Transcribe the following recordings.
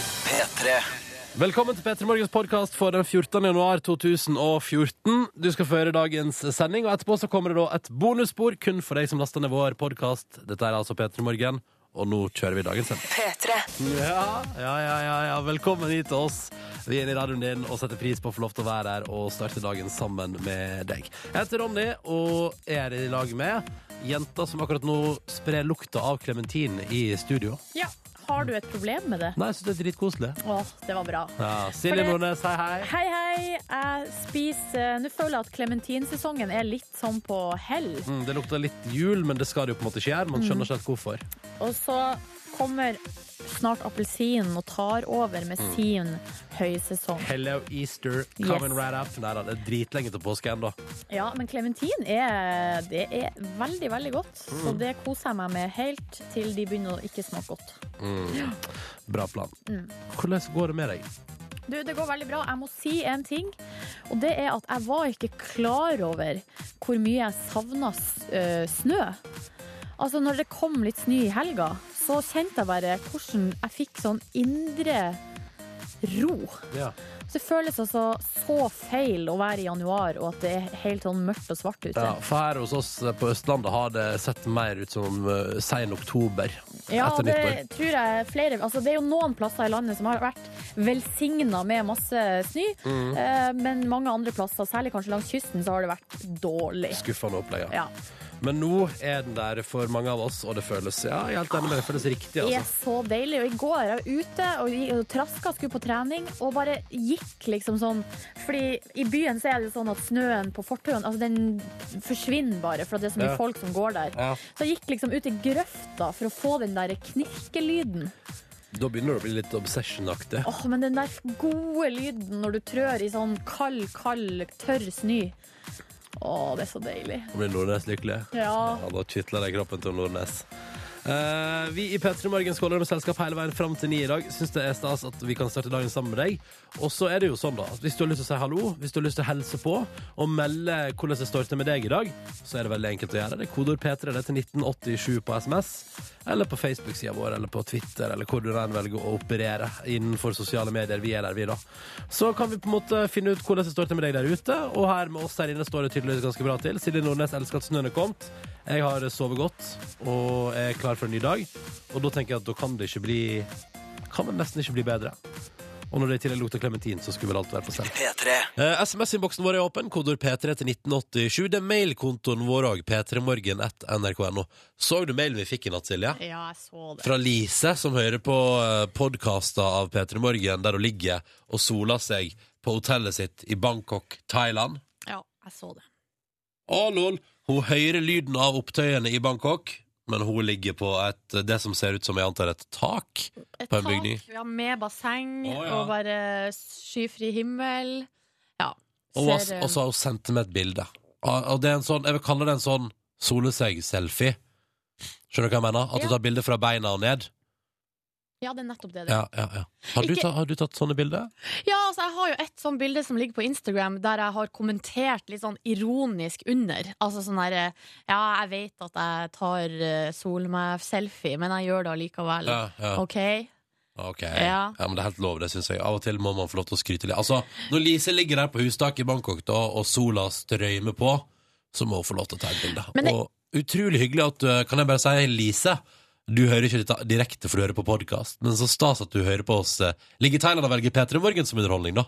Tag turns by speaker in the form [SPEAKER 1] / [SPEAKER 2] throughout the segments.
[SPEAKER 1] P3.
[SPEAKER 2] Velkommen til P3 Morgens podkast for den 14. januar 2014. Du skal få høre dagens sending, og etterpå så kommer det da et bonusspor kun for deg som laster ned vår podkast. Dette er altså P3 Morgen, og nå kjører vi dagens sending.
[SPEAKER 3] P3.
[SPEAKER 2] Ja, ja, ja, ja, ja. Velkommen hit til oss. Vi er inne i radioen din og setter pris på å få lov til å være her og starte dagen sammen med deg. Jeg heter Ronny og er her i lag med jenta som akkurat nå sprer lukta av klementin i studio.
[SPEAKER 4] Ja. Har du et problem med det?
[SPEAKER 2] Nei, jeg syns det er dritkoselig.
[SPEAKER 4] Å, det var bra.
[SPEAKER 2] Ja, Silje
[SPEAKER 4] For det-
[SPEAKER 2] Nordnes, hei, hei.
[SPEAKER 4] Hei, hei. Jeg spiser Nå føler jeg at clementinsesongen er litt sånn på hell.
[SPEAKER 2] Mm, det lukter litt jul, men det skal det jo på en måte ikke gjøre. Man skjønner ikke helt hvorfor.
[SPEAKER 4] Og så kommer snart appelsinen og tar over med sin høysesong.
[SPEAKER 2] Hello Easter, coming
[SPEAKER 4] Yes.
[SPEAKER 2] right up. Nei da, det er dritlenge til påske ennå.
[SPEAKER 4] Ja, men klementin er, det er veldig, veldig godt. Så det koser jeg meg med helt til de begynner å ikke smake godt.
[SPEAKER 2] Bra plan.
[SPEAKER 4] Mm.
[SPEAKER 2] Hvordan går det med deg?
[SPEAKER 4] Du, det går veldig bra. Jeg må si en ting. Og det er at jeg var ikke klar over hvor mye jeg savna snø. Altså, når det kom litt snø i helga, så kjente jeg bare hvordan jeg fikk sånn indre ro.
[SPEAKER 2] Ja.
[SPEAKER 4] Så det føles altså så feil å være i januar, og at det er helt sånn mørkt og svart ute.
[SPEAKER 2] for her hos oss eh, på Østlandet har det sett mer ut som eh, sen oktober
[SPEAKER 4] Ja,
[SPEAKER 2] etter nyttår.
[SPEAKER 4] det tror jeg flere Altså, det er jo noen plasser i landet som har vært velsigna med masse snø,
[SPEAKER 2] Mm.
[SPEAKER 4] eh, men mange andre plasser, særlig kanskje langs kysten, så har det vært dårlig.
[SPEAKER 2] Skuffende opplegg. ja.
[SPEAKER 4] Ja.
[SPEAKER 2] Men nå er den der for mange av oss, og det føles Ja, jeg er helt enig med deg. Det føles riktig,
[SPEAKER 4] Det er
[SPEAKER 2] altså.
[SPEAKER 4] så deilig. Og i går jeg var ute og, gi- og traska, skulle på trening, og bare gikk liksom sånn Fordi i byen så er det jo sånn at snøen på fortauene, altså den forsvinner bare, for det er så
[SPEAKER 2] Ja.
[SPEAKER 4] mye folk som går der.
[SPEAKER 2] Ja.
[SPEAKER 4] Så jeg gikk liksom ut i grøfta for å få den der knirkelyden.
[SPEAKER 2] Da begynner det å bli litt obsession-aktig.
[SPEAKER 4] Åh, men den der gode lyden når du trør i sånn kald, kald, tørr snø. Åh, det er så deilig.
[SPEAKER 2] Nå blir Nordnes lykkelig.
[SPEAKER 4] Ja.
[SPEAKER 2] Ja, da kitler det i kroppen til Nordnes. Eh, vi i P3 Morgen skåler med selskap hele veien fram til ni i dag. Syns det er stas at vi kan starte dagen sammen med deg. Og så er det jo sånn, da, at hvis du har lyst til å si hallo, hvis du har lyst til å helse på og melde hvordan det står til med deg i dag, så er det veldig enkelt å gjøre. Det er kodeord P3 det er til 1987 på SMS, eller på Facebook-sida vår, eller på Twitter, eller hvor du enn velger å operere innenfor sosiale medier. Vi er der, vi, da. Så kan vi på en måte finne ut hvordan det står til med deg der ute, og her med oss der inne står det tydeligvis ganske bra til. Silje Nordnes elsker at snøen er kommet. Jeg har sovet godt og er klar for en ny dag. Og da tenker jeg at da kan det ikke bli Kan det nesten ikke bli bedre. Og når det i tillegg lukter klementin, så skulle vel alt være på stell.
[SPEAKER 1] P3.
[SPEAKER 2] Eh, SMS-innboksen vår er åpen. Kodord P3 til 1987. Det er mailkontoen vår òg. p3morgen.nrk.no. Så du mailen vi fikk i natt, Silje?
[SPEAKER 4] Ja, jeg så det.
[SPEAKER 2] Fra Lise, som hører på podkaster av P3 Morgen, der hun ligger og soler seg på hotellet sitt i Bangkok, Thailand.
[SPEAKER 4] Ja, jeg så det.
[SPEAKER 2] Å, lol. Hun hører lyden av opptøyene i Bangkok, men hun ligger på et, det som ser ut som jeg antar et tak.
[SPEAKER 4] Et
[SPEAKER 2] På en bygning.
[SPEAKER 4] tak ja, med basseng
[SPEAKER 2] Å, ja.
[SPEAKER 4] og bare skyfri himmel. Ja.
[SPEAKER 2] Og, hun har-
[SPEAKER 4] ser, eh,
[SPEAKER 2] og så har hun sendt meg et bilde. Og, og det er en sånn, jeg vil kalle det en sånn soleseg-selfie. Skjønner du hva jeg mener? At du
[SPEAKER 4] Ja.
[SPEAKER 2] tar bilde fra beina og ned.
[SPEAKER 4] eh, ja, det er nettopp det. det.
[SPEAKER 2] Ja, ja, ja. Har, du
[SPEAKER 4] Ikke-
[SPEAKER 2] tatt, har du tatt sånne bilder?
[SPEAKER 4] Ja, altså, jeg har jo et sånn bilde som ligger på Instagram, der jeg har kommentert litt sånn ironisk under. Altså sånn herre Ja, jeg vet at jeg tar eh, sol meg selfie, men jeg gjør det allikevel.
[SPEAKER 2] Ja, ja.
[SPEAKER 4] OK?
[SPEAKER 2] Ok, ja.
[SPEAKER 4] Ja.
[SPEAKER 2] men det er helt lov, det synes jeg. Av og til må man få lov til å skryte litt. Altså, når Lise ligger der på hustaket i Bangkok da, og sola strøymer på, så må hun få lov til å ta et bilde.
[SPEAKER 4] Men det-
[SPEAKER 2] Og utrolig hyggelig at du, kan jeg bare si, Lise, du hører ikke dette direkte for du hører på podcast, men så stas at du hører på oss. eh, Ligger i Thailand og velger Peter i morgen som underholdning da?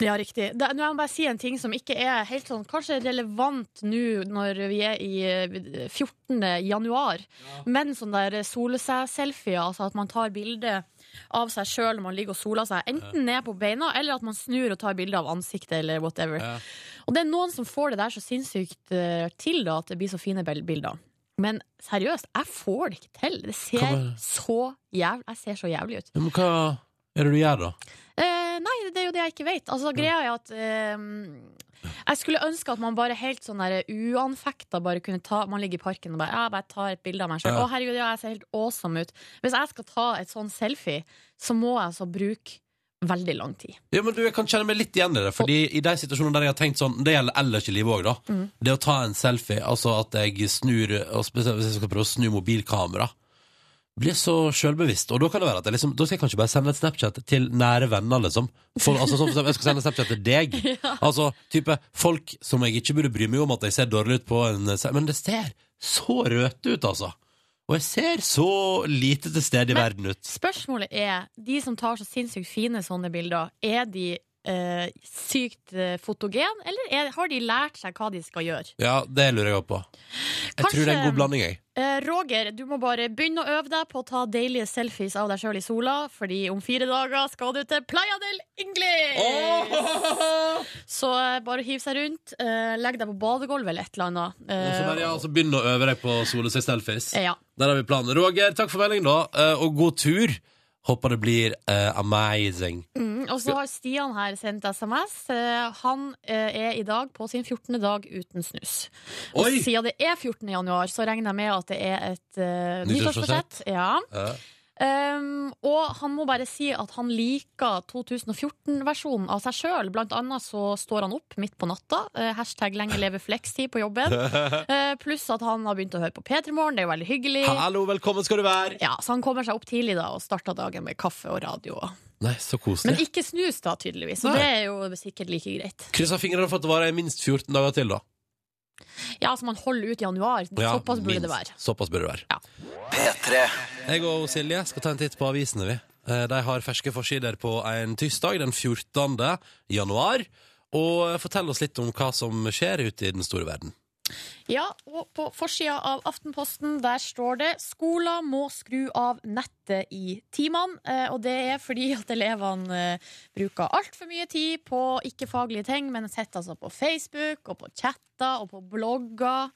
[SPEAKER 4] Ja, riktig. Det, nå må jeg bare si en ting som ikke er helt sånn Kanskje relevant nå når vi er i eh, 14. januar, men sånn der sole-seg-selfier, altså at man tar bilde av seg sjøl når man ligger og soler seg, enten ned på beina, eller at man snur og tar bilde av ansiktet, eller whatever.
[SPEAKER 2] Ja.
[SPEAKER 4] Og det er noen som får det der så sinnssykt eh, til, da, at det blir så fine bel- bilder. Men seriøst, jeg får det ikke til. Det
[SPEAKER 2] Hva
[SPEAKER 4] ser
[SPEAKER 2] med-
[SPEAKER 4] så jævlig Jeg ser så jævlig ut.
[SPEAKER 2] Ja, Men hva er det du gjør da?
[SPEAKER 4] Eh, nei, det er jo det jeg ikke vet. Altså, greia er at eh, Jeg skulle ønske at man bare helt sånn der uanfekta bare kunne ta Man ligger i parken og bare, ja, bare tar et bilde av meg sjøl.
[SPEAKER 2] Ja.
[SPEAKER 4] Å, herregud, ja, jeg ser helt awesome ut. Hvis jeg skal ta et sånn selfie, så må jeg altså bruke veldig lang tid.
[SPEAKER 2] Ja, men du, Jeg kan kjenne meg litt igjen i det. Fordi i de situasjonene der jeg har tenkt sånn Det gjelder ellers i livet òg, da.
[SPEAKER 4] Mm.
[SPEAKER 2] Det å ta en selfie, altså at jeg snur Og spesielt hvis jeg skal prøve å snu mobilkamera. blir så sjølbevisst. Og da kan det være at jeg liksom, da skal jeg kanskje bare sende et Snapchat til nære venner, liksom. For, altså, sånn for eksempel, jeg skal sende Snapchat til deg. Altså, type folk som jeg ikke burde bry meg om at jeg ser dårlig ut på en Men det ser så rødt ut, altså. Og jeg ser så lite til stede i
[SPEAKER 4] Men-
[SPEAKER 2] verden ut.
[SPEAKER 4] Spørsmålet er, de som tar så sinnssykt fine sånne bilder, er de eh, sykt eh, fotogen, eller er, har de lært seg hva de skal gjøre?
[SPEAKER 2] Ja, det lurer jeg også på. Jeg
[SPEAKER 4] Kanskje-
[SPEAKER 2] tror det er en god blanding, jeg.
[SPEAKER 4] Eh, Roger, du må bare begynne å øve deg på å ta deilige selfies av deg sjøl i sola, fordi om fire dager skal du til Playa del Inglis! Så eh, bare hiv seg rundt, eh, legg deg på badegulvet eller et eller annet.
[SPEAKER 2] Og så
[SPEAKER 4] eh,
[SPEAKER 2] bare, ja, så begynn å øve deg på solo seg selfies.
[SPEAKER 4] ja.
[SPEAKER 2] Der har vi planen. Roger, takk for meldingen, da. eh, Og god tur. Håper det blir eh, amazing.
[SPEAKER 4] Mm, og så har Stian her sendt SMS. Eh, han eh, er i dag på sin 14. dag uten snus. Og
[SPEAKER 2] Oi!
[SPEAKER 4] siden det er 14. januar, så regner jeg med at det er et eh, nyttårsforsett.
[SPEAKER 2] Nyttårsforsett.
[SPEAKER 4] Ja.
[SPEAKER 2] Ja.
[SPEAKER 4] Um, og han må bare si at han liker 2014-versjonen av seg sjøl. Blant annet så står han opp midt på natta. eh, hashtag lenge leve flekstid på jobben. Eh, pluss at han har begynt å høre på P3 Morgen. Det er jo veldig hyggelig.
[SPEAKER 2] Hallo, velkommen skal du være.
[SPEAKER 4] Ja, Så han kommer seg opp tidlig da og starter dagen med kaffe og radio.
[SPEAKER 2] Nei, så
[SPEAKER 4] Men
[SPEAKER 2] koselig.
[SPEAKER 4] ikke snus, da, tydeligvis.
[SPEAKER 2] Nei.
[SPEAKER 4] Og det er jo sikkert like greit.
[SPEAKER 2] Kryssa fingrene for at det varer i minst 14 dager til, da.
[SPEAKER 4] Ja, altså man holder ut januar.
[SPEAKER 2] Ja,
[SPEAKER 4] Såpass burde det
[SPEAKER 2] minst.
[SPEAKER 4] være.
[SPEAKER 2] Såpass burde det være.
[SPEAKER 4] Ja.
[SPEAKER 2] Jeg og Silje skal ta en titt på avisene, vi. Eh, De har ferske forsider på en tirsdag den 14. januar. Og eh, fortell oss litt om hva som skjer ute i den store verden.
[SPEAKER 4] Ja, og på forsida av Aftenposten der står det skoler må skru av nettet i timene. eh, Og det er fordi at elevene eh, bruker altfor mye tid på ikke-faglige ting, men sitter altså på Facebook og på chatter og på blogger.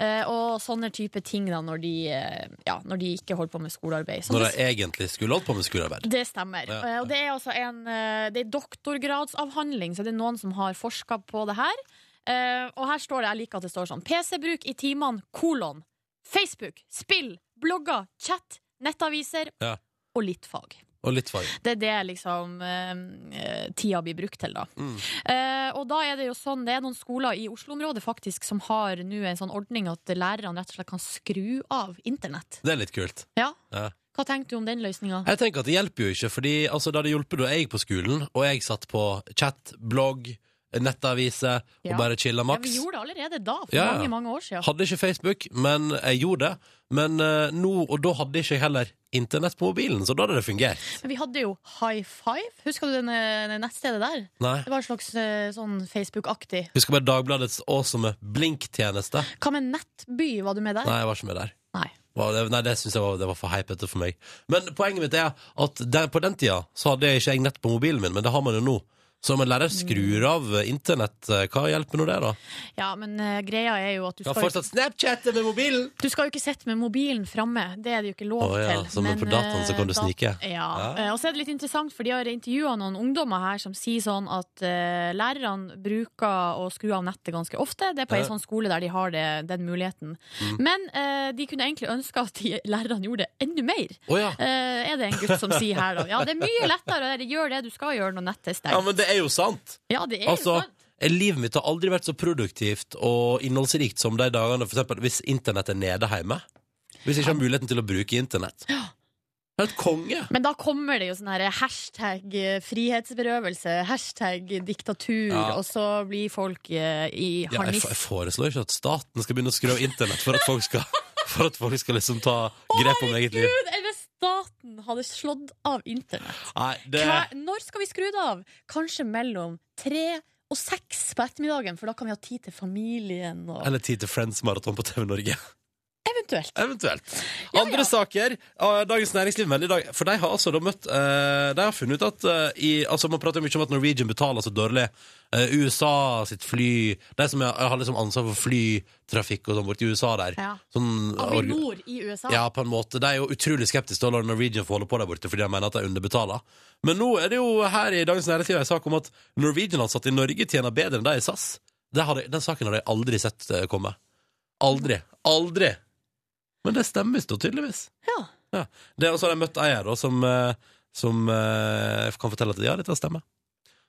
[SPEAKER 4] eh, Og sånne type ting da når de, eh, ja, når de ikke holder på med skolearbeid. Som
[SPEAKER 2] Når
[SPEAKER 4] det-
[SPEAKER 2] de egentlig skulle holdt på med skolearbeid.
[SPEAKER 4] det stemmer.
[SPEAKER 2] Ja,
[SPEAKER 4] Eh, Og det er altså en eh, det er doktorgradsavhandling, så det er noen som har forska på det her. Eh, Og her står det, jeg liker at det står sånn PC-bruk i timene, kolon. Facebook, spill, blogger, chat, nettaviser
[SPEAKER 2] Ja.
[SPEAKER 4] og litt fag.
[SPEAKER 2] Og litt fag.
[SPEAKER 4] Det er det liksom eh, eh, tida blir brukt til, da.
[SPEAKER 2] Mm.
[SPEAKER 4] Eh, og da er det jo sånn, det er noen skoler i Oslo-området faktisk som har nå en sånn ordning at lærerne rett og slett kan skru av internett.
[SPEAKER 2] Det er litt kult.
[SPEAKER 4] Ja.
[SPEAKER 2] Ja.
[SPEAKER 4] Hva tenker du om den løsninga?
[SPEAKER 2] Jeg tenker at det hjelper jo ikke, fordi altså, det hadde hjulpet da jeg gikk på skolen, og jeg satt på chat, blogg, nettavise,
[SPEAKER 4] Ja.
[SPEAKER 2] og bare chilla
[SPEAKER 4] Ja,
[SPEAKER 2] maks.
[SPEAKER 4] vi gjorde det allerede da, for
[SPEAKER 2] Ja, ja.
[SPEAKER 4] mange, mange år siden.
[SPEAKER 2] Hadde ikke Facebook, men jeg gjorde det. Men eh, nå, og da hadde ikke jeg heller internett på mobilen, så da hadde det fungert.
[SPEAKER 4] Men Vi hadde jo High Five. Husker du den, eh, nettstedet der?
[SPEAKER 2] Nei.
[SPEAKER 4] Det var en slags eh, sånn Facebook-aktig.
[SPEAKER 2] Husker bare Dagbladets awesome Blink-tjeneste.
[SPEAKER 4] Hva med Nettby? Var du med der?
[SPEAKER 2] Nei, jeg var ikke med der.
[SPEAKER 4] Nei.
[SPEAKER 2] Var det- Nei, det synes jeg var, det var for hypete for meg. Men poenget mitt er at der, på den tida så hadde jeg ikke jeg nett på mobilen min, men det har man jo nå. Så om en lærer skrur av eh, internett, eh, hva hjelper nå det, da?
[SPEAKER 4] Ja, men eh, greia er jo at du
[SPEAKER 2] Jeg har
[SPEAKER 4] skal,
[SPEAKER 2] fortsatt Snapchatte med mobilen!
[SPEAKER 4] du skal jo ikke sitte med mobilen framme. Det er det jo ikke lov
[SPEAKER 2] Å ja,
[SPEAKER 4] til.
[SPEAKER 2] så men på dataen så kan du
[SPEAKER 4] eh,
[SPEAKER 2] snike.
[SPEAKER 4] Ja.
[SPEAKER 2] Ja.
[SPEAKER 4] Eh, Og så er det litt interessant, for de har intervjua noen ungdommer her som sier sånn at eh, lærerne bruker å skru av nettet ganske ofte. Det er på
[SPEAKER 2] Ja. Mm.
[SPEAKER 4] en sånn skole der de har det, den muligheten. Men eh, de kunne egentlig ønske at de lærerne gjorde det enda mer.
[SPEAKER 2] Å ja.
[SPEAKER 4] Eh, er det en gutt som sier her, da? Ja, det er mye lettere. Eller gjør det du skal gjøre når nettet
[SPEAKER 2] ja,
[SPEAKER 4] er stengt.
[SPEAKER 2] men det er jo sant.
[SPEAKER 4] Ja, det er
[SPEAKER 2] Altså,
[SPEAKER 4] jo sånn. sant.
[SPEAKER 2] eh, livet mitt har aldri vært så produktivt og innholdsrikt som de dagene for eksempel hvis internett er nede hjemme. Hvis jeg ikke har muligheten til å bruke internett. Helt konge!
[SPEAKER 4] Men da kommer det jo sånn her hashtag eh, frihetsberøvelse, hashtag diktatur,
[SPEAKER 2] Ja. og
[SPEAKER 4] og så blir folk eh, i
[SPEAKER 2] Ja, jeg,
[SPEAKER 4] harnisk.
[SPEAKER 2] f- jeg foreslår ikke at staten skal begynne å skru av internett for at folk skal, for at folk skal liksom ta grep om eget liv.
[SPEAKER 4] Gud, eller staten hadde slått av internett.
[SPEAKER 2] Nei, det
[SPEAKER 4] Hva, når skal vi skru det av? Kanskje mellom tre og seks på ettermiddagen, for da kan vi ha tid til familien og
[SPEAKER 2] Eller tid til Friends-maraton på TV Norge.
[SPEAKER 4] Eventuelt.
[SPEAKER 2] Eventuelt.
[SPEAKER 4] Ja,
[SPEAKER 2] Andre
[SPEAKER 4] ja.
[SPEAKER 2] saker. eh, Dagens Næringsliv veldig i dag. For de har altså da møtt eh, De har funnet ut at eh, i, altså Man prater jo mye om at Norwegian betaler så dårlig. Eh, USA sitt fly De som har, har liksom ansvar for flytrafikk og sånn borti USA der.
[SPEAKER 4] Ja.
[SPEAKER 2] Sånn,
[SPEAKER 4] Avinor i USA.
[SPEAKER 2] ja, på en måte. De er jo utrolig skeptiske til å la Norwegian få holde på der borte fordi de mener at de underbetaler. Men nå er det jo her i Dagens Næringsliv en sak om at Norwegian-ansatte i Norge tjener bedre enn de i SAS. Det har de, den saken har de aldri sett eh, komme. Aldri. Aldri! Men det stemmer visst, da, tydeligvis.
[SPEAKER 4] Ja.
[SPEAKER 2] Ja. Det, og så har jeg møtt ei her da, som, eh, som eh, kan fortelle hmm, at ja, dette stemmer.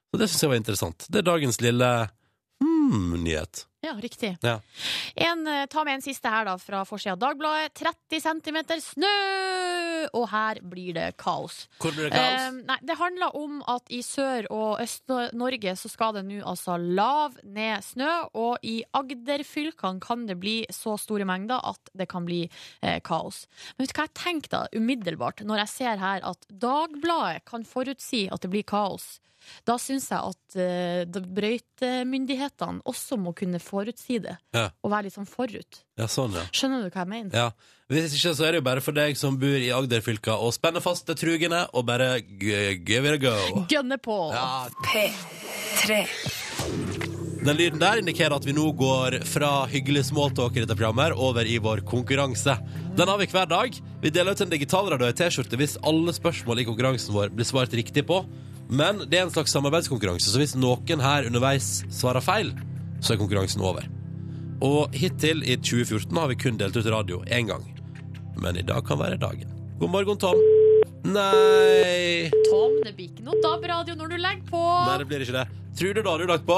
[SPEAKER 2] Og det syns jeg var interessant. Det er dagens lille hmm-nyhet.
[SPEAKER 4] Ja, riktig.
[SPEAKER 2] Ja.
[SPEAKER 4] En, eh, ta med en siste her, da, fra forsida av Dagbladet. 30 cm snø! Og her blir det kaos.
[SPEAKER 2] Hvor blir det
[SPEAKER 4] Eh,
[SPEAKER 2] kaos?
[SPEAKER 4] nei, det handler om at i Sør- og Øst-Norge så skal det nå altså lav ned snø, og i Agder-fylkene kan det bli så store mengder at det kan bli eh, kaos. Men vet du hva jeg tenker da, umiddelbart, når jeg ser her at Dagbladet kan forutsi at det blir kaos? Da syns jeg at eh, da- brøytemyndighetene også må kunne forutsi det,
[SPEAKER 2] Ja.
[SPEAKER 4] og være litt sånn forut.
[SPEAKER 2] Ja, sånn, ja.
[SPEAKER 4] Skjønner du hva jeg mener?
[SPEAKER 2] Ja. Hvis ikke, så er det jo bare for deg som bor i Agder-fylka og spenner fast det trugende og bare g- give it a go.
[SPEAKER 4] Gønne på!
[SPEAKER 2] Ja.
[SPEAKER 1] P3.
[SPEAKER 2] Den lyden der indikerer at vi nå går fra hyggelig smalltalk i dette programmet her over i vår konkurranse. Den har vi hver dag. Vi deler ut en digitalradio i T-skjorte hvis alle spørsmål i konkurransen vår blir svart riktig på. Men det er en slags samarbeidskonkurranse, så hvis noen her underveis svarer feil, så er konkurransen over. Og hittil i 2014 har vi kun delt ut radio én gang. Men i dag kan være dagen. God morgen, Tom. Nei
[SPEAKER 4] Tom, det blir ikke noe DAB-radio når du legger på!
[SPEAKER 2] Nei, det blir ikke det. Tror du det har du lagt på?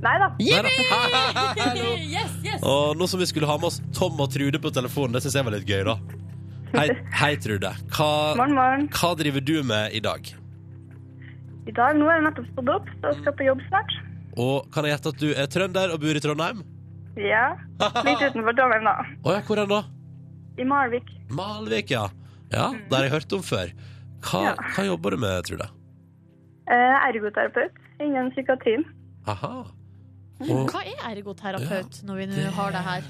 [SPEAKER 3] Nei da.
[SPEAKER 2] Jippi! Hallo.
[SPEAKER 4] Yes, yes!
[SPEAKER 2] Og nå som vi skulle ha med oss Tom og Trude på telefonen, det syns jeg var litt gøy, da. Hei, hei Trude. Hva,
[SPEAKER 3] Morgen, morgen.
[SPEAKER 2] hva driver du med i dag?
[SPEAKER 3] I dag nå er jeg nettopp stått opp, så skal jeg på jobb snart.
[SPEAKER 2] Og kan jeg gjette at du er trønder og bor i Trondheim?
[SPEAKER 3] Ja. Litt utenfor Trondheim, da.
[SPEAKER 2] Å ja, hvor enn da?
[SPEAKER 3] I Malvik.
[SPEAKER 2] Malvik, ja. Ja, Det har jeg hørt om før. Hva,
[SPEAKER 3] Ja.
[SPEAKER 2] hva jobber du med, Trude?
[SPEAKER 3] Eh, ergoterapeut innen psykiatrien.
[SPEAKER 2] Aha. Og,
[SPEAKER 4] Hva er ergoterapeut, når vi nå
[SPEAKER 2] det-
[SPEAKER 4] har det her?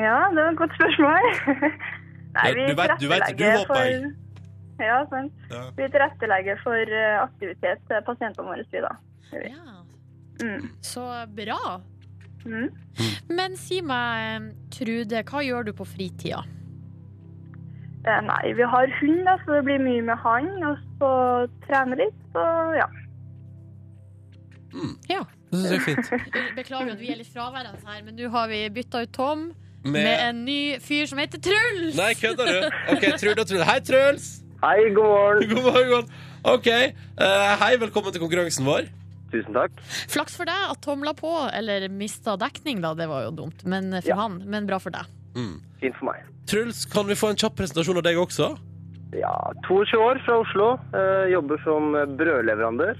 [SPEAKER 3] Ja, det var et godt spørsmål. Nei,
[SPEAKER 2] Ja, du vet- du vet at du
[SPEAKER 3] tilrettelegger
[SPEAKER 2] håper jeg.
[SPEAKER 3] for- Ja, sant.
[SPEAKER 2] Ja.
[SPEAKER 3] Vi tilrettelegger for eh, aktivitet til pasientene våre, vi da.
[SPEAKER 4] Ja,
[SPEAKER 3] Mm.
[SPEAKER 4] så bra.
[SPEAKER 3] Mm.
[SPEAKER 4] Men si meg, eh, Trude, hva gjør du på fritida?
[SPEAKER 3] Eh, Nei, vi har hund, da, så det blir mye med han. Og så trene litt, og ja.
[SPEAKER 4] Ja.
[SPEAKER 2] det syns jeg er fint.
[SPEAKER 4] Beklager at vi er litt fraværende her, men nå har vi bytta ut Tom med
[SPEAKER 2] Med
[SPEAKER 4] en ny fyr som heter Truls!
[SPEAKER 2] Nei, kødder du? OK, Trude og Trude. Hei, Truls!
[SPEAKER 5] Hei, god morgen.
[SPEAKER 2] God morgen. OK. eh, hei, velkommen til konkurransen vår.
[SPEAKER 5] Tusen takk.
[SPEAKER 4] Flaks for deg at Tom la på, eller mista dekning, da. Det var jo dumt men for
[SPEAKER 5] Ja.
[SPEAKER 4] han, men bra for deg.
[SPEAKER 2] Mm.
[SPEAKER 5] Fint for meg.
[SPEAKER 2] Truls, kan vi få en kjapp presentasjon av deg også?
[SPEAKER 5] Ja, 22 år fra Oslo. eh, jobber som brødleverandør.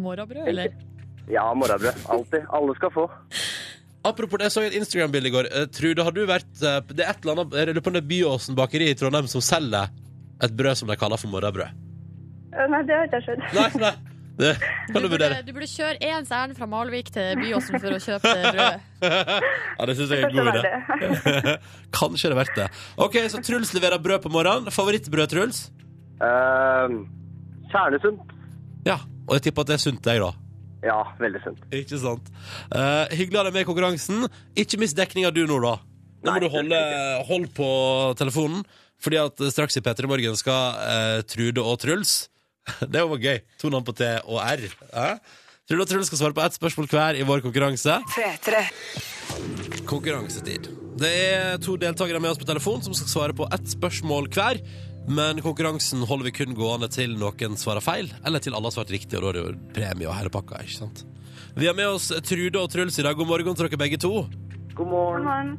[SPEAKER 4] Morrabrød, eller?
[SPEAKER 5] Ja, morgenbrød. Alltid. Alle skal få.
[SPEAKER 2] Apropos det, jeg så et Instagram-bilde i går. Eh, Trude, har du vært eh, Det er et eller annet Jeg lurer på om det er Byåsen bakeri i Trondheim som selger et brød som de kaller for morrabrød.
[SPEAKER 3] Eh, Nei, det har ikke jeg skjønt.
[SPEAKER 2] Nei, nei. Det kan du
[SPEAKER 4] burde,
[SPEAKER 2] vurdere.
[SPEAKER 4] du burde kjøre ens ærend fra Malvik til Byåsen for å kjøpe brød.
[SPEAKER 2] Ja, det syns jeg er en
[SPEAKER 3] Kanskje
[SPEAKER 2] god
[SPEAKER 3] det
[SPEAKER 2] idé.
[SPEAKER 3] er det.
[SPEAKER 2] Kanskje det er verdt det. OK, så Truls leverer brød på morgenen. Favorittbrød, Truls?
[SPEAKER 5] Eh, kjernesunt.
[SPEAKER 2] Ja. Og jeg tipper at det er sunt, jeg, da.
[SPEAKER 5] Ja, veldig sunt.
[SPEAKER 2] Ikke sant. Eh, hyggelig å ha deg med i konkurransen. Ikke mist dekninga du nå, da. Nå må
[SPEAKER 5] Nei,
[SPEAKER 2] du holde hold på telefonen, fordi at eh, straks i P3 Morgen skal eh, Trude og Truls Det var gøy. To navn på T og R. Eh? Trude og Truls skal svare på ett spørsmål hver i vår konkurranse.
[SPEAKER 1] P3.
[SPEAKER 2] Konkurransetid. Det er to deltakere med oss på telefon som skal svare på ett spørsmål hver. Men konkurransen holder vi kun gående til noen svarer feil, eller til alle har svart riktig. Og da er det jo premie og hele pakka, ikke sant? Vi har med oss Trude og Truls i dag. God morgen til dere begge to.
[SPEAKER 5] God
[SPEAKER 3] God
[SPEAKER 5] morgen.
[SPEAKER 3] morgen.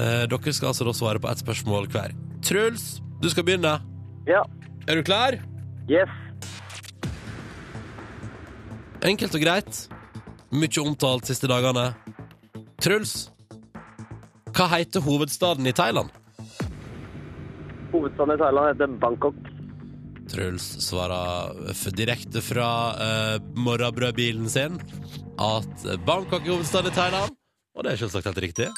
[SPEAKER 2] Eh, dere skal altså da svare på ett spørsmål hver. Truls, du skal begynne.
[SPEAKER 5] Ja.
[SPEAKER 2] Er du klar?
[SPEAKER 5] Yes.
[SPEAKER 2] Enkelt og greit. Mykje omtalt siste dagene. Truls, hva heter hovedstaden i Thailand?
[SPEAKER 5] Hovedstaden i Thailand heter Bangkok.
[SPEAKER 2] Truls svarer f- direkte fra eh, morrabrødbilen sin at Bangkok er hovedstaden i Thailand. Og det er selvsagt helt riktig.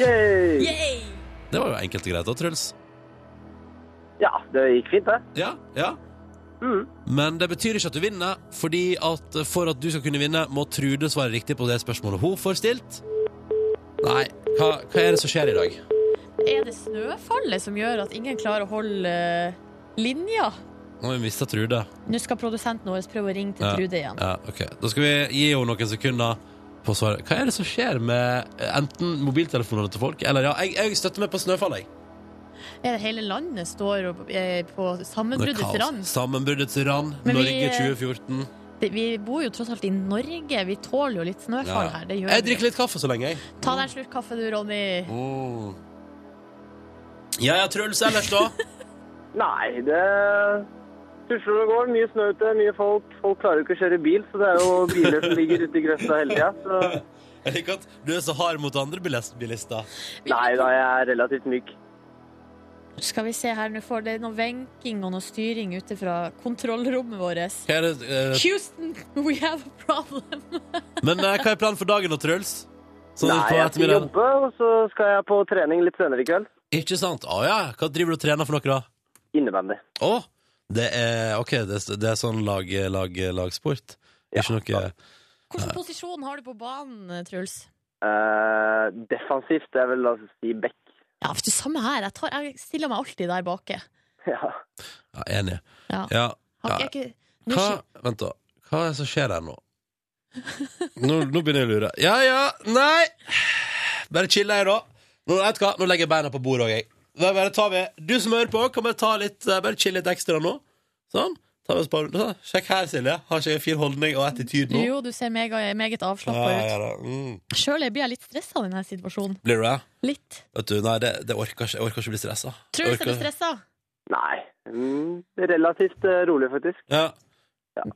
[SPEAKER 5] Yay!
[SPEAKER 4] Yay!
[SPEAKER 2] Det var jo enkelt og greit da, Truls.
[SPEAKER 5] Ja, det gikk fint, det.
[SPEAKER 2] Ja, ja.
[SPEAKER 5] Mm.
[SPEAKER 2] Men det betyr ikke at du vinner, fordi at for at du skal kunne vinne, må Trude svare riktig på det spørsmålet hun får stilt. Nei, hva, hva er det som skjer i dag?
[SPEAKER 4] Er det snøfallet som gjør at ingen klarer å holde eh, linja?
[SPEAKER 2] Nå har vi mista Trude.
[SPEAKER 4] Nå skal produsenten vår prøve å ringe til
[SPEAKER 2] Ja.
[SPEAKER 4] Trude igjen.
[SPEAKER 2] Ja, ok. Da skal vi gi henne noen sekunder på å svare. Hva er det som skjer med enten mobiltelefonene til folk, eller ja, jeg, jeg støtter meg på snøfall, jeg.
[SPEAKER 4] Er det hele landet står og er på
[SPEAKER 2] Det er
[SPEAKER 4] sammenbruddets
[SPEAKER 2] kaos.
[SPEAKER 4] rand?
[SPEAKER 2] Sammenbruddets rand.
[SPEAKER 4] Men vi-
[SPEAKER 2] Norge 2014.
[SPEAKER 4] Det, vi bor jo tross alt i Norge. Vi tåler jo litt snøfall her. Det gjør
[SPEAKER 2] Jeg
[SPEAKER 4] vi.
[SPEAKER 2] drikker litt kaffe så lenge, jeg.
[SPEAKER 4] Ta deg en slurk kaffe du, Ronny.
[SPEAKER 2] Mm. Ja ja, Truls ellers, da?
[SPEAKER 5] Nei, det tusler og går. Mye snø ute, mye folk. Folk klarer jo ikke å kjøre bil, så det er jo biler som ligger ute i grøfta hele tida. Så
[SPEAKER 2] Jeg liker at du er så hard mot andre bilis- bilister.
[SPEAKER 5] nei da, jeg er relativt myk.
[SPEAKER 4] Skal vi se her, nå får det noe venking og noe styring ute fra kontrollrommet vårt.
[SPEAKER 2] Hva er, det, eh,
[SPEAKER 4] Houston, we have a problem.
[SPEAKER 2] men eh, hva er planen for dagen da, Truls? Sånn på
[SPEAKER 5] Nei, jeg skal
[SPEAKER 2] ettermiddagen.
[SPEAKER 5] jobbe, og så skal jeg på trening litt senere i kveld.
[SPEAKER 2] Ikke sant? Å ja. Hva driver du og trener for noe, da?
[SPEAKER 5] Innebandy.
[SPEAKER 2] Å, det er OK, det, er- det er sånn lag, lag, lagsport?
[SPEAKER 5] Ja,
[SPEAKER 2] Ikke noe
[SPEAKER 4] Hvilken posisjon har du på banen, Truls?
[SPEAKER 5] Eh, defensivt, det er vel la oss si back.
[SPEAKER 4] Ja, vet du, Samme her. Jeg, tar, jeg stiller meg alltid der bake.
[SPEAKER 5] Ja.
[SPEAKER 2] ja, Enig.
[SPEAKER 4] Ja.
[SPEAKER 2] Ja.
[SPEAKER 4] Har
[SPEAKER 2] ja.
[SPEAKER 4] ikke- jeg ikke
[SPEAKER 2] Hva,
[SPEAKER 4] Nå skj-
[SPEAKER 2] vent da, hva er det som skjer her nå? nå? Nå begynner jeg å lure Ja, ja, nei Bare chiller jeg da Nå, vet du hva, nå legger jeg beina på bordet også jeg. Da bare tar vi Du som hører på, kan bare ta litt eh, Bare chill litt ekstra nå Sånn, ta oss på sånn. Sjekk her, Silje Har ikke jeg en fin holdning og attityd nå?
[SPEAKER 4] Jo, du ser mega, meget avslappa
[SPEAKER 2] ja, ja,
[SPEAKER 4] ut.
[SPEAKER 2] da. Mm.
[SPEAKER 4] Sjøl blir jeg litt stressa i denne situasjonen.
[SPEAKER 2] Blir du det?
[SPEAKER 4] Litt.
[SPEAKER 2] Vet du, nei, det, det orker ikke Jeg orker ikke bli stresset
[SPEAKER 4] Truls,
[SPEAKER 2] Orker-
[SPEAKER 4] er du stressa?
[SPEAKER 5] Nei. Mm, relativt eh, rolig, faktisk.
[SPEAKER 2] Ja,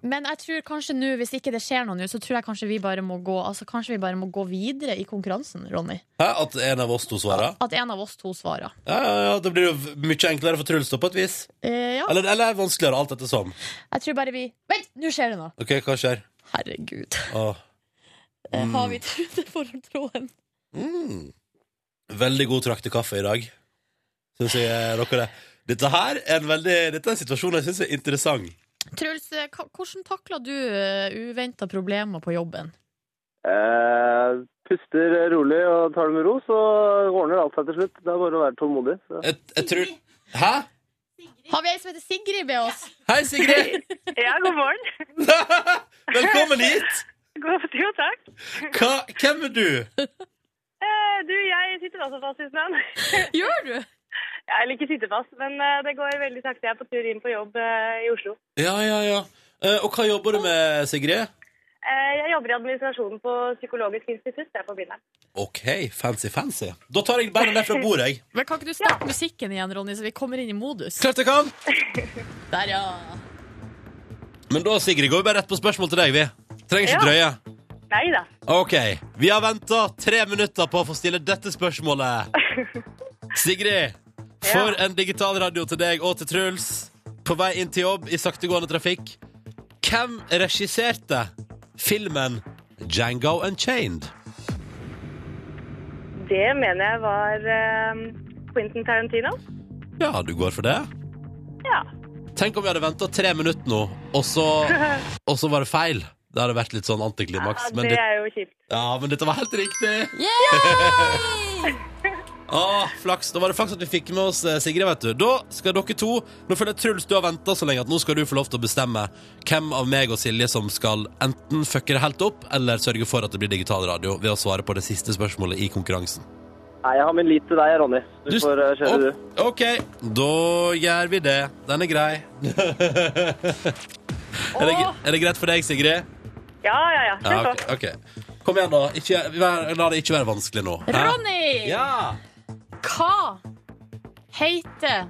[SPEAKER 4] Men jeg tror kanskje nå, hvis ikke det skjer noe nå, så tror jeg kanskje vi bare må gå Altså kanskje vi bare må gå videre i konkurransen, Ronny.
[SPEAKER 2] Hæ? at en av oss to svarer
[SPEAKER 4] At en av oss to svarer.
[SPEAKER 2] Ja, ja, ja, det blir jo v- mye enklere for Truls da, på et vis
[SPEAKER 4] Eh, ja.
[SPEAKER 2] Eller, eller vanskeligere, alt etter som
[SPEAKER 4] Jeg tror bare vi Vent, nå skjer det noe!
[SPEAKER 2] Ok, hva skjer?
[SPEAKER 4] Herregud.
[SPEAKER 2] Åh
[SPEAKER 4] Eh, Har vi truet for tråden?
[SPEAKER 2] Mm. Veldig god traktekaffe i dag. Syns jeg eh, dere det. Dette her er en veldig Dette er en situasjon jeg syns er interessant.
[SPEAKER 4] Truls, eh, hva- hvordan takla du uh, uventa problemer på jobben?
[SPEAKER 5] Eh, puster rolig og tar det med ro, så ordner alt seg til slutt. Det er bare å være tålmodig. Så.
[SPEAKER 2] Jeg, jeg tror Hæ?
[SPEAKER 4] Har vi ei som heter Sigrid med oss?
[SPEAKER 2] Hei, Sigrid!
[SPEAKER 1] Ja, god morgen.
[SPEAKER 2] Velkommen hit!
[SPEAKER 1] God, jo, takk.
[SPEAKER 2] Hva, hvem er du?
[SPEAKER 1] Eh, du, jeg sitter også fast i snøen.
[SPEAKER 4] Gjør du?
[SPEAKER 1] Ja, Eller ikke sitter fast, men eh, det går veldig sakte. Jeg er på tur inn på jobb eh, i Oslo.
[SPEAKER 2] Ja, ja, ja. Eh, og hva jobber du med, Sigrid?
[SPEAKER 1] Eh, jeg jobber i administrasjonen på Psykologisk institutt. Det er på Blindern.
[SPEAKER 2] OK, fancy, fancy. Da tar jeg beina ned fra bordet, jeg.
[SPEAKER 4] Men Kan ikke du starte musikken igjen, Ronny, så vi kommer inn i modus?
[SPEAKER 2] Klart jeg kan!
[SPEAKER 4] Der, ja.
[SPEAKER 2] Men da, Sigrid, går vi bare rett på spørsmål til deg, vi. Trenger ikke drøye.
[SPEAKER 1] Nei da.
[SPEAKER 2] Ok, vi har venta tre minutter på å få stille dette spørsmålet. Sigrid, for en digital radio til deg og til Truls. På vei inn til jobb i saktegående trafikk. Hvem regisserte filmen Django Unchained?
[SPEAKER 1] Det mener jeg var eh, Quentin Tarantino.
[SPEAKER 2] Ja, du går for det?
[SPEAKER 1] Ja.
[SPEAKER 2] Tenk om vi hadde venta tre minutter nå, og så, og så var det feil. Det hadde vært litt sånn antiklimaks.
[SPEAKER 1] Ja,
[SPEAKER 2] Men,
[SPEAKER 1] det
[SPEAKER 2] det,
[SPEAKER 1] er jo kjipt.
[SPEAKER 2] ja, men dette var helt riktig. Åh, flaks. Da var det flaks at vi fikk med oss eh, Sigrid, vet du. Da skal dere to Nå føler jeg Truls, du har venta så lenge at nå skal du få lov til å bestemme hvem av meg og Silje som skal enten fucke det helt opp, eller sørge for at det blir digital radio ved å svare på det siste spørsmålet i konkurransen.
[SPEAKER 5] Nei, jeg har min lit til deg, Ronny. Du,
[SPEAKER 2] Du-
[SPEAKER 5] får eh, kjøre, du.
[SPEAKER 2] Opp. OK, da gjør vi det. Den er grei. er, det, gre- er det greit for deg, Sigrid?
[SPEAKER 1] Ja, ja, ja. Kjør
[SPEAKER 2] Ja,
[SPEAKER 1] på.
[SPEAKER 2] OK. ok. Kom igjen, da. Ikke, vær, la det ikke være vanskelig nå. Hæ?
[SPEAKER 4] Ronny!
[SPEAKER 2] Ja!
[SPEAKER 4] Hva heter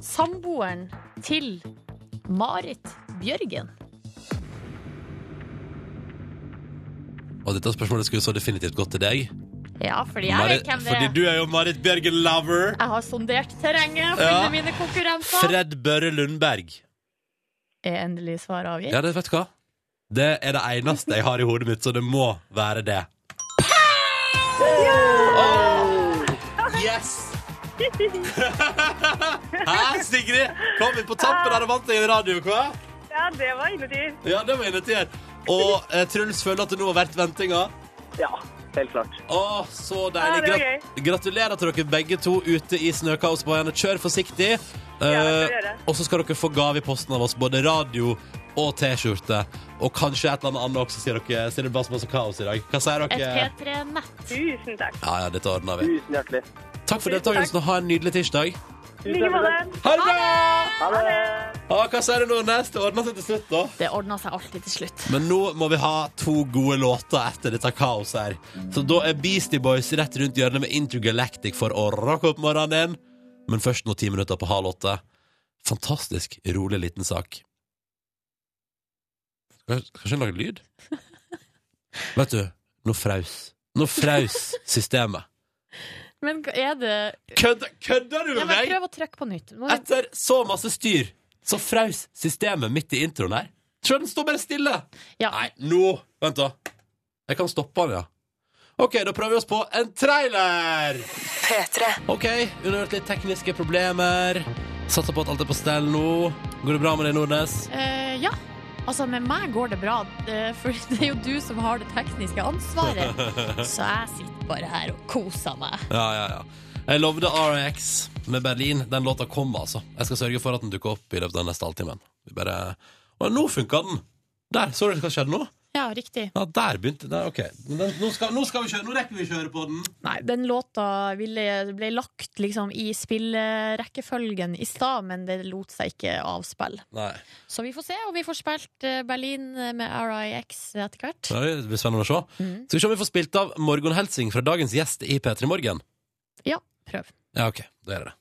[SPEAKER 4] samboeren til Marit Bjørgen?
[SPEAKER 2] Og dette spørsmålet skulle så definitivt gått til deg.
[SPEAKER 4] Ja, fordi jeg
[SPEAKER 2] Marit,
[SPEAKER 4] vet hvem det
[SPEAKER 2] fordi
[SPEAKER 4] er.
[SPEAKER 2] du er jo Marit Bjørgen-lover.
[SPEAKER 4] Jeg har sondert terrenget for
[SPEAKER 2] Ja.
[SPEAKER 4] mine konkurrenter.
[SPEAKER 2] Fred Børre Lundberg.
[SPEAKER 4] Er endelig svaret avgitt?
[SPEAKER 2] Ja, det vet du hva? Det er det eneste jeg har i hodet mitt, så det må være det. Åh, Yes! Hæ, Sigrid? Kom inn på tampen av vant deg en radio, hva?
[SPEAKER 1] Ja, det var innertid.
[SPEAKER 2] Ja, det var invitert. Og eh, Truls føler at det nå har vært ventinga.
[SPEAKER 5] Ja, helt klart.
[SPEAKER 2] Å, så
[SPEAKER 1] Ja,
[SPEAKER 2] deilig.
[SPEAKER 1] det var
[SPEAKER 2] Grat gratulerer til dere begge to ute i snøkaos på øyene. Kjør forsiktig.
[SPEAKER 1] det skal
[SPEAKER 2] Eh,
[SPEAKER 1] jeg gjøre.
[SPEAKER 2] og så skal dere få gave i posten av oss, både radio og T-skjorte. Og kanskje et eller annet annet også, sier dere. Siden det blir så masse kaos i dag. Hva sier
[SPEAKER 4] Et
[SPEAKER 2] dere?
[SPEAKER 4] P3-nett.
[SPEAKER 1] Tusen takk.
[SPEAKER 2] Ja, ja, dette ordner vi.
[SPEAKER 5] Tusen hjertelig.
[SPEAKER 2] Takk for deltakelsen, og ha en nydelig tirsdag.
[SPEAKER 1] I like måte.
[SPEAKER 2] Ha det bra!
[SPEAKER 5] Ha det!
[SPEAKER 2] Ah, hva sier du, Nordnes? Det ordna seg til slutt, da.
[SPEAKER 4] Det ordna seg alltid til slutt.
[SPEAKER 2] Men nå må vi ha to gode låter etter dette kaoset her. Så da er Beastie Boys rett rundt hjørnet med Intergalactic for å rocke opp morgenen. Men først nå ti minutter på halv åtte. Fantastisk rolig liten sak. Skal skal ikke den lage lyd? Vet du, nå fraus. Nå fraus systemet.
[SPEAKER 4] Men hva er det
[SPEAKER 2] Kødder, kødder du
[SPEAKER 4] ja,
[SPEAKER 2] med
[SPEAKER 4] men
[SPEAKER 2] meg?!
[SPEAKER 4] Prøv å trykke på nytt. Må vi...
[SPEAKER 2] Etter så masse styr, så fraus systemet midt i introen her. Se, den står bare stille!
[SPEAKER 4] ja.
[SPEAKER 2] Nei, nå Vent, da. Jeg kan stoppe den, ja. OK, da prøver vi oss på en trailer! OK, underhørt litt tekniske problemer. Satser på at alt er på stell nå. Går det bra med deg, Nordnes?
[SPEAKER 4] Eh, ja. Altså, med meg går det bra, eh, for det er jo du som har det tekniske ansvaret. Så jeg sitter bare her og koser meg.
[SPEAKER 2] Ja, ja, ja. Jeg lovde RX med Berlin. Den låta kommer, altså. Jeg skal sørge for at den dukker opp i løpet av den neste halvtimen. Vi bare Og nå funka den! Der, så du hva skjedde nå?
[SPEAKER 4] Ja, riktig.
[SPEAKER 2] Ja, der begynte der, OK. Men den, nå, skal, nå skal vi kjøre. Nå rekker vi å kjøre på den.
[SPEAKER 4] Nei, den låta ville, ble lagt liksom i spillerekkefølgen i stad, men det lot seg ikke avspille.
[SPEAKER 2] Nei.
[SPEAKER 4] Så vi får se om vi får spilt eh, Berlin med RIX etter hvert.
[SPEAKER 2] Ja, det blir spennende å se. Skal vi se om vi får spilt av morgenhelsing fra dagens gjest i P3 Morgen?
[SPEAKER 4] Ja, prøv.
[SPEAKER 2] Ja, ok, da gjør jeg det.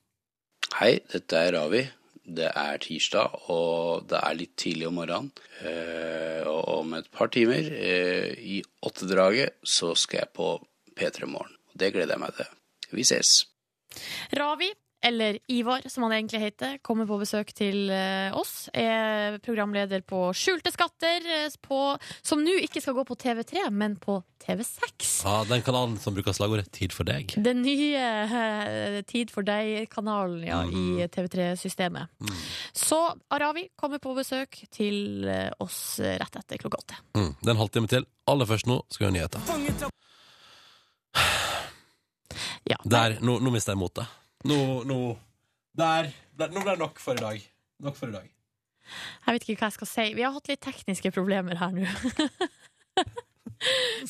[SPEAKER 6] Hei, dette er Ravi. Det er tirsdag, og det er litt tidlig om morgenen. Eh, og om et par timer, eh, i åttedraget, så skal jeg på P3 Morgen. Det gleder jeg meg til. Vi ses.
[SPEAKER 4] Ravi, eller Ivar som han egentlig heter, kommer på besøk til eh, oss. Er programleder på Skjulte skatter, eh, på, som nå ikke skal gå på TV3, men på TV6.
[SPEAKER 2] Ja, den kanalen som bruker slagordet 'Tid for deg'.
[SPEAKER 4] Den nye eh, Tid for deg-kanalen ja, i TV3-systemet. Så Aravi kommer på besøk til eh, oss rett etter klokka åtte.
[SPEAKER 2] Mm. Det er en halvtime til. Aller først nå skal vi ha nyheter.
[SPEAKER 4] Ja.
[SPEAKER 2] Der. Nå, nå mister jeg motet. Nå, nå Der. der nå ble det nok for i dag. Nok for i dag.
[SPEAKER 4] Jeg vet ikke hva jeg skal si. Vi har hatt litt tekniske problemer her nå.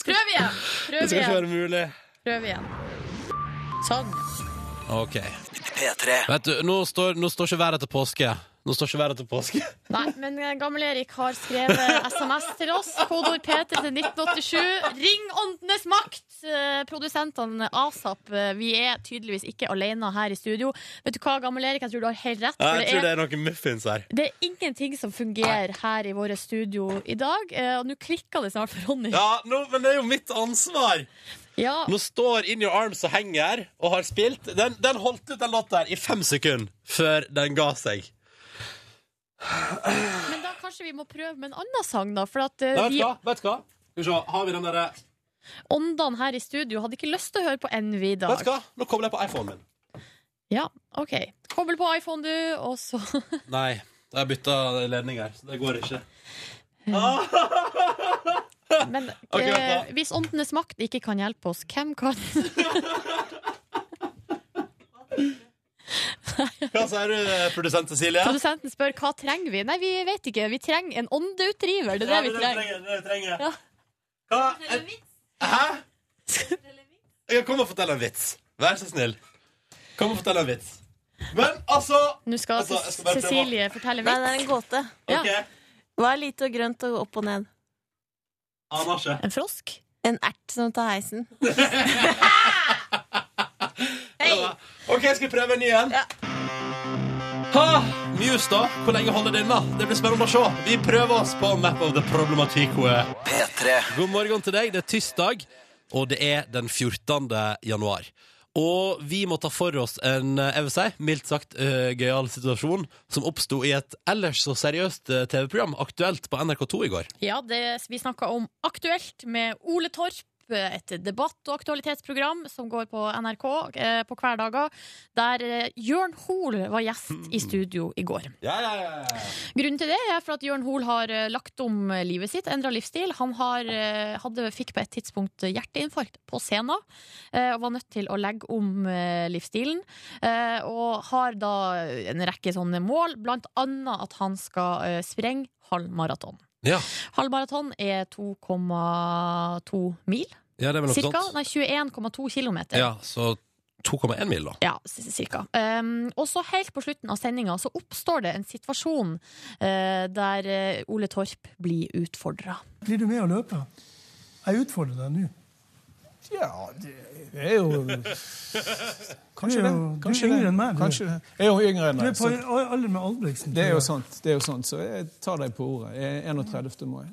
[SPEAKER 4] Prøv igjen!
[SPEAKER 2] Det skal
[SPEAKER 4] Prøv
[SPEAKER 2] ikke
[SPEAKER 4] igjen.
[SPEAKER 2] være mulig.
[SPEAKER 4] Prøv igjen. Sånn.
[SPEAKER 2] OK. Vet du, nå står, nå står ikke været til påske. Nå står ikke været til påske.
[SPEAKER 4] Nei, men eh, Gammel-Erik har skrevet SMS til oss. Kodeord PT til 1987. Ring Åndenes makt! Eh, Produsentene ASAP, eh, vi er tydeligvis ikke alene her i studio. Vet du hva, Gammel-Erik, jeg tror du har helt rett. For det er,
[SPEAKER 2] er noen muffins her.
[SPEAKER 4] det er ingenting som fungerer her i våre studio i dag. eh, Og nå klikker det snart for Ronny.
[SPEAKER 2] Ja, nå, men det er jo mitt ansvar!
[SPEAKER 4] Ja,
[SPEAKER 2] Nå står In Your Arms og henger og har spilt. Den, den holdt ut den låta her i fem sekunder før den ga seg.
[SPEAKER 4] men da kanskje vi må prøve med en annen sang, da. For at eh,
[SPEAKER 2] Nei, vet du
[SPEAKER 4] de
[SPEAKER 2] hva? Vet du hva? Skal vi se, har vi den eh, derre Vet
[SPEAKER 4] åndene her i studio hadde ikke lyst til å høre på Envy i
[SPEAKER 2] du
[SPEAKER 4] dag.
[SPEAKER 2] hva? Nå kobler jeg på iPhonen min.
[SPEAKER 4] Ja, OK. Kobl på iPhone, du, og så
[SPEAKER 2] Nei, jeg har bytta ledning her, så det går ikke.
[SPEAKER 4] Men
[SPEAKER 2] Ok, vent da.
[SPEAKER 4] eh, hvis åndenes makt ikke kan hjelpe oss, hvem kan?
[SPEAKER 2] Hva sier du, eh, produsent Cecilie?
[SPEAKER 4] Produsenten spør hva trenger vi? Nei, vi vet ikke. Vi trenger en åndeutdriver. Det er det vi trenger.
[SPEAKER 2] Det er det vi trenger.
[SPEAKER 4] Ja.
[SPEAKER 2] Hva? En- Hæ? Jeg kommer og fortelle en vits. Vær så snill. Kom og fortell en vits. Men altså
[SPEAKER 4] Nå skal
[SPEAKER 2] Altså, jeg skal bare prøve å-
[SPEAKER 4] Cecilie
[SPEAKER 7] Nei,
[SPEAKER 4] fortelle
[SPEAKER 7] det
[SPEAKER 4] vits.
[SPEAKER 7] er en gåte.
[SPEAKER 4] Ja.
[SPEAKER 2] OK.
[SPEAKER 7] Hva er lite og grønt og opp og ned?
[SPEAKER 2] Aner ikke.
[SPEAKER 4] En frosk?
[SPEAKER 7] En ert som tar heisen.
[SPEAKER 2] OK, skal vi prøve en ny en?
[SPEAKER 7] Ja.
[SPEAKER 2] Ha! Muse, da. Hvor lenge holder den, da? Det blir spennende å se. Vi prøver oss på Map of the Problematic. P3. God morgen til deg. Det er tirsdag, og det er den 14. januar. Og vi må ta for oss en eh, jeg vil si, mildt sagt eh, gøyal situasjon som oppsto i et ellers så seriøst eh, TV-program, Aktuelt, på NRK2 i går.
[SPEAKER 4] Ja, det, vi snakka om Aktuelt med Ole Torp. eh, Et debatt- og aktualitetsprogram som går på NRK eh, på hverdager. Der eh, Jørn Hoel var gjest
[SPEAKER 2] Mm.
[SPEAKER 4] i studio i går.
[SPEAKER 2] Ja, ja, ja.
[SPEAKER 4] Grunnen til det er for at Jørn Hoel har eh, lagt om eh, livet sitt, endra livsstil. Han har, eh, hadde, fikk på et tidspunkt hjerteinfarkt på scenen eh, og var nødt til å legge om eh, livsstilen. eh, Og har da en rekke sånne mål, blant annet at han skal eh, sprenge halv maraton.
[SPEAKER 2] Ja,
[SPEAKER 4] Halv maraton er 2,2 mil,
[SPEAKER 2] ja det er vel noe
[SPEAKER 4] cirka.
[SPEAKER 2] sånt.
[SPEAKER 4] Nei, 21,2 kilometer.
[SPEAKER 2] Ja, så 2,1 mil, da.
[SPEAKER 4] Ja, c- cirka. Um, og så helt på slutten av sendinga så oppstår det en situasjon eh, der eh, Ole Torp blir utfordra.
[SPEAKER 8] Blir du med og løper? Jeg utfordrer deg nå.
[SPEAKER 9] Ja, det er jo
[SPEAKER 8] Du
[SPEAKER 9] Kanskje
[SPEAKER 8] er
[SPEAKER 9] det.
[SPEAKER 8] jo- du er
[SPEAKER 9] Kanskje
[SPEAKER 8] yngre
[SPEAKER 9] det.
[SPEAKER 8] enn meg, du.
[SPEAKER 9] Kanskje det. Jeg er jo yngre enn
[SPEAKER 8] Du er
[SPEAKER 9] deg.
[SPEAKER 8] på
[SPEAKER 9] så
[SPEAKER 8] alder med Albrigtsen.
[SPEAKER 9] Det er jo
[SPEAKER 8] tror jeg.
[SPEAKER 9] sant, det er jo sant, så jeg tar deg på ordet. Jeg er 31. mai.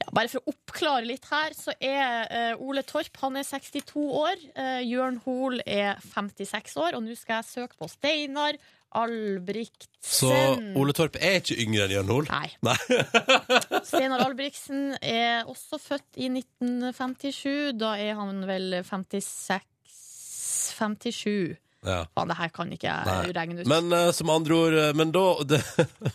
[SPEAKER 4] Ja, bare for å oppklare litt her, så er eh, Ole Torp han er 62 år. eh, Jørn Hoel er 56 år, og nå skal jeg søke på Steinar Albrigtsen.
[SPEAKER 2] Så Ole Torp er ikke yngre enn Jørn Hoel.
[SPEAKER 4] Nei.
[SPEAKER 2] Nei.
[SPEAKER 4] Steinar Albrigtsen er også født i 1957. Da er han vel 56 57.
[SPEAKER 2] Ja.
[SPEAKER 4] Faen, det her kan ikke jeg
[SPEAKER 2] Nei.
[SPEAKER 4] regne ut.
[SPEAKER 2] Men eh, som andre ord eh, Men da det,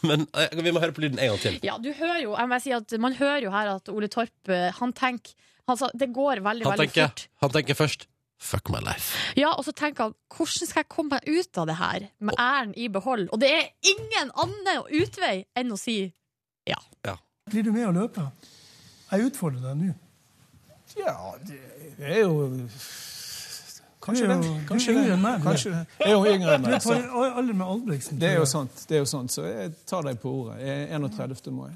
[SPEAKER 2] men, eh, Vi må høre på lyden en gang til.
[SPEAKER 4] ja, du hører jo, jeg må si at Man hører jo her at Ole Torp eh, Han tenker han sa, Det går veldig,
[SPEAKER 2] Han
[SPEAKER 4] veldig
[SPEAKER 2] tenker,
[SPEAKER 4] fort.
[SPEAKER 2] han tenker først Fuck my life.
[SPEAKER 4] Ja, Og så tenker han hvordan skal jeg komme meg ut av det her med æren i behold? Og det er ingen annen utvei enn å si
[SPEAKER 8] Blir du med
[SPEAKER 9] sånn-
[SPEAKER 8] og løper? Jeg utfordrer deg nå.
[SPEAKER 9] Ja, det er jo Kanskje
[SPEAKER 8] Du er
[SPEAKER 9] det.
[SPEAKER 8] jo-
[SPEAKER 9] Kanskje
[SPEAKER 8] du er
[SPEAKER 9] det.
[SPEAKER 8] yngre enn meg, du.
[SPEAKER 9] Kanskje det. Jeg er jo yngre enn
[SPEAKER 8] Du er
[SPEAKER 9] deg.
[SPEAKER 8] på
[SPEAKER 9] så
[SPEAKER 8] alder med Albrigtsen.
[SPEAKER 9] Det er jo
[SPEAKER 8] tror jeg.
[SPEAKER 9] sant, det er jo sant, så jeg tar deg på ordet. Jeg er 31. mai.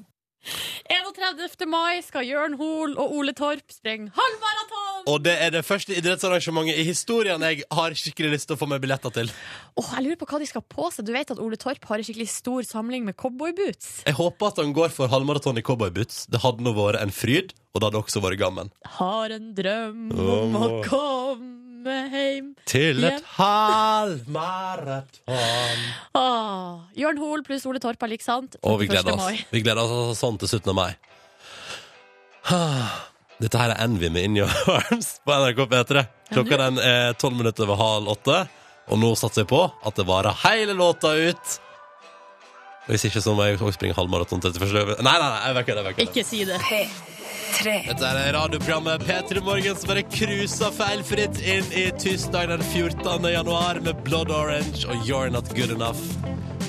[SPEAKER 4] 31. mai skal Jørn Hoel og Ole Torp sprenge halvmaraton!
[SPEAKER 2] Og det er det første idrettsarrangementet i historien jeg har skikkelig lyst til å få meg billetter til.
[SPEAKER 4] Åh, jeg lurer på hva de skal på seg. Du vet at Ole Torp har en skikkelig stor samling med cowboyboots.
[SPEAKER 2] Jeg håper at han går for halvmaraton i cowboyboots. Det hadde nå vært en fryd, og det hadde også vært gammen.
[SPEAKER 4] Har en drøm om å
[SPEAKER 2] Åh.
[SPEAKER 4] komme heim.
[SPEAKER 2] Til
[SPEAKER 4] et
[SPEAKER 2] et halvmaraton.
[SPEAKER 4] Ah, Jørn Hoel pluss Ole Torp er like sant.
[SPEAKER 2] Og vi
[SPEAKER 4] 1.
[SPEAKER 2] gleder
[SPEAKER 4] mai.
[SPEAKER 2] oss. Vi gleder oss altså sånn til slutten av mai. Ah, Dette her er Envy med In Your Arms på NRK P3. Klokka den er tolv minutter over halv åtte, og nå satser jeg på at det varer hele låta ut. Hvis ikke så må jeg også springe halvmaraton 31. over- Nei, nei, nei, jeg vekker det. Jeg vekker det.
[SPEAKER 4] Ikke si det.
[SPEAKER 2] Dette er radioprogrammet P3 Morgen som bare cruiser feilfritt inn i tirsdag den 14. januar med Blood Orange og You're Not Good Enough.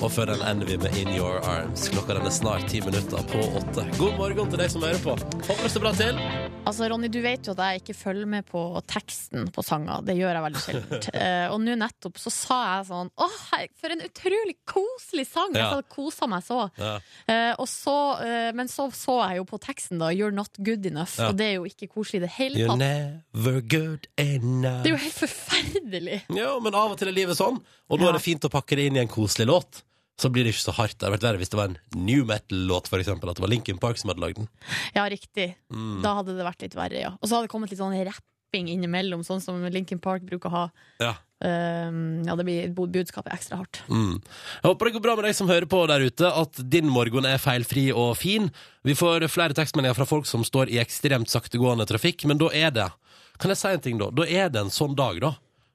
[SPEAKER 2] Og før den ender vi med In Your Arms. Klokka den er snart ti minutter på åtte. God morgen til deg som hører på. Håper det står bra til.
[SPEAKER 4] Altså, Ronny, du vet jo at jeg ikke følger med på teksten på sanger. Det gjør jeg veldig sjeldent. Eh, og nå nettopp så sa jeg sånn Åh, hei, for en utrolig koselig sang! Jeg
[SPEAKER 2] Ja.
[SPEAKER 4] hadde kosa meg så.
[SPEAKER 2] Ja.
[SPEAKER 4] Eh, og så eh, men så så jeg jo på teksten, da. You're not good enough.
[SPEAKER 2] Ja.
[SPEAKER 4] Og det er jo ikke koselig i det hele
[SPEAKER 2] You're
[SPEAKER 4] tatt.
[SPEAKER 2] never good
[SPEAKER 4] Det er jo
[SPEAKER 2] enough.
[SPEAKER 4] helt forferdelig!
[SPEAKER 2] Ja, men av og til er livet sånn, og da
[SPEAKER 4] Ja.
[SPEAKER 2] er det fint å pakke det inn i en koselig låt. Så blir det ikke så hardt. Det hadde vært verre hvis det var en new metal-låt, for eksempel. At det var Linkin Park som hadde lagd den.
[SPEAKER 4] Ja, riktig.
[SPEAKER 2] Mm.
[SPEAKER 4] Da hadde det vært litt verre, ja. Og så hadde det kommet litt sånn rapping innimellom, sånn som Linkin Park bruker å ha.
[SPEAKER 2] Ja.
[SPEAKER 4] Um, ja, det blir budskapet er ekstra hardt.
[SPEAKER 2] Mm. Jeg håper det går bra med deg som hører på der ute, at din morgen er feilfri og fin. Vi får flere tekstmeldinger fra folk som står i ekstremt saktegående trafikk, men da er det Kan jeg si en ting, da? Da er det en sånn dag, da.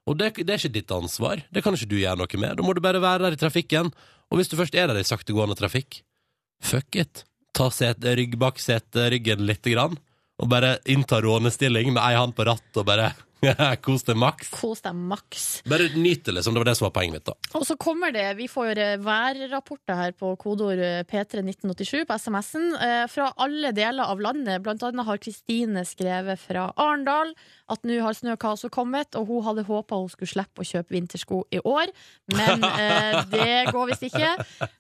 [SPEAKER 2] Og det, det er ikke ditt ansvar. Det kan ikke du gjøre noe med. Da må du bare være der i trafikken. Og hvis du først er der i saktegående trafikk, fuck it. Ta set, rygg bak sete, ryggen lite grann, og bare innta rånestilling med ei hand på rattet og bare kos deg maks.
[SPEAKER 4] Kos deg maks.
[SPEAKER 2] Bare nyt det, liksom. Det var det som var poenget mitt, da.
[SPEAKER 4] Og så kommer det, vi får jo værrapporter her på eh, kodeord P31987 på SMS-en, eh, fra alle deler av landet. Blant annet har Kristine skrevet fra Arendal at nå har snøkaoset kommet, og hun hadde håpa hun skulle slippe å kjøpe vintersko i år, men eh, det går visst ikke.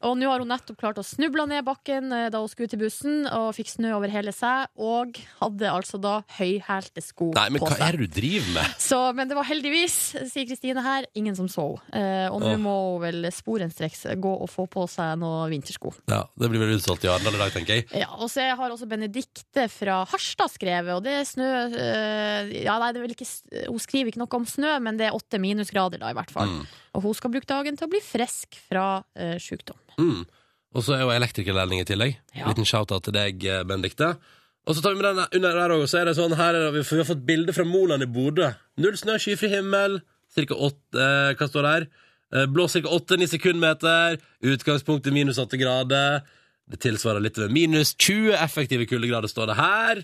[SPEAKER 4] Og nå har hun nettopp klart å snuble ned bakken eh, da hun skulle til bussen, og fikk snø over hele seg, og hadde altså da høyhælte sko
[SPEAKER 2] Nei, men
[SPEAKER 4] på
[SPEAKER 2] hva
[SPEAKER 4] seg.
[SPEAKER 2] er det du driver med?
[SPEAKER 4] Så, men det var heldigvis, sier Kristine her, ingen som så henne. Eh, og nå
[SPEAKER 2] Åh.
[SPEAKER 4] må hun vel sporenstreks eh, gå og få på seg noen vintersko.
[SPEAKER 2] Ja, Det blir vel utsolgt i Arendal i dag, tenker jeg.
[SPEAKER 4] Ja, og så har også Benedikte fra Harstad skrevet, og det er snø eh, Ja, nei, det er vel ikke, s- hun skriver ikke noe om snø, men det er åtte minusgrader da, i hvert fall.
[SPEAKER 2] Mm.
[SPEAKER 4] Og hun skal bruke dagen til å bli frisk fra eh, sykdom.
[SPEAKER 2] Mm. Og så er jo elektrikerlærling i tillegg.
[SPEAKER 4] Ja.
[SPEAKER 2] Liten shout-out til deg, eh, Benedikte. Og så tar vi med den under der òg. Så er det sånn, her er det, vi- vi har fått bilde fra Moland i Bodø. Null snø, skyfri himmel. Cirka åtte eh, Hva står det her? Eh, Blås ca. 8-9 sekundmeter. Utgangspunktet minus 8 grader. Det tilsvarer litt over minus 20 effektive kuldegrader, står det her.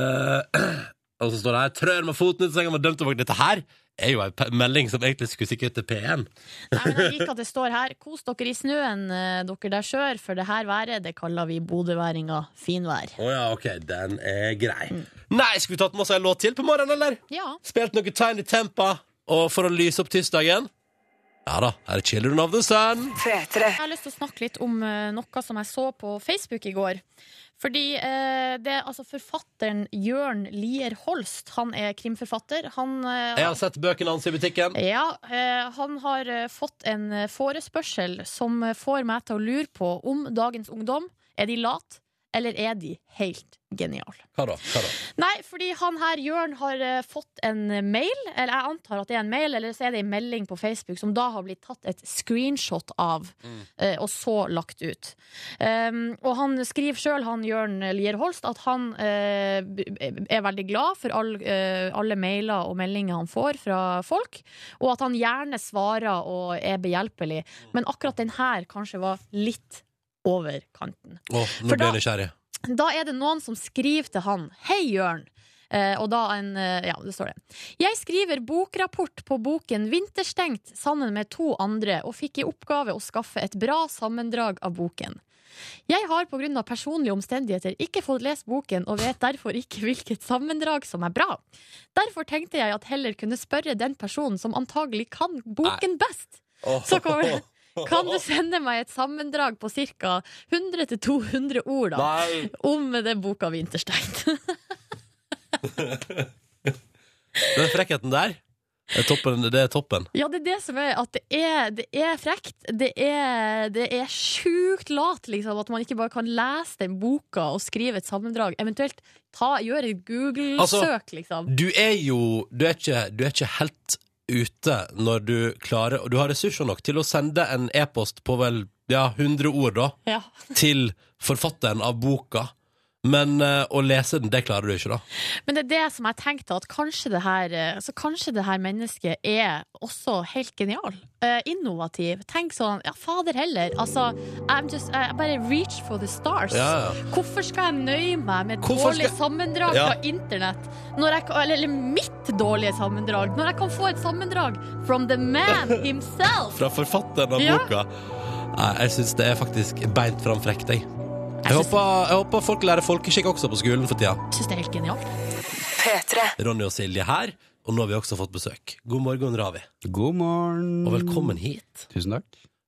[SPEAKER 2] Eh, og så står det her 'Trør med foten ut senga med dømt tilbake'. Dette her er jo ei pe- melding som egentlig skulle sikkert til P1.
[SPEAKER 4] Nei, men jeg liker at det står her 'Kos dere i snøen, eh, dere der sør', for det her været, det kaller vi bodøværinga finvær.
[SPEAKER 2] Å ja, ok, Mm. den er grei. Nei, skulle vi tatt med oss en låt til på morgenen, eller?
[SPEAKER 4] Ja.
[SPEAKER 2] Spilt noe Tiny Tempa? Og for å lyse opp tirsdagen Ja da, her er Children of the Sun.
[SPEAKER 4] Jeg har lyst til å snakke litt om eh, noe som jeg så på Facebook i går. Fordi eh, det er altså forfatteren Jørn Lier Holst. Han er krimforfatter. Han eh,
[SPEAKER 2] Jeg har sett bøkene hans i butikken.
[SPEAKER 4] Ja, eh, han har eh, fått en eh, forespørsel som eh, får meg til å lure på om dagens ungdom er de lat, eller er de helt geniale.
[SPEAKER 2] Hva da? Hva da?
[SPEAKER 4] Nei, fordi han her, Jørn, har eh, fått en mail, eller jeg antar at det er en mail, eller så er det en melding på Facebook som da har blitt tatt et screenshot av, eh, og så lagt ut. Um, og han skriver sjøl, han Jørn Lier Holst, at han eh, b- er veldig glad for all, eh, alle mailer og meldinger han får fra folk, og at han gjerne svarer og er behjelpelig, men akkurat den her kanskje var litt over kanten.
[SPEAKER 2] Åh, nå
[SPEAKER 4] For
[SPEAKER 2] ble
[SPEAKER 4] da-
[SPEAKER 2] jeg nysgjerrig.
[SPEAKER 4] Da er det noen som skriver til han Hei Jørn Eh, og da en, eh, ja det står det Jeg skriver bokrapport på boken Vinterstengt sammen med to andre Og fikk i oppgave å skaffe et bra sammendrag av boken Jeg har på grunn av personlige omstendigheter Ikke fått lest boken og vet derfor ikke Hvilket sammendrag som er bra Derfor tenkte jeg at heller kunne spørre Den personen som antagelig kan boken best Så kommer det Kan du sende meg et sammendrag på ca. 100-200 ord da
[SPEAKER 2] Nei!
[SPEAKER 4] om den boka Vinterstein.
[SPEAKER 2] Den frekkheten der, det er toppen. Det er toppen.
[SPEAKER 4] ja, det er det som er at det er, det er frekt. Det er, det er sjukt lat, liksom, at man ikke bare kan lese den boka og skrive et sammendrag. Eventuelt ta, gjøre et Google-søk,
[SPEAKER 2] Altså-
[SPEAKER 4] liksom.
[SPEAKER 2] Du er jo Du er ikke, du er ikke helt ute når du klarer Og du har ressurser nok til å sende en e-post på vel ja, 100 ord, da,
[SPEAKER 4] Ja.
[SPEAKER 2] til forfatteren av boka. Men eh, å lese den, det klarer du ikke, da.
[SPEAKER 4] Men det er det som jeg tenkte, at kanskje det her, eh, så kanskje det her mennesket er også helt genial. Eh, innovativ. Tenk sånn, ja, fader heller. Altså, I'm just, I bare reach for the stars.
[SPEAKER 2] Ja, ja.
[SPEAKER 4] Hvorfor skal jeg nøye meg med et
[SPEAKER 2] Hvorfor
[SPEAKER 4] dårlig sammendrag
[SPEAKER 2] Ja.
[SPEAKER 4] fra internett? Når jeg, kan- eller, eller mitt dårlige sammendrag. Når jeg kan få et sammendrag from the man himself.
[SPEAKER 2] Fra forfatteren av
[SPEAKER 4] Ja.
[SPEAKER 2] boka. Nei, jeg syns det er faktisk beint fram frekt, jeg. Jeg
[SPEAKER 4] Jeg synes-
[SPEAKER 2] håper, jeg håper folk lærer folkeskikk også på skolen for tida.
[SPEAKER 4] Jeg syns det er helt genialt.
[SPEAKER 2] Ronny og Silje her, og nå har vi også fått besøk. God morgen, Ravi,
[SPEAKER 10] God morgen.
[SPEAKER 2] og velkommen hit.
[SPEAKER 10] Tusen takk.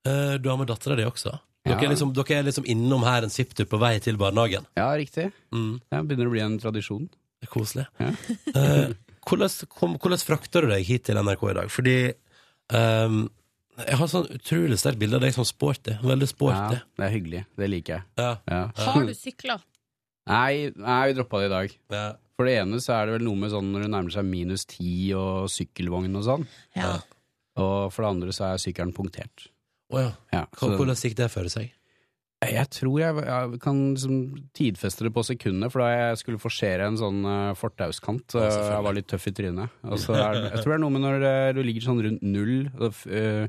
[SPEAKER 2] Eh, Du har med dattera di også. Dere,
[SPEAKER 10] Ja.
[SPEAKER 2] er liksom, dere er liksom innom her en svipptur på vei til barnehagen.
[SPEAKER 10] Ja, riktig.
[SPEAKER 2] Mm,
[SPEAKER 10] Det begynner å bli en tradisjon.
[SPEAKER 2] det er koselig.
[SPEAKER 10] Ja.
[SPEAKER 2] Eh, hvordan, kom, hvordan frakter du deg hit til NRK i dag? Fordi ehm, jeg har sånn utrolig sterkt bilde av deg som sporty. Veldig sporty.
[SPEAKER 10] Ja, det er hyggelig. Det liker jeg.
[SPEAKER 2] Ja.
[SPEAKER 10] Ja.
[SPEAKER 4] Har du sykla?
[SPEAKER 10] Nei, nei, vi droppa det i dag.
[SPEAKER 2] Ja.
[SPEAKER 10] For det ene så er det vel noe med sånn når det nærmer seg minus ti og sykkelvogn og sånn.
[SPEAKER 4] Ja.
[SPEAKER 10] Og for det andre så er sykkelen punktert.
[SPEAKER 2] Å ja.
[SPEAKER 10] Ja,
[SPEAKER 2] Hva-
[SPEAKER 10] så
[SPEAKER 2] Hvordan gikk det for seg?
[SPEAKER 10] jeg tror jeg, jeg kan liksom tidfeste det på sekundet, for da jeg skulle forsere en sånn eh, fortauskant,
[SPEAKER 2] Ja,
[SPEAKER 10] eh,
[SPEAKER 2] selvfølgelig.
[SPEAKER 10] jeg var litt tøff i trynet. Og så er, det- jeg tror det er noe med når eh, du ligger sånn rundt null, og, f- eh,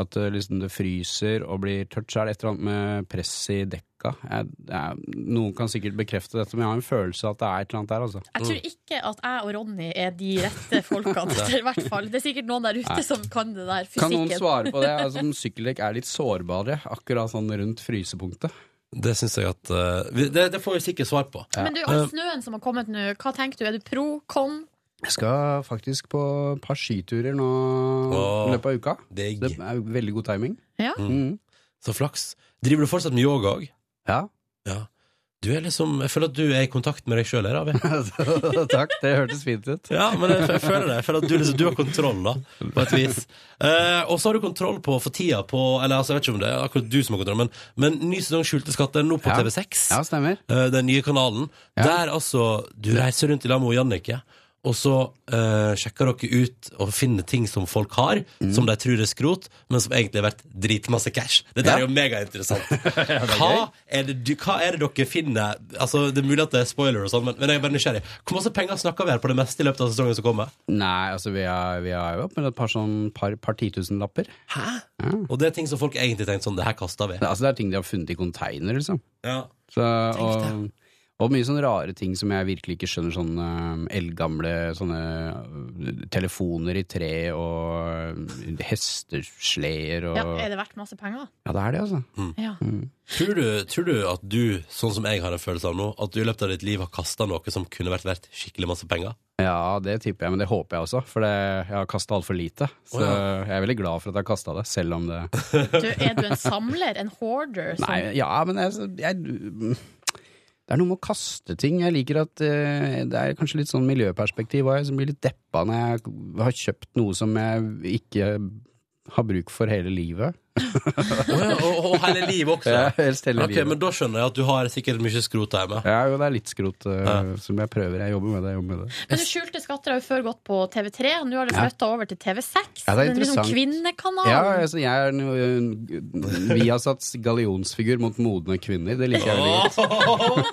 [SPEAKER 10] at eh, liksom det fryser og blir tørt, så er det et eller annet med press i dekka. Jeg, jeg, noen kan sikkert bekrefte dette, men jeg har en følelse av at det er et eller annet der, altså.
[SPEAKER 4] Jeg tror ikke at jeg og Ronny er de rette folkene. i hvert fall. Det er sikkert noen der ute som kan det der
[SPEAKER 10] Kan noen
[SPEAKER 4] fysikken.
[SPEAKER 10] svare på det? Altså, om Sykkeldekk er litt sårbare akkurat sånn rundt frysepunktet.
[SPEAKER 2] Det syns jeg at eh, vi- det, det får vi sikkert svar på.
[SPEAKER 4] Men du, all snøen som har kommet nå, hva tenker du? Er du pro, con?
[SPEAKER 10] Jeg skal faktisk på et par skiturer nå i
[SPEAKER 2] Åh.
[SPEAKER 10] løpet av uka.
[SPEAKER 2] Digg.
[SPEAKER 10] Det er jo veldig god timing.
[SPEAKER 4] Ja.
[SPEAKER 10] Mm.
[SPEAKER 2] Så flaks. Driver du fortsatt med yoga òg?
[SPEAKER 10] Ja.
[SPEAKER 2] Ja. Du er liksom, jeg føler at du er i kontakt med deg sjøl, Ravi.
[SPEAKER 10] Takk, det hørtes fint ut.
[SPEAKER 2] Ja, men jeg, jeg føler det. Jeg føler at du, liksom, du har kontroll, da, på et vis. Eh, og så har du kontroll på for tida på Eller altså, jeg vet ikke om det er akkurat du som har kontroll, men, men ny sesong Skjulte skatter nå på
[SPEAKER 10] Ja.
[SPEAKER 2] TV6.
[SPEAKER 10] Ja, stemmer.
[SPEAKER 2] eh, den nye kanalen.
[SPEAKER 10] Ja.
[SPEAKER 2] Der altså Du reiser rundt i lag med Jannicke, og så eh, sjekker dere ut og finner ting som folk har, som de tror er skrot, men som egentlig er verdt dritmasse cash. Dette er jo megainteressant. hva, er det, du- hva er det dere finner Altså, Det er mulig at det er spoiler, og sånn, men, men jeg er bare nysgjerrig. Hvor masse penger snakker vi her på det meste i løpet av sesongen som kommer?
[SPEAKER 10] Nei, altså vi er, vi er jo oppe med et par sånn par, par titusenlapper.
[SPEAKER 2] Hæ? Og det er ting som folk egentlig tenkte sånn, det her kaster vi.
[SPEAKER 10] Det, altså, det er ting de har funnet i container, liksom.
[SPEAKER 2] Ja.
[SPEAKER 10] Så, og, Og mye sånne rare ting som jeg virkelig ikke skjønner. Sånne um, eldgamle sånne uh, telefoner i tre og um, hestesleder og
[SPEAKER 4] Ja, er det verdt masse penger?
[SPEAKER 10] Ja, det er det, altså.
[SPEAKER 4] Ja.
[SPEAKER 2] Tror du, tror du at du, sånn som jeg har en følelse av nå, at du i løpet av ditt liv har kasta noe som kunne vært verdt skikkelig masse penger?
[SPEAKER 10] Ja, det tipper jeg, men det håper jeg også, for det, jeg har kasta altfor lite. Så
[SPEAKER 2] Å,
[SPEAKER 10] jeg er veldig glad for at jeg har kasta det, selv om det
[SPEAKER 4] Du, er du en samler? En hoarder? som-
[SPEAKER 10] Nei, ja, men altså, jeg, jeg Det er noe med å kaste ting. Jeg liker at eh, det er kanskje litt sånn miljøperspektiv òg, som blir litt deppa når jeg har kjøpt noe som jeg ikke har bruk for hele livet.
[SPEAKER 2] og, hele livet også?
[SPEAKER 10] Ja, helst hele
[SPEAKER 2] Ok,
[SPEAKER 10] livet.
[SPEAKER 2] Men da skjønner jeg at du har sikkert mye skrot der hjemme.
[SPEAKER 10] Ja, jo, det er litt skrot eh, som jeg prøver. Jeg jobber med det. Jeg jobber med det.
[SPEAKER 4] Men du skjulte skatter har jo før gått på TV3, og nå har det
[SPEAKER 10] Ja.
[SPEAKER 4] flytta over til TV6.
[SPEAKER 10] Ja, det er
[SPEAKER 4] den liksom
[SPEAKER 10] interessant.
[SPEAKER 4] kvinnekanalen.
[SPEAKER 10] Ja, altså, jeg er en, en Viasats gallionsfigur mot modne kvinner. Det liker jeg veldig godt.
[SPEAKER 4] Men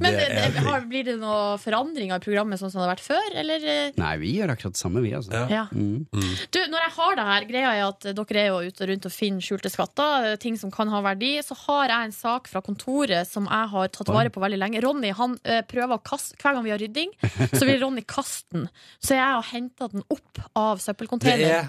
[SPEAKER 10] Det er
[SPEAKER 4] det- det- har, blir det noen forandringer i programmet sånn som det har vært før, eller? eh?
[SPEAKER 10] Nei, vi gjør akkurat det samme, vi, altså.
[SPEAKER 4] Ja.
[SPEAKER 10] Mm.
[SPEAKER 4] Du, når jeg har det her, greia er at dere er jo ute og rundt og finner skjulte skatter, eh, ting som kan ha verdi, så har jeg en sak fra kontoret som jeg har tatt vare på veldig lenge. Ronny, han eh, prøver å kaste, hver gang vi har rydding, så vil Ronny kaste den. Så jeg har henta den opp av
[SPEAKER 2] Det
[SPEAKER 4] søppelcontaineren.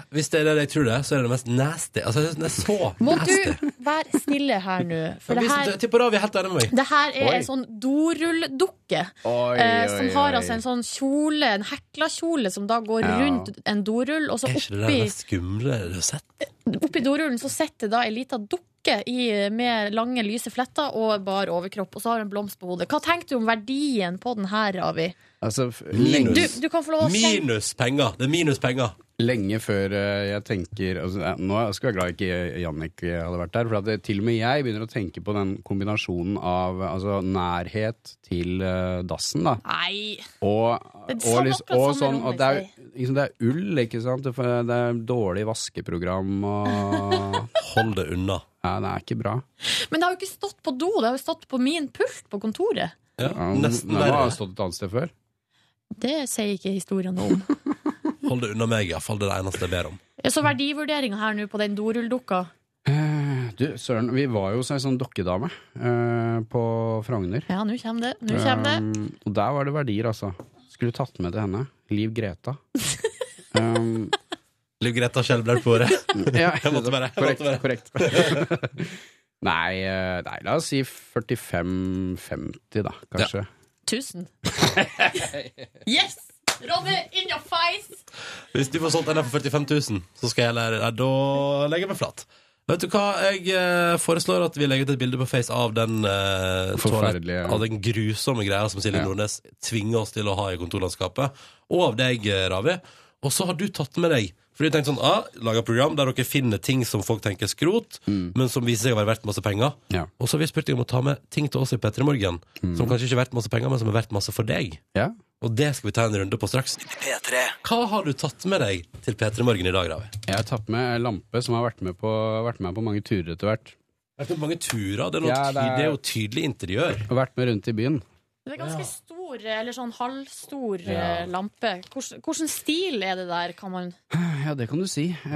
[SPEAKER 2] er, hvis det er det jeg tror det, så er det det mest nasty. Altså, jeg synes den er så
[SPEAKER 4] Må
[SPEAKER 2] nasty.
[SPEAKER 4] du være snille her nå, for det her
[SPEAKER 2] Tipper av, vi er helt enig med meg.
[SPEAKER 4] det her er
[SPEAKER 2] Oi.
[SPEAKER 4] en sånn dorulldukke
[SPEAKER 2] Oi,
[SPEAKER 4] eh, som
[SPEAKER 2] oi,
[SPEAKER 4] har
[SPEAKER 2] oi.
[SPEAKER 4] altså en sånn kjole, en hekla kjole, som da går
[SPEAKER 2] Ja.
[SPEAKER 4] rundt en dorull, og så
[SPEAKER 2] Er ikke det den
[SPEAKER 4] oppi
[SPEAKER 2] mest skumle du har sett?
[SPEAKER 4] Oppi dorullen så sitter da ei lita dukke i, med lange, lyse fletter og bar overkropp, og så har hun en blomst på hodet. Hva tenker du om verdien på den her, Ravi?
[SPEAKER 10] Altså, f-
[SPEAKER 4] Du,
[SPEAKER 10] lenge,
[SPEAKER 4] du kan få lov å kjenne
[SPEAKER 2] Minus penger. Det er minus penger.
[SPEAKER 10] lenge før eh, jeg tenker altså, eh, Nå skulle jeg glad ikke Jannicke hadde vært der, for at det, til og med jeg begynner å tenke på den kombinasjonen av altså, nærhet til eh, dassen, da.
[SPEAKER 4] Nei!
[SPEAKER 10] Og,
[SPEAKER 4] Det
[SPEAKER 10] og,
[SPEAKER 4] er samme-
[SPEAKER 10] lys-
[SPEAKER 4] akkurat
[SPEAKER 10] og
[SPEAKER 4] samme
[SPEAKER 10] sånn,
[SPEAKER 4] rom,
[SPEAKER 10] og det, er, liksom, det er ull, ikke sant? Det er, det er dårlig vaskeprogram og
[SPEAKER 2] Hold det unna.
[SPEAKER 10] Ja, det er ikke bra.
[SPEAKER 4] Men det har jo ikke stått på do, det har jo stått på min pult på kontoret.
[SPEAKER 10] Ja,
[SPEAKER 2] nesten
[SPEAKER 10] Nei,
[SPEAKER 2] verre.
[SPEAKER 10] Har stått et annet sted før.
[SPEAKER 4] Det sier ikke historien noe om.
[SPEAKER 2] Hold det unna meg, iallfall. Det er det eneste jeg ber om.
[SPEAKER 4] Ja, Så verdivurderinga her nå på den dorulldukka
[SPEAKER 10] Eh, Du, søren, vi var jo så- en sånn dokkedame eh, på Frogner.
[SPEAKER 4] Ja, nå kommer det. Nå kommer det.
[SPEAKER 10] Um, og der var det verdier, altså. Skulle tatt med til henne. Liv Greta. Um,
[SPEAKER 2] Liv Greta Skjelbred på håret.
[SPEAKER 10] ja,
[SPEAKER 2] Jeg måtte bare. Jeg
[SPEAKER 10] korrekt.
[SPEAKER 2] måtte bare.
[SPEAKER 10] korrekt. nei, eh, nei, la oss si 45-50, da, kanskje.
[SPEAKER 4] Tusen. Yes! Ronny, in your face!
[SPEAKER 2] Hvis du får solgt den her for 45 000, så skal jeg lære deg Da legger jeg meg flat. Vet du hva, jeg eh, foreslår at vi legger ut et bilde på Face av den eh,
[SPEAKER 10] Forferdelige,
[SPEAKER 2] toalett-
[SPEAKER 10] ja.
[SPEAKER 2] Av den grusomme greia som Silje Nordnes tvinger oss til å ha i kontorlandskapet. Og av deg, eh, Ravi. Og så har du tatt med deg Fordi du tenkte sånn, ah, lager program der dere finner ting som folk tenker skrot, men som viser seg å være verdt masse penger.
[SPEAKER 10] Mm. Ja. Mm.
[SPEAKER 2] Og så har vi spurt deg om å ta med ting til oss i P3 Morgen som kanskje ikke er verdt masse penger, men som er verdt masse for deg.
[SPEAKER 10] Ja.
[SPEAKER 2] Og det skal vi ta en runde på straks. Hva har du tatt med deg til P3 Morgen i dag, Ravi?
[SPEAKER 10] Jeg har tatt med en lampe som har vært med på, vært med på mange turer etter hvert.
[SPEAKER 2] Det er mange turer. Det er, noe
[SPEAKER 10] Ja, det
[SPEAKER 2] ty-
[SPEAKER 10] er-
[SPEAKER 2] det er jo tydelig interiør.
[SPEAKER 10] Og vært med rundt i byen.
[SPEAKER 4] Det er ganske stor, eller sånn halvstor
[SPEAKER 10] Ja.
[SPEAKER 4] eh, lampe. Hvordan, hvordan stil er det der, kan man
[SPEAKER 10] Ja, det kan du si. Eh,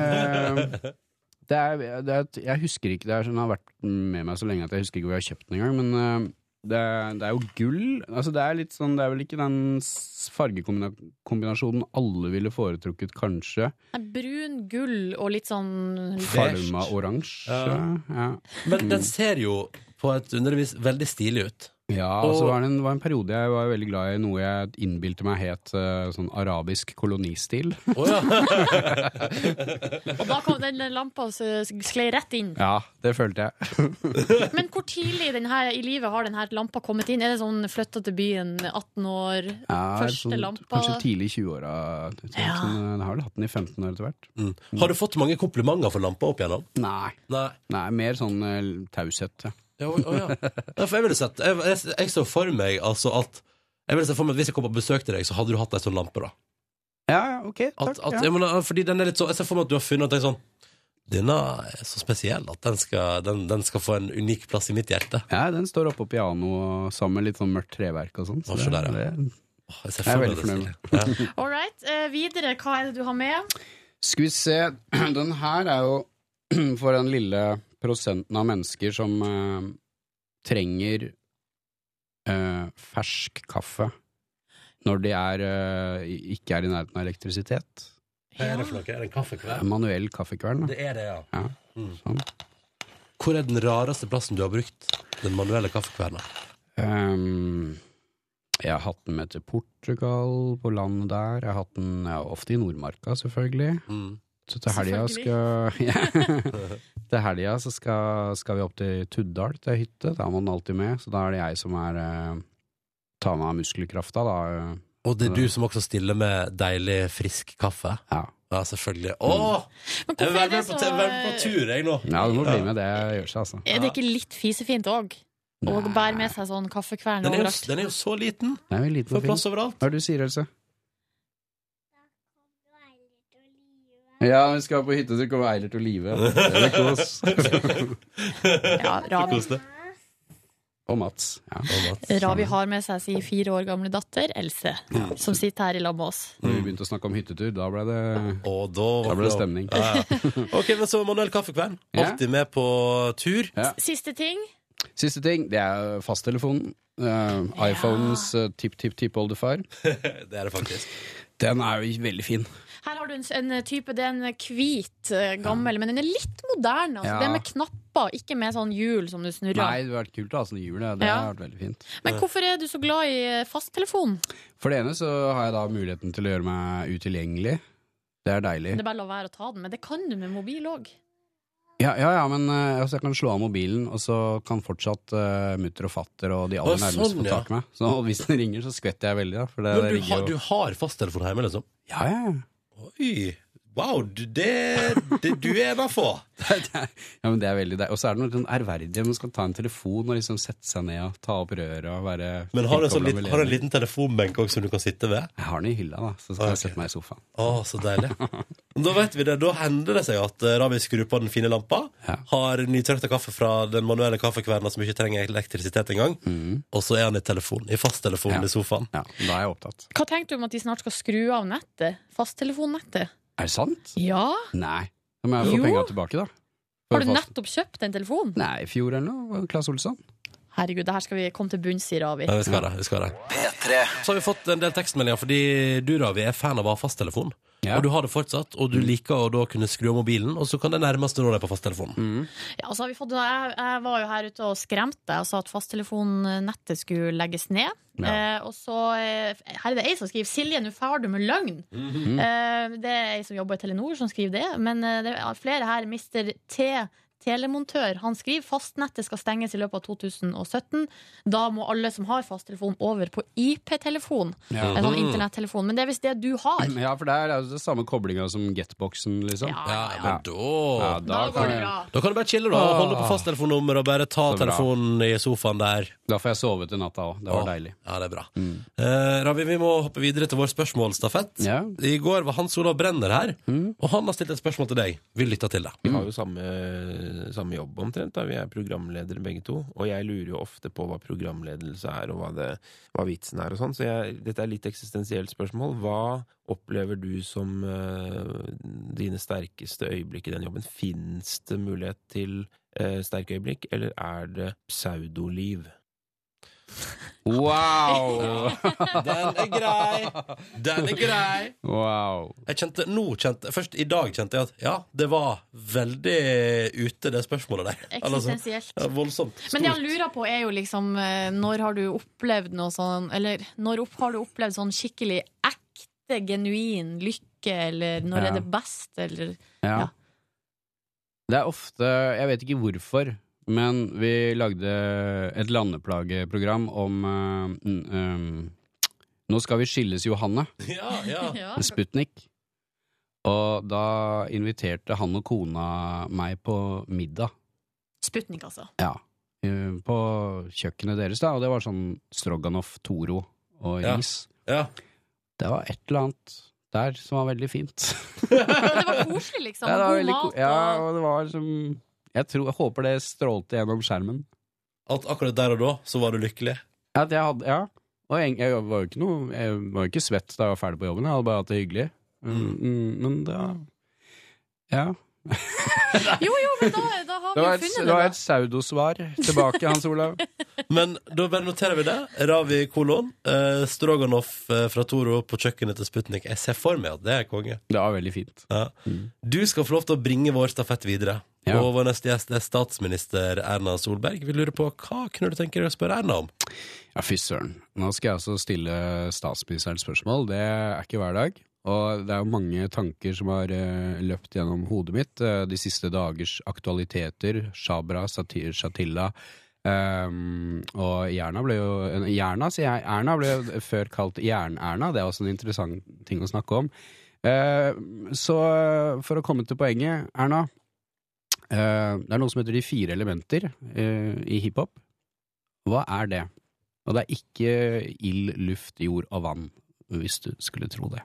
[SPEAKER 10] det er, det er, et- jeg husker ikke, det er, sånn, den har vært med meg så lenge at jeg husker ikke hvor jeg har kjøpt den engang, men eh, det, er- det er jo gull. Altså, det er litt sånn, det er vel ikke den s- fargekombinasjonen alle ville foretrukket, kanskje.
[SPEAKER 4] Nei, Brun, gull og litt sånn
[SPEAKER 10] Farma oransje. Ja. Ja.
[SPEAKER 2] Men den ser jo på et undervis veldig stilig ut.
[SPEAKER 10] Ja,
[SPEAKER 2] Og-
[SPEAKER 10] og så var det en, var en periode jeg var veldig glad i noe jeg innbilte meg het eh, sånn arabisk kolonistil.
[SPEAKER 4] Og da kom den lampa og så sklei rett inn.
[SPEAKER 10] Ja, det følte jeg.
[SPEAKER 4] Men hvor tidlig i den her, i livet har den her lampa kommet inn? Er det sånn flytta til byen, 18 år,
[SPEAKER 10] Ja,
[SPEAKER 4] første
[SPEAKER 10] sånn,
[SPEAKER 4] lampa?
[SPEAKER 10] Kanskje tidlig i 20-åra. jeg tror.
[SPEAKER 4] Ja.
[SPEAKER 10] Sånn, eh, Jeg har vel hatt den i 15 år etter hvert.
[SPEAKER 2] Mm. Har du fått mange komplimenter for lampa opp igjennom?
[SPEAKER 10] Nei.
[SPEAKER 2] Nei.
[SPEAKER 10] Nei, mer sånn eh, taushet. Ja.
[SPEAKER 2] Ja, å- å, ja. Ja, for jeg ville sett jeg, jeg, jeg så for meg altså at jeg ville sett for meg at Hvis jeg kom på besøk til deg, så hadde du hatt ei sånn lampe, da.
[SPEAKER 10] ja, ja, ok. Takk.
[SPEAKER 2] At, at,
[SPEAKER 10] ja.
[SPEAKER 2] jeg, mener, fordi den er litt så, jeg ser for meg at du har funnet at det er sånn Denne er så spesiell at den skal, den, den skal få en unik plass i mitt hjerte.
[SPEAKER 10] ja, den står oppå pianoet sammen med litt sånn mørkt treverk og sånn.
[SPEAKER 2] Å, se der, ja.
[SPEAKER 10] det-
[SPEAKER 2] Åh, Jeg, ser
[SPEAKER 10] Jeg er
[SPEAKER 2] for meg
[SPEAKER 10] veldig
[SPEAKER 2] det,
[SPEAKER 10] fornøyd
[SPEAKER 2] Silje.
[SPEAKER 10] med
[SPEAKER 2] Ja.
[SPEAKER 4] All right. Eh, videre, hva er det du har med?
[SPEAKER 10] Skal vi se, den her er jo for den lille prosenten av mennesker som eh, trenger eh, eh, fersk kaffe når de er, eh, ikke er i nærheten av elektrisitet.
[SPEAKER 2] Hva er det for noe? Er det en kaffekveld?
[SPEAKER 10] Manuell kaffekvern.
[SPEAKER 2] Det er det, ja.
[SPEAKER 10] Ja,
[SPEAKER 2] Mm.
[SPEAKER 10] sånn.
[SPEAKER 2] Hvor er den rareste plassen du har brukt den manuelle kaffekverna?
[SPEAKER 10] Ehm, jeg har hatt den med til Portugal, på landet der. Jeg har hatt den ja, ofte i Nordmarka, selvfølgelig.
[SPEAKER 2] Mm.
[SPEAKER 10] Så til helga skal ja. Til helga så skal, skal vi opp til Tuddal, til ei hytte. Da er man alltid med, så da er det jeg som er eh, tar meg av muskelkrafta, da.
[SPEAKER 2] Og det er du som også stiller med deilig, frisk kaffe?
[SPEAKER 10] Ja.
[SPEAKER 2] Ja, selvfølgelig.
[SPEAKER 10] Mm.
[SPEAKER 2] Åh! Jeg vil være med på, jeg vil være med på tur, jeg, nå.
[SPEAKER 10] Ja, du må bli med. Det gjør seg, altså.
[SPEAKER 4] Er det ikke litt fisefint òg? Å bære med seg sånn kaffekvern
[SPEAKER 2] Den er, jo,
[SPEAKER 4] overalt.
[SPEAKER 2] den er jo så liten.
[SPEAKER 10] Det er jo en liten
[SPEAKER 2] Får
[SPEAKER 10] og fin.
[SPEAKER 2] plass overalt.
[SPEAKER 10] Hva er det du sier, Else? Ja, vi skal på hytte til Kåre Eilert og Live. Det er kos.
[SPEAKER 4] Ja, Ravi.
[SPEAKER 10] Og Mats. Ja.
[SPEAKER 4] Ravi har med seg sin fire år gamle datter, Else,
[SPEAKER 10] Ja.
[SPEAKER 4] som sitter her i lag med oss.
[SPEAKER 10] Når vi begynte å snakke om hyttetur, da ble det,
[SPEAKER 2] da
[SPEAKER 10] da ble det stemning.
[SPEAKER 2] Ja, ja. Ok, men så manuell kaffekvern.
[SPEAKER 10] Ja.
[SPEAKER 2] Alltid med på tur.
[SPEAKER 10] Ja.
[SPEAKER 4] Siste ting.
[SPEAKER 10] Siste ting, det er fasttelefonen. Eh, iPhones eh, tipp-tipp-tippoldefar.
[SPEAKER 2] Det er det faktisk.
[SPEAKER 10] Den er jo veldig fin.
[SPEAKER 4] Her har du en, en type, det er en hvit, eh, gammel, men den er litt moderne. Altså.
[SPEAKER 10] Ja.
[SPEAKER 4] Det er med knapper, ikke med sånn hjul som du snurrer.
[SPEAKER 10] Nei, det hadde vært kult å ha sånn jul. ja. Det
[SPEAKER 4] Ja.
[SPEAKER 10] hadde vært veldig fint.
[SPEAKER 4] Men hvorfor er du så glad i eh, fasttelefon?
[SPEAKER 10] For det ene så har jeg da muligheten til å gjøre meg utilgjengelig. Det er deilig.
[SPEAKER 4] Det er bare å la være å ta den, men det kan du med mobil òg.
[SPEAKER 10] Ja, ja, ja men eh, altså, jeg kan slå av mobilen, og så kan fortsatt uh, mutter og fatter og de
[SPEAKER 2] Å,
[SPEAKER 10] aller nærmeste
[SPEAKER 2] sånn,
[SPEAKER 10] få
[SPEAKER 2] ja.
[SPEAKER 10] tak i meg. Så hvis den ringer, så skvetter jeg veldig, da. For det,
[SPEAKER 2] Men
[SPEAKER 10] det
[SPEAKER 2] du,
[SPEAKER 10] ligger
[SPEAKER 2] har,
[SPEAKER 10] jo-
[SPEAKER 2] du har fasttelefon hjemme, liksom?
[SPEAKER 10] Ja, ja, ja.
[SPEAKER 2] Oi! Wow, du- det, det du er en av få.
[SPEAKER 10] ja, men det er veldig deilig. Og så er det noe sånn ærverdig man skal ta en telefon og liksom sette seg ned og ta opp røret og være
[SPEAKER 2] Men har du en,
[SPEAKER 10] tilkoblet
[SPEAKER 2] sånn liten,
[SPEAKER 10] med
[SPEAKER 2] har du en
[SPEAKER 10] ledning.
[SPEAKER 2] liten telefonbenk også som du kan sitte ved?
[SPEAKER 10] Jeg har den i hylla, da, så skal
[SPEAKER 2] Ah, ok.
[SPEAKER 10] jeg sette meg i sofaen.
[SPEAKER 2] Å, så deilig. Da vet vi det. Da hender det seg at eh, Ravi skrur på den fine lampa,
[SPEAKER 10] Ja.
[SPEAKER 2] har nytørkta kaffe fra den manuelle kaffekverna som ikke trenger elektrisitet engang, og så er han i telefon, i fasttelefonen
[SPEAKER 10] Ja.
[SPEAKER 2] i sofaen.
[SPEAKER 10] Mm. Ja, da er jeg opptatt.
[SPEAKER 4] Hva tenker du om at de snart skal skru av nettet? Fasttelefonnettet?
[SPEAKER 10] Er det sant?
[SPEAKER 4] Ja!
[SPEAKER 10] Nei. Da må jeg få
[SPEAKER 4] Jo.
[SPEAKER 10] penga tilbake, da. For
[SPEAKER 4] Har du
[SPEAKER 10] fast-
[SPEAKER 4] nettopp kjøpt en telefon?
[SPEAKER 10] Nei, i fjor eller noe. var det Claes Olsson.
[SPEAKER 4] Herregud, det her skal vi komme til bunns i, Ravi.
[SPEAKER 2] Ja, vi skal det. vi skal det Så har vi fått en del tekstmeldinger fordi du, Ravi, er fan av å ha fasttelefon.
[SPEAKER 10] Ja. Mm.
[SPEAKER 2] Og du har det fortsatt, og du liker å da kunne skru av mobilen, og så kan det nærmeste nå deg på fasttelefonen.
[SPEAKER 10] Mm.
[SPEAKER 4] Ja, altså, har vi fått, jeg, jeg var jo her ute og skremte deg og sa at fasttelefonnettet skulle legges ned. Eh, og så eh, Her er det ei som skriver 'Silje, nå far du med løgn'.
[SPEAKER 10] Mhm.
[SPEAKER 4] eh, det er ei som jobber i Telenor som skriver det. Men eh, det er flere her. Mr. T. Telemontør han skriver fastnettet skal stenges i løpet av 2017. Da må alle som har fasttelefon, over på IP-telefon.
[SPEAKER 10] Ja. Mhm.
[SPEAKER 4] En sånn internettelefon. Men det er visst det du har.
[SPEAKER 10] Ja, for det er jo den samme koblinga som getboxen, liksom.
[SPEAKER 4] Ja,
[SPEAKER 2] Ja,
[SPEAKER 4] ja, ja.
[SPEAKER 2] men da
[SPEAKER 10] Ja, da,
[SPEAKER 4] Da går
[SPEAKER 10] kan
[SPEAKER 4] det
[SPEAKER 10] jeg,
[SPEAKER 4] bra.
[SPEAKER 2] Da kan du bare chille, da. og Holde på fasttelefonnummer og bare ta
[SPEAKER 10] Så Ah. bra.
[SPEAKER 2] telefonen i sofaen der.
[SPEAKER 10] da får jeg sove til natta òg. Det var
[SPEAKER 2] Åh,
[SPEAKER 10] deilig. Mm.
[SPEAKER 2] Ja, det er bra. Eh, Ravi, vi må hoppe videre til vår spørsmålstafett.
[SPEAKER 10] Ja.
[SPEAKER 2] I går var Hans Olav Brenner her,
[SPEAKER 10] Mm.
[SPEAKER 2] og han har stilt et spørsmål til deg. Vi lytter til det.
[SPEAKER 11] Vi har jo samme, samme jobb omtrent, da. vi er programledere begge to. Og jeg lurer jo ofte på hva programledelse er, og hva, det, hva vitsen er og sånn. Så jeg, dette er litt eksistensielt spørsmål. Hva opplever du som eh, dine sterkeste øyeblikk i den jobben? Fins det mulighet til eh, sterke øyeblikk, eller er det pseudoliv?
[SPEAKER 10] Wow!
[SPEAKER 2] Den er grei! Den er grei!
[SPEAKER 10] wow.
[SPEAKER 2] Jeg kjente, nå kjente, Først i dag kjente jeg at ja, det var veldig ute, det spørsmålet der. Altså,
[SPEAKER 4] Eksistensielt.
[SPEAKER 2] ja, voldsomt.
[SPEAKER 4] Men det han
[SPEAKER 2] Stort.
[SPEAKER 4] lurer på er jo liksom eh, Når har du opplevd noe sånn Eller når opp, har du opplevd sånn skikkelig ekte, genuin lykke Eller når
[SPEAKER 10] Ja.
[SPEAKER 4] er det best eller,
[SPEAKER 10] Ja.
[SPEAKER 4] Ja.
[SPEAKER 10] Det er ofte Jeg vet ikke hvorfor, men vi lagde et landeplageprogram om eh, n- ehm, Nå skal vi skilles, Johanne.
[SPEAKER 2] Ja, ja.
[SPEAKER 4] ja.
[SPEAKER 10] Sputnik. Og da inviterte han og kona meg på middag.
[SPEAKER 4] Sputnik altså
[SPEAKER 10] Ja. eh, På kjøkkenet deres, da. Og det var sånn stroganoff, Toro og
[SPEAKER 2] Ja.
[SPEAKER 10] ris.
[SPEAKER 2] ja.
[SPEAKER 10] Det var et eller annet der som var veldig fint.
[SPEAKER 4] Men det var koselig liksom
[SPEAKER 10] Ja, det var
[SPEAKER 4] God
[SPEAKER 10] veldig ko-
[SPEAKER 4] mat
[SPEAKER 10] ja,
[SPEAKER 4] og,
[SPEAKER 10] og det var liksom jeg, tror, jeg håper det strålte gjennom skjermen.
[SPEAKER 2] At akkurat der og da så var du lykkelig.
[SPEAKER 10] At jeg hadde, ja. Og jeg, jeg, var jo ikke noe, jeg var jo ikke svett da jeg var ferdig på jobben, jeg hadde bare hatt det hyggelig. Mm, mm, men da Ja.
[SPEAKER 4] Jo, jo, men da, da har
[SPEAKER 10] Det
[SPEAKER 4] vi
[SPEAKER 10] var
[SPEAKER 4] jo
[SPEAKER 10] et,
[SPEAKER 4] funnet
[SPEAKER 10] det
[SPEAKER 4] det
[SPEAKER 10] var
[SPEAKER 4] da
[SPEAKER 10] et pseudosvar tilbake, Hans Olav.
[SPEAKER 2] Men da bare noterer vi det. Ravi kolon. Eh, Stroganoff eh, fra Toro på kjøkkenet til Sputnik. Jeg ser for meg at det er konge.
[SPEAKER 10] Det var veldig fint.
[SPEAKER 2] Ja. Du skal få lov til å bringe vår stafett videre.
[SPEAKER 10] Ja.
[SPEAKER 2] Og vår neste gjest er statsminister Erna Solberg. Vi lurer på hva kunne du tenke deg å spørre Erna om?
[SPEAKER 10] Ja, fy søren. Nå skal jeg altså stille statsministeren spørsmål. Det er ikke hver dag. Og det er jo mange tanker som har eh, løpt gjennom hodet mitt. eh, de siste dagers aktualiteter. Shabra, Satir, Shatila. ehm, og Jerna ble jo eh, Jerna, sier jeg. Erna ble jo før kalt Jern-Erna. Det er også en interessant ting å snakke om. Eh, så eh, for å komme til poenget, Erna. eh, det er noe som heter de fire elementer eh, i hiphop. Hva er det? Og det er ikke ild, luft, jord og vann, hvis du skulle tro det.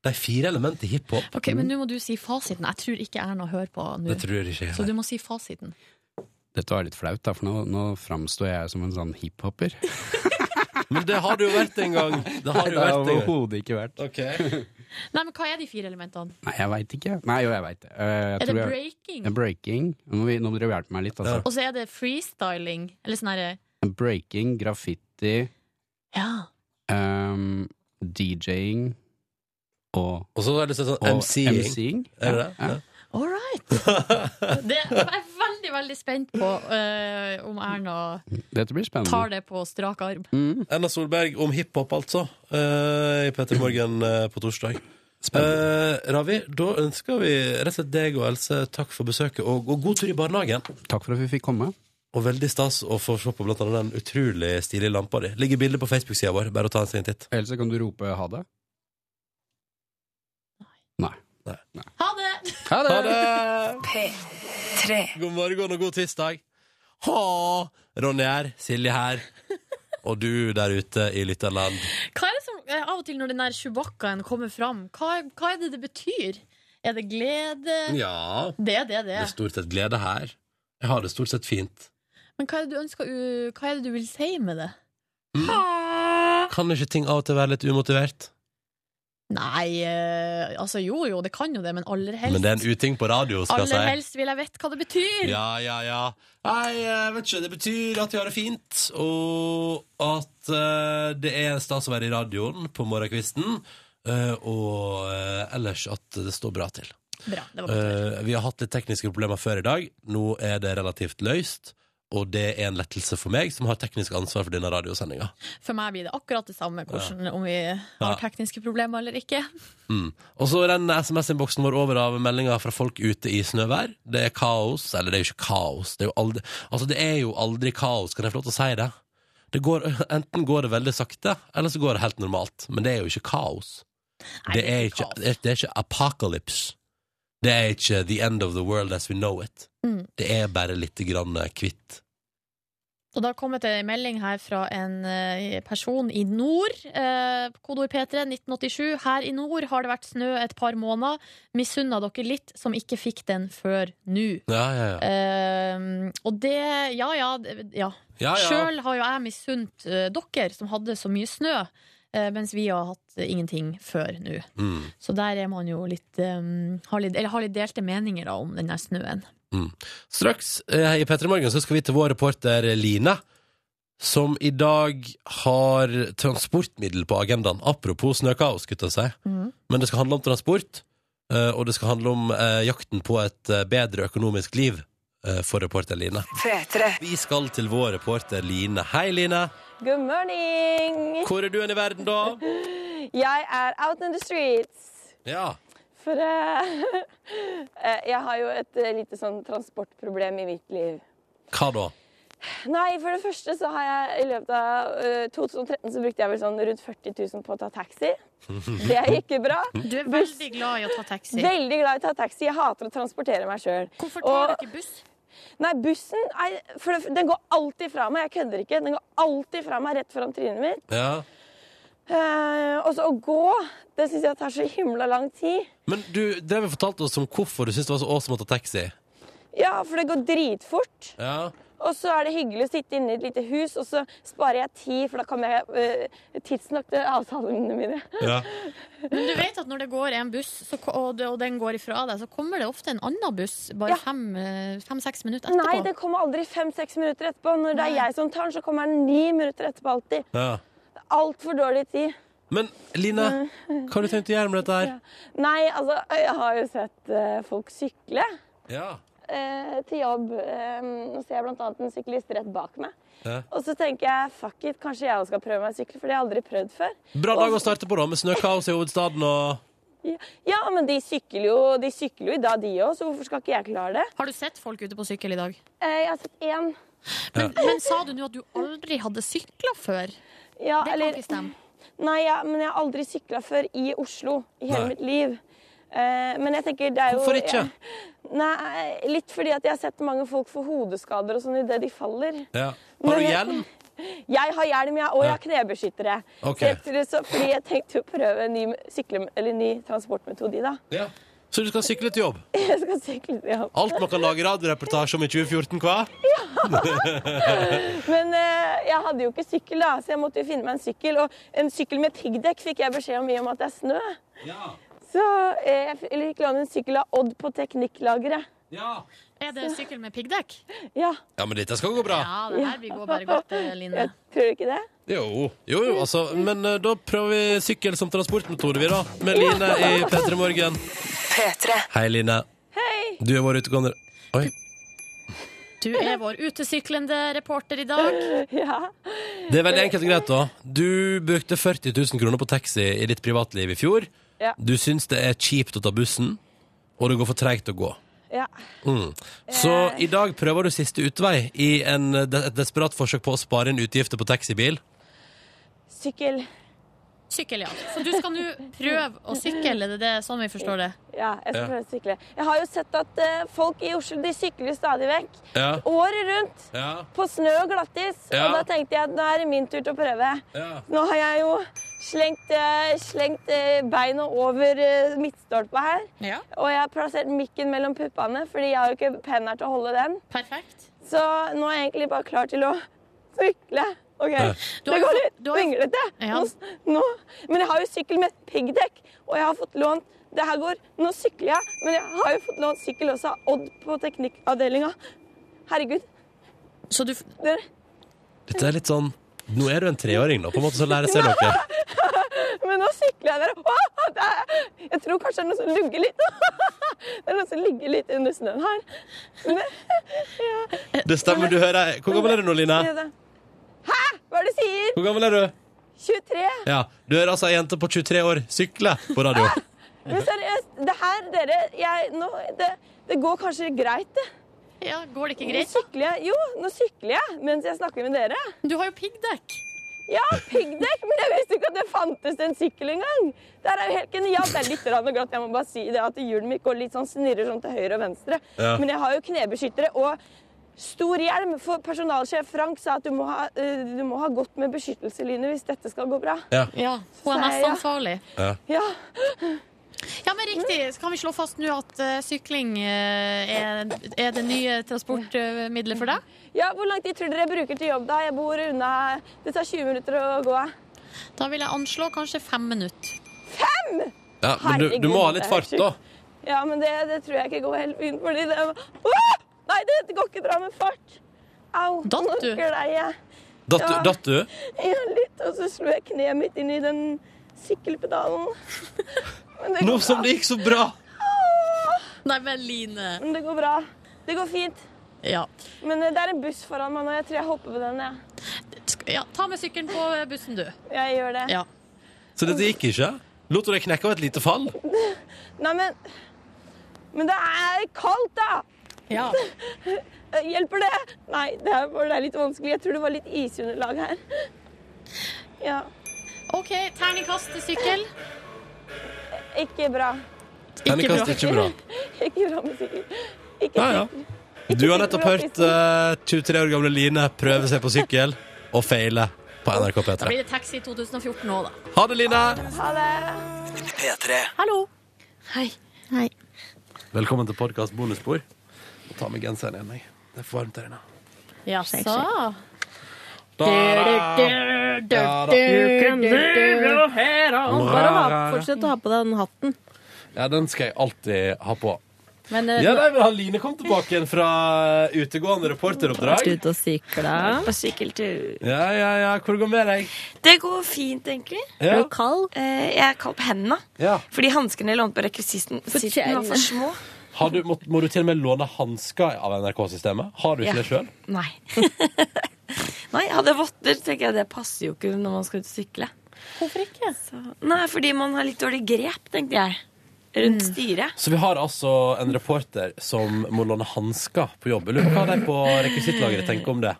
[SPEAKER 2] Det er fire element i hiphop.
[SPEAKER 4] Ok, Men nå må du si fasiten. Jeg tror ikke Erna hører på nå.
[SPEAKER 10] Det tror jeg ikke heller.
[SPEAKER 4] Så du må si fasiten.
[SPEAKER 10] Dette var litt flaut, da, for nå, nå framstår jeg som en sånn hiphoper.
[SPEAKER 2] Men det har du jo vært en gang. Det har
[SPEAKER 10] Nei,
[SPEAKER 2] du
[SPEAKER 10] det
[SPEAKER 2] vært
[SPEAKER 10] har
[SPEAKER 2] en gang.
[SPEAKER 10] overhodet ikke vært.
[SPEAKER 4] Nei, men hva er de fire elementene?
[SPEAKER 10] Nei, jeg veit ikke. Nei, jo, jeg veit det. Eh, jeg
[SPEAKER 4] Er det
[SPEAKER 10] tror jeg-
[SPEAKER 4] breaking?
[SPEAKER 10] Ja, breaking. Nå, må vi, nå må dere hjelpe meg litt, altså.
[SPEAKER 4] Og så er det freestyling. Eller sånn herre
[SPEAKER 10] Breaking, graffiti,
[SPEAKER 4] Ja.
[SPEAKER 10] um, DJ-ing og
[SPEAKER 2] Og så er det sånn
[SPEAKER 10] og
[SPEAKER 2] MC-ing.
[SPEAKER 10] MC-ing.
[SPEAKER 2] Er det det?
[SPEAKER 10] Ja, ja.
[SPEAKER 4] All right! Det, jeg er veldig, veldig spent på eh, om Erna
[SPEAKER 10] Dette blir spennende.
[SPEAKER 4] tar det på strak arm.
[SPEAKER 2] Erna Solberg om hiphop, altså, eh, i P3 Morgen eh, på torsdag. Eh, Ravi, da ønsker vi rett og slett deg og Else takk for besøket, og, og god tur i barnehagen.
[SPEAKER 10] Takk for at vi fikk komme.
[SPEAKER 2] Og veldig stas å få se på blant annet den utrolig stilige lampa di. Ligger bilde på Facebook-sida vår, bare å ta en sin titt.
[SPEAKER 10] Else, kan du rope ha det? Nei.
[SPEAKER 4] Ha det!
[SPEAKER 10] Ha det!
[SPEAKER 2] P3. God morgen og god tirsdag. Ha! Ronny her, Silje her, og du der ute i lytterland.
[SPEAKER 4] Hva er det som, eh, av og til når den der Chewbaccaen kommer fram, hva, er- hva er det det betyr? Er det glede?
[SPEAKER 2] Ja,
[SPEAKER 4] Det er det det
[SPEAKER 2] det er
[SPEAKER 4] er.
[SPEAKER 2] stort sett glede her. Jeg har det stort sett fint.
[SPEAKER 4] Men hva er det du ønsker u- Hva er det du vil si med det?
[SPEAKER 2] Kan ikke ting av og til være litt umotivert?
[SPEAKER 4] Nei, eh, altså jo jo, det kan jo det, men aller helst
[SPEAKER 2] Men det er en uting på radio, skal
[SPEAKER 4] Aller
[SPEAKER 2] jeg si.
[SPEAKER 4] helst vil jeg vite hva det betyr!
[SPEAKER 2] Ja, ja, ja. Nei, jeg vet ikke. Det betyr at vi har det fint, og at eh, det er stas å være i radioen på morgenkvisten. eh, og eh, ellers at det står bra til.
[SPEAKER 4] Bra, det var godt.
[SPEAKER 2] Eh, vi har hatt litt tekniske problemer før i dag. Nå er det relativt løst, og det er en lettelse for meg, som har teknisk ansvar for denne radiosendinga.
[SPEAKER 4] For meg blir det akkurat det samme hvordan, om vi
[SPEAKER 2] Ja.
[SPEAKER 4] har tekniske problemer eller ikke.
[SPEAKER 2] Mm. Og så renner SMS-innboksen vår over av meldinger fra folk ute i snøvær. Det er kaos. Eller det er jo ikke kaos. Det er jo aldri, altså, det er jo aldri kaos. Kan jeg få lov til å si det? det går, enten går det veldig sakte, eller så går det helt normalt. Men det er jo ikke kaos. det, er ikke, det, er, det er ikke apocalypse. Det er ikke the end of the world as we know it.
[SPEAKER 4] Mm.
[SPEAKER 2] Det er bare litt grann kvitt.
[SPEAKER 4] Og da kom det en melding her fra en eh, person i nord. Eh, Kodord P3 1987. Her i nord har det vært snø et par måneder. Misunna dere litt som ikke fikk den før nå.
[SPEAKER 2] Ja, ja, ja.
[SPEAKER 4] Eh, og det Ja, ja. det- ja.
[SPEAKER 2] Ja, ja.
[SPEAKER 4] Sjøl har jo jeg misunt eh, dere som hadde så mye snø, eh, mens vi har hatt eh, ingenting før nå.
[SPEAKER 2] Mm.
[SPEAKER 4] Så der er man jo litt, eh, har, litt eller har litt delte meninger da, om den der snøen.
[SPEAKER 2] Mm. Straks eh, i P3 Morgen så skal vi til vår reporter Line, som i dag har transportmiddel på agendaen. Apropos snøkaos, gutta si. Men det skal handle om transport, eh, og det skal handle om eh, jakten på et eh, bedre økonomisk liv eh, for reporter Line. Vi skal til vår reporter Line. Hei, Line.
[SPEAKER 12] Good morning!
[SPEAKER 2] Hvor er du hen i verden, da?
[SPEAKER 12] Jeg er out in the streets.
[SPEAKER 2] Ja.
[SPEAKER 12] For eh, eh, jeg har jo et eh, lite sånn transportproblem i mitt liv.
[SPEAKER 2] Hva da?
[SPEAKER 12] Nei, for det første så har jeg i løpet av eh, 2013 så brukte jeg vel sånn rundt 40 000 på å ta taxi. Det gikk bra.
[SPEAKER 4] Du er veldig glad i å ta taxi.
[SPEAKER 12] Veldig glad i å ta taxi. Jeg hater å transportere meg sjøl.
[SPEAKER 4] Hvorfor tar du ikke buss?
[SPEAKER 12] Nei, bussen er, for det, Den går alltid fra meg. Jeg kødder ikke. Den går alltid fra meg rett foran trynet mitt.
[SPEAKER 2] Ja.
[SPEAKER 12] Eh, og så å gå, det syns jeg tar så himla lang tid.
[SPEAKER 2] Men du drev og fortalte oss om hvorfor du syntes det var så awesome å ta taxi.
[SPEAKER 12] Ja, for det går dritfort.
[SPEAKER 2] Ja.
[SPEAKER 13] Og så er det hyggelig å sitte inne i et lite hus, og så sparer jeg tid, for da kommer jeg uh, tidsnok til avtalene mine.
[SPEAKER 2] Ja.
[SPEAKER 4] Men du vet at når det går en buss, så, ko- og, det- og den går ifra deg, så kommer det ofte en annen buss bare eh, fem-seks minutter etterpå.
[SPEAKER 13] Nei, den kommer aldri fem-seks minutter etterpå. Når det er jeg som tar den, så kommer den ni minutter etterpå alltid.
[SPEAKER 2] Ja.
[SPEAKER 13] Altfor dårlig tid.
[SPEAKER 2] Men Line, hva har du tenkt å gjøre med dette her?
[SPEAKER 13] Nei, altså, jeg har jo sett eh, folk sykle
[SPEAKER 2] Ja.
[SPEAKER 13] eh, til jobb. Eh, Nå ser jeg blant annet en syklist rett bak meg.
[SPEAKER 2] Ja.
[SPEAKER 13] Og så tenker jeg fuck it, kanskje jeg også skal prøve meg å sykle, for det har jeg aldri prøvd før.
[SPEAKER 2] Bra dag å starte på, da, med snøkaos i hovedstaden og
[SPEAKER 13] Ja, ja men de sykler jo, de sykler jo i dag, de òg, så hvorfor skal ikke jeg klare det?
[SPEAKER 4] Har du sett folk ute på sykkel i dag?
[SPEAKER 13] Eh, jeg har sett én.
[SPEAKER 4] Men, men sa du nå at du aldri hadde sykla før?
[SPEAKER 13] Ja,
[SPEAKER 4] det
[SPEAKER 13] eller-
[SPEAKER 4] kan ikke stemme.
[SPEAKER 13] Nei, ja, men jeg har aldri sykla før i Oslo i hele
[SPEAKER 4] Nei.
[SPEAKER 13] mitt liv. Eh, men jeg tenker det er jo
[SPEAKER 2] Hvorfor ikke?
[SPEAKER 13] jeg- nei, litt fordi at jeg har sett mange folk få hodeskader og sånn idet de faller.
[SPEAKER 2] ja. Har du
[SPEAKER 13] Men-
[SPEAKER 2] hjelm?
[SPEAKER 13] Jeg har hjelm, jeg, og jeg har knebeskyttere.
[SPEAKER 2] Ok.
[SPEAKER 13] Så jeg tror- så, fordi jeg tenkte å prøve en ny, sykle, eller ny transportmetode i dag.
[SPEAKER 2] Ja. Så du skal sykle til jobb?
[SPEAKER 13] Jeg skal sykle til jobb.
[SPEAKER 2] Alt man kan lage radioreportasje om i 2014, hva?
[SPEAKER 13] Men eh, jeg hadde jo ikke sykkel, da, så jeg måtte jo finne meg en sykkel. Og en sykkel med piggdekk fikk jeg beskjed om i og med at det er snø. Så eh, jeg f- eller fikk låne en sykkel av Odd på Teknikklageret.
[SPEAKER 4] Er det sykkel med piggdekk?
[SPEAKER 13] Ja.
[SPEAKER 2] Ja, men dette skal gå bra.
[SPEAKER 4] Ja, det her vil gå bare godt, eh, Line.
[SPEAKER 13] Jeg tror ikke det.
[SPEAKER 2] Jo, jo, jo altså. Men eh, da prøver vi sykkel som transportmetode, vi, da. Med Line i P3 Morgen. Hei, Line.
[SPEAKER 13] Hei!
[SPEAKER 2] Du er vår utegående Oi.
[SPEAKER 4] Du er vår utesyklende reporter i dag.
[SPEAKER 13] Ja.
[SPEAKER 2] Det er veldig enkelt og greit, da. Du brukte 40 000 kroner på taxi i ditt privatliv i fjor.
[SPEAKER 13] Ja.
[SPEAKER 2] Du syns det er kjipt å ta bussen, og det går for treigt å gå.
[SPEAKER 13] ja.
[SPEAKER 2] Mm. Så i dag prøver du siste utvei i en, de- et desperat forsøk på å spare inn utgifter på taxibil.
[SPEAKER 13] Sykkel.
[SPEAKER 4] Sykkel, ja. Så du skal nå prøve å sykle, er det det sånn vi forstår det?
[SPEAKER 13] Ja, jeg skal
[SPEAKER 2] Ja.
[SPEAKER 13] prøve å sykle. Jeg har jo sett at eh, folk i Oslo de sykler stadig vekk.
[SPEAKER 2] Ja.
[SPEAKER 13] Året rundt.
[SPEAKER 2] Ja.
[SPEAKER 13] På snø og glattis.
[SPEAKER 2] Ja.
[SPEAKER 13] Og da tenkte jeg at nå er det min tur til å prøve.
[SPEAKER 2] Ja.
[SPEAKER 13] Nå har jeg jo slengt, eh, slengt eh, beina over eh, midtstolpa her. Og jeg har plassert mikken mellom puppene, fordi jeg har jo ikke penn her til å holde den.
[SPEAKER 4] Perfekt.
[SPEAKER 13] Så nå er jeg egentlig bare klar til å sykle. OK.
[SPEAKER 4] Ja. Du har jo
[SPEAKER 13] Det går
[SPEAKER 4] fått-
[SPEAKER 13] litt vinglete.
[SPEAKER 4] Ja.
[SPEAKER 13] Nå, nå. Men jeg har jo sykkel med piggdekk, og jeg har fått lånt det her går, Nå sykler jeg, men jeg har jo fått lånt sykkel også av Odd på teknikkavdelinga. Herregud.
[SPEAKER 4] Så du
[SPEAKER 13] Dere,
[SPEAKER 2] Dette er litt sånn Nå er du en treåring, da, på en måte, så lærer jeg seg noe.
[SPEAKER 13] Men nå sykler jeg der. Åh, det er, jeg tror kanskje det er noe som lugger litt. Det er noe som ligger litt under snøen her. Men, ja.
[SPEAKER 2] Det stemmer, du hører. Hvor gammel er du nå, Line?
[SPEAKER 13] Hæ? Hva er det du sier?
[SPEAKER 2] Hvor gammel er du?
[SPEAKER 13] 23?
[SPEAKER 2] Ja, Du hører altså ei jente på 23 år sykle på radio.
[SPEAKER 13] Men seriøst, det her, dere jeg, nå, det, det går kanskje greit, det.
[SPEAKER 4] Ja, Går det ikke greit,
[SPEAKER 13] Nå sykler jeg, jo, nå sykler jeg mens jeg snakker med dere.
[SPEAKER 4] Du har jo piggdekk.
[SPEAKER 13] Ja, piggdekk, men jeg visste ikke at det fantes en sykkel engang. Det her er jo helt genialt. Det er litt rann og glatt. Jeg må bare si det at hjulet mitt går litt sånn snirrer sånn til høyre og venstre.
[SPEAKER 14] Ja.
[SPEAKER 13] Men jeg har jo knebeskyttere og stor hjelm. For personalsjef Frank sa at du må ha, eh, du må ha godt med beskyttelse, Line, hvis dette skal gå bra.
[SPEAKER 2] Ja.
[SPEAKER 4] Hun er
[SPEAKER 13] Så sier jeg
[SPEAKER 4] mest
[SPEAKER 13] ja.
[SPEAKER 4] ansvarlig.
[SPEAKER 2] Ja.
[SPEAKER 13] Ja.
[SPEAKER 4] Ja, men riktig. Så kan vi slå fast nå at eh, sykling eh, er, er det nye transportmiddelet for deg?
[SPEAKER 13] Ja, Hvor lang tid tror dere jeg bruker til jobb, da? Jeg bor unna Det tar 20 minutter å gå.
[SPEAKER 4] Da vil jeg anslå kanskje fem minutter.
[SPEAKER 13] Fem?!
[SPEAKER 2] Ja, men du, du må ha litt fart, da.
[SPEAKER 13] Ja, men det, det tror jeg ikke går helt fint, fordi det Åh! Nei, det, det går ikke bra med fart. Au. Datt
[SPEAKER 4] du?
[SPEAKER 13] Nå glei jeg.
[SPEAKER 2] Datt du? Datt du?
[SPEAKER 13] Ja, litt, og så slo jeg kneet mitt inn i den sykkelpedalen. Men det går
[SPEAKER 2] Nå som det gikk så bra!
[SPEAKER 4] Nei, men Line.
[SPEAKER 13] Men det går bra. Det går fint.
[SPEAKER 4] Ja.
[SPEAKER 13] Men eh, det er en buss foran meg nå. Jeg tror jeg hopper på den, jeg.
[SPEAKER 4] ja ta med sykkelen på eh, bussen, du.
[SPEAKER 13] Jeg gjør det.
[SPEAKER 4] Ja.
[SPEAKER 2] Så dette gikk ikke? Lot du deg knekke av et lite fall?
[SPEAKER 13] Nei, men Men det er kaldt, da! Eh,
[SPEAKER 4] Ja.
[SPEAKER 13] Hjelper det? Nei, det er, bare- det er litt vanskelig. Jeg tror det var litt isunderlag her. Ja.
[SPEAKER 4] OK, terningkast til sykkel.
[SPEAKER 13] Ikke bra.
[SPEAKER 2] Terningkast ikke bra.
[SPEAKER 13] Ikke bra med sykkel. Ikke
[SPEAKER 2] Ja, ja.
[SPEAKER 13] sykkel.
[SPEAKER 2] Du har nettopp hørt eh, 23 år gamle Line prøve seg på sykkel og feile på NRK
[SPEAKER 4] Da
[SPEAKER 2] P3.
[SPEAKER 4] blir det taxi 2014 nå, da.
[SPEAKER 2] Ha det, Line!
[SPEAKER 13] Ha det.
[SPEAKER 2] P3.
[SPEAKER 4] Hallo. Hei. Hei.
[SPEAKER 2] Velkommen til podkast bonusbord. Må ta med genseren igjen, jeg. Det er for varmt her inne.
[SPEAKER 4] Jaså?
[SPEAKER 7] Bare ha, fortsett å ha på deg den hatten.
[SPEAKER 2] Ja, den skal jeg alltid ha på.
[SPEAKER 7] Men, eh,
[SPEAKER 2] Ja, nei, men har Line kommet tilbake igjen fra eh, utegående reporteroppdrag?
[SPEAKER 15] Ut og sykle.
[SPEAKER 13] På sykkeltur.
[SPEAKER 2] Ja, ja, ja. Hvor går det med deg?
[SPEAKER 13] Det går fint, egentlig.
[SPEAKER 2] Ja. Er du
[SPEAKER 13] kald? Eh, Jeg er kald på hendene.
[SPEAKER 2] Ja.
[SPEAKER 13] Fordi hanskene jeg lånte på rekvisitten, sitten var for små.
[SPEAKER 2] Har du, må, må du til og med låne hansker av NRK-systemet? Har du ikke
[SPEAKER 13] Ja.
[SPEAKER 2] det sjøl?
[SPEAKER 13] Nei. Nei, hadde jeg votter, tenker jeg det passer jo ikke når man skal ut og sykle. Hvorfor ikke? Så, nei, fordi man har litt dårlig grep, tenkte jeg. Rundt styret.
[SPEAKER 2] Så vi har altså en reporter som må låne hansker på jobb. Jeg Lurer på hva de på rekvisittlageret tenker om det.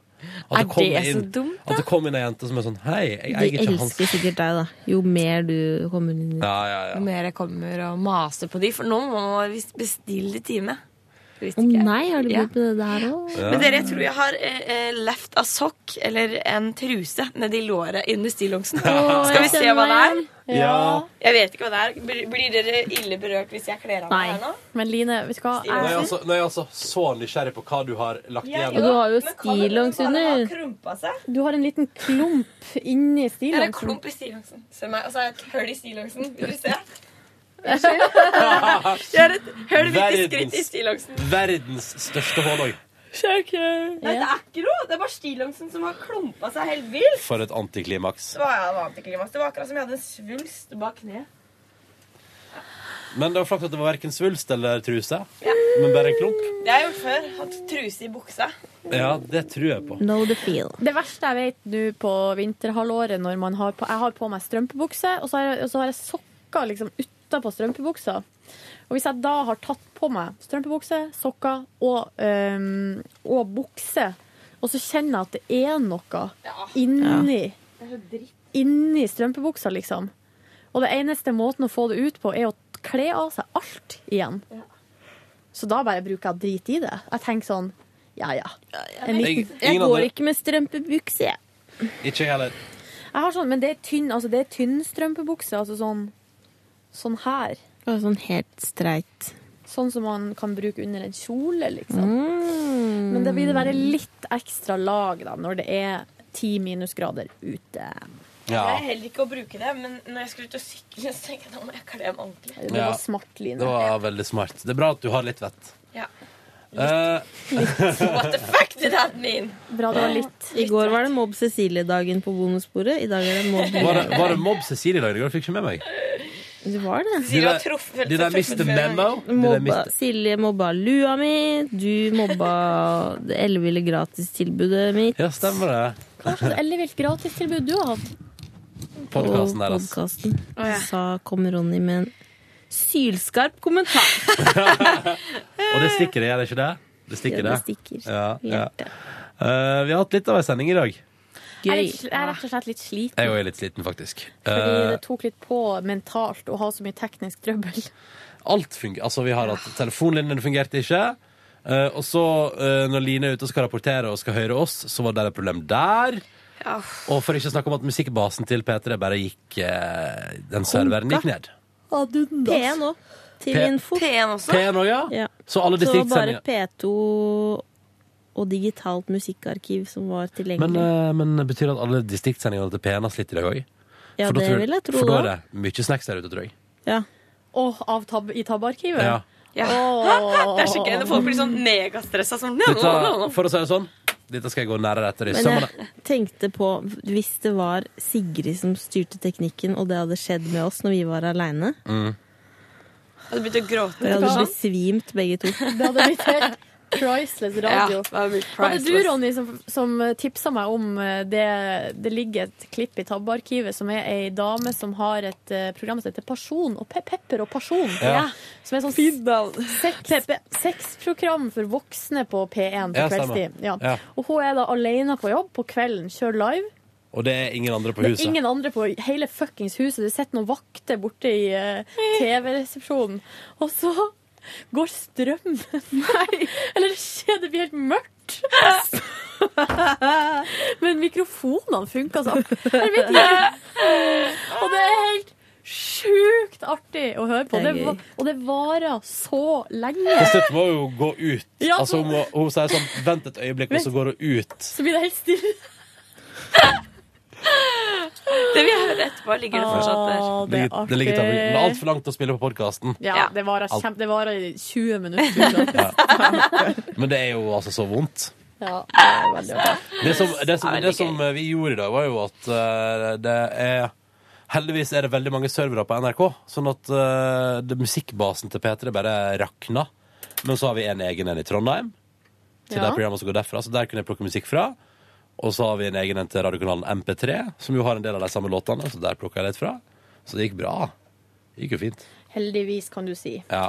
[SPEAKER 15] Er
[SPEAKER 2] kommer
[SPEAKER 15] det så
[SPEAKER 2] inn-
[SPEAKER 15] dumt,
[SPEAKER 2] At det kommer inn ei jente som er sånn Hei, jeg
[SPEAKER 15] De
[SPEAKER 2] eier ikke
[SPEAKER 15] elsker
[SPEAKER 2] hansker.
[SPEAKER 15] sikkert deg, da. Jo mer du kommer inn i
[SPEAKER 2] Ja, ja,
[SPEAKER 13] Jo
[SPEAKER 2] ja.
[SPEAKER 13] mer jeg kommer og maser på de, for nå må man visst bestille time. Å
[SPEAKER 15] nei, har du bodd med det her òg?
[SPEAKER 13] Men dere, jeg tror jeg har eh, eh, left a sock, eller en truse, nedi låret inne i stillongsen.
[SPEAKER 15] Å,
[SPEAKER 13] Skal vi
[SPEAKER 15] jeg
[SPEAKER 13] se
[SPEAKER 15] kjenner
[SPEAKER 13] hva det er?
[SPEAKER 15] meg igjen. Ja.
[SPEAKER 13] Jeg vet ikke hva det er. Blir- Blir dere ille berørt hvis jeg kler av meg her nå?
[SPEAKER 4] Men Line, vet du hva?
[SPEAKER 2] Nå er jeg altså, nå er jeg altså så nysgjerrig på hva du har lagt igjen.
[SPEAKER 4] Og du har jo
[SPEAKER 13] stillongs
[SPEAKER 4] under.
[SPEAKER 13] Krumpa seg.
[SPEAKER 4] Du har en liten klump inni
[SPEAKER 13] Jeg har en
[SPEAKER 4] stillongsen.
[SPEAKER 13] klump i stillongsen. Se meg. Og så har jeg et hull i stillongsen. Vil du se? Jeg har et hull midt i skritt i
[SPEAKER 2] Verdens-
[SPEAKER 13] stillongsen.
[SPEAKER 2] Verdens største hårlogg.
[SPEAKER 13] Nei, det er ikke noe. Det er bare stillongsen som har klumpa seg helt vilt.
[SPEAKER 2] For et antiklimaks.
[SPEAKER 13] Det var, ja, det var antiklimaks. Det var akkurat som jeg hadde en svulst bak kneet.
[SPEAKER 2] Men det var flaks at det var verken svulst eller truse, men bare en klump.
[SPEAKER 13] Det har jeg gjort før. Hatt truse i buksa.
[SPEAKER 2] Ja, det tror jeg på.
[SPEAKER 15] Know the feel.
[SPEAKER 4] Det verste jeg vet nå på vinterhalvåret når man har på, Jeg har på meg strømpebukse, og så har jeg, og så har jeg sokker liksom utapå strømpebuksa. Og hvis jeg da har tatt på meg strømpebukse, sokker og, øhm, og bukse, og så kjenner jeg at det er noe inni, inni strømpebuksa, liksom. Og det eneste måten å få det ut på, er å kle av seg alt igjen. Så da bare bruker jeg drit i det. Jeg tenker sånn ja ja.
[SPEAKER 2] vet
[SPEAKER 4] En liten,
[SPEAKER 2] ikke. Jeg Ingen går andre-
[SPEAKER 4] ikke med strømpebukse, jeg.
[SPEAKER 2] Ikke jeg heller.
[SPEAKER 4] Jeg har sånn, men det er tynn, altså det er tynn strømpebukse, altså sånn, sånn her.
[SPEAKER 15] Sånn helt streit.
[SPEAKER 4] Sånn som man kan bruke under en kjole, liksom.
[SPEAKER 15] Mm.
[SPEAKER 4] Men det vil være litt ekstra lag da, når det er ti minusgrader ute.
[SPEAKER 2] Ja.
[SPEAKER 13] Jeg er heller ikke å bruke det, men når jeg skal ut og sykle, så tenker jeg nå må jeg kle meg ordentlig.
[SPEAKER 2] Ja. Det var veldig smart. Det er bra at du har litt vett.
[SPEAKER 13] Ja.
[SPEAKER 2] Eh,
[SPEAKER 13] What the fuck did that mean?
[SPEAKER 4] Bra
[SPEAKER 15] det var litt. I går var det Mobb Cecilie-dagen på bonusbordet. I dag er det Mobb
[SPEAKER 2] var, det, var det Mobb Cecilie i dag? Det går- fikk ikke med meg.
[SPEAKER 15] Det var det.
[SPEAKER 2] De der- de der Mr. Memo. De der
[SPEAKER 15] Mobba,
[SPEAKER 2] Mr.
[SPEAKER 15] Silje mobba lua mi, du mobba det elleville gratistilbudet mitt.
[SPEAKER 2] Ja, stemmer det.
[SPEAKER 4] Hva slags sånn ellevilt gratistilbud du har hatt?
[SPEAKER 2] Podkasten der, altså.
[SPEAKER 15] Podkasten. Så kom Ronny med en sylskarp kommentar.
[SPEAKER 2] Og det stikker, gjør det ikke det? Det stikker,
[SPEAKER 15] Ja, det
[SPEAKER 2] Ja, ja. Eh, vi har hatt litt av ei sending i dag.
[SPEAKER 4] Jeg er, litt, sl- jeg er rett og slett litt sliten.
[SPEAKER 2] Jeg òg er litt sliten, faktisk.
[SPEAKER 4] Fordi
[SPEAKER 2] Eh,
[SPEAKER 4] det tok litt på mentalt å ha så mye teknisk trøbbel.
[SPEAKER 2] Alt fungerer. Altså, vi har hatt telefonlinjene fungerte ikke. Eh, og så, eh, når Line er ute og skal rapportere og skal høre oss, så var det et problem der. Og for ikke å snakke om at musikkbasen til P3 bare gikk eh, Den serveren gikk ned.
[SPEAKER 15] P1 òg. Til
[SPEAKER 2] P-
[SPEAKER 15] info.
[SPEAKER 13] P1 også?
[SPEAKER 2] P1 også, ja. Så alle distriktssendinger-
[SPEAKER 15] bare P2 og digitalt musikkarkiv som var tilgjengelig.
[SPEAKER 2] Men, eh, men betyr det at alle distriktssendingene til P1 har slitt i dag òg?
[SPEAKER 15] Ja,
[SPEAKER 2] for da
[SPEAKER 15] det
[SPEAKER 2] tror-
[SPEAKER 15] vil jeg tro
[SPEAKER 2] For da er
[SPEAKER 15] da.
[SPEAKER 2] det mye snacks der ute, tror jeg.
[SPEAKER 15] Ja.
[SPEAKER 4] Og av tab i tabbarkivet?
[SPEAKER 2] Ja.
[SPEAKER 4] Åh.
[SPEAKER 13] Det er så gøy når folk blir sånn megastressa sånn nå, nå, nå,
[SPEAKER 2] Dette, for å si det sånn, dette skal jeg gå nærere etter i
[SPEAKER 15] Men eh,
[SPEAKER 2] sømmene.
[SPEAKER 15] jeg tenkte på, hvis det var Sigrid som styrte teknikken, og det hadde skjedd med oss når vi var aleine
[SPEAKER 2] Mm.
[SPEAKER 13] nå. Hadde begynt å gråte.
[SPEAKER 15] Vi hadde besvimt begge to.
[SPEAKER 4] Det hadde blitt helt priceless radio.
[SPEAKER 13] Ja, det hadde blitt
[SPEAKER 4] Var det du,
[SPEAKER 13] priceless.
[SPEAKER 4] Ronny, som, som tipsa meg om eh, det Det ligger et klipp i Tabbearkivet som er ei dame som har et eh, program som heter Pasjon. Og pe pepper og pasjon.
[SPEAKER 2] Ja.
[SPEAKER 4] Som er sånn sex- sexprogram for voksne på P1 på
[SPEAKER 2] Ja, stemmer.
[SPEAKER 4] kveldstid. Ja.
[SPEAKER 2] Ja.
[SPEAKER 4] Og hun er da alene på jobb på kvelden, kjører live.
[SPEAKER 2] Og det er ingen andre på
[SPEAKER 4] Det
[SPEAKER 2] huset.
[SPEAKER 4] er ingen andre på hele fuckings huset. Det sitter noen vakter borte i eh, TV-resepsjonen. Og så går strømmen. Nei! Eller det skjer, det blir helt mørkt. Men mikrofonene funka sånn. Jeg vet ikke. Og det er helt sjukt artig å høre på.
[SPEAKER 2] Det er
[SPEAKER 4] Det va- og det varer så lenge.
[SPEAKER 2] Til slutt må hun jo gå ut.
[SPEAKER 4] Ja,
[SPEAKER 2] altså, hun, må, hun sier sånn 'vent et øyeblikk', og så går hun ut.
[SPEAKER 4] Så blir det helt stille.
[SPEAKER 13] Det vil jeg høre etterpå. Ligger det fortsatt eh, der?
[SPEAKER 4] det
[SPEAKER 2] ligger, det ligger tabell. Men det er altfor langt å spille på podkasten.
[SPEAKER 4] Ja, det varer,
[SPEAKER 2] Alt.
[SPEAKER 4] kjempe, det varer i 20 minutter.
[SPEAKER 2] Men det er jo altså så vondt.
[SPEAKER 4] Ja, det er veldig artig.
[SPEAKER 2] Det som, det som, det som vi gjorde i dag, var jo at eh, det er Heldigvis er det veldig mange servere på NRK, sånn at eh, det, musikkbasen til P3 bare rakna. Men så har vi en egen en i Trondheim, til
[SPEAKER 16] Ja.
[SPEAKER 2] det programmet som går derfra. Så der kunne jeg plukke musikk fra. Og så har vi en egen en til radiokanalen MP3, som jo har en del av de samme låtene. Så der plukka jeg litt fra. Så det gikk bra. Det gikk jo fint.
[SPEAKER 4] Heldigvis, kan du si.
[SPEAKER 2] Ja.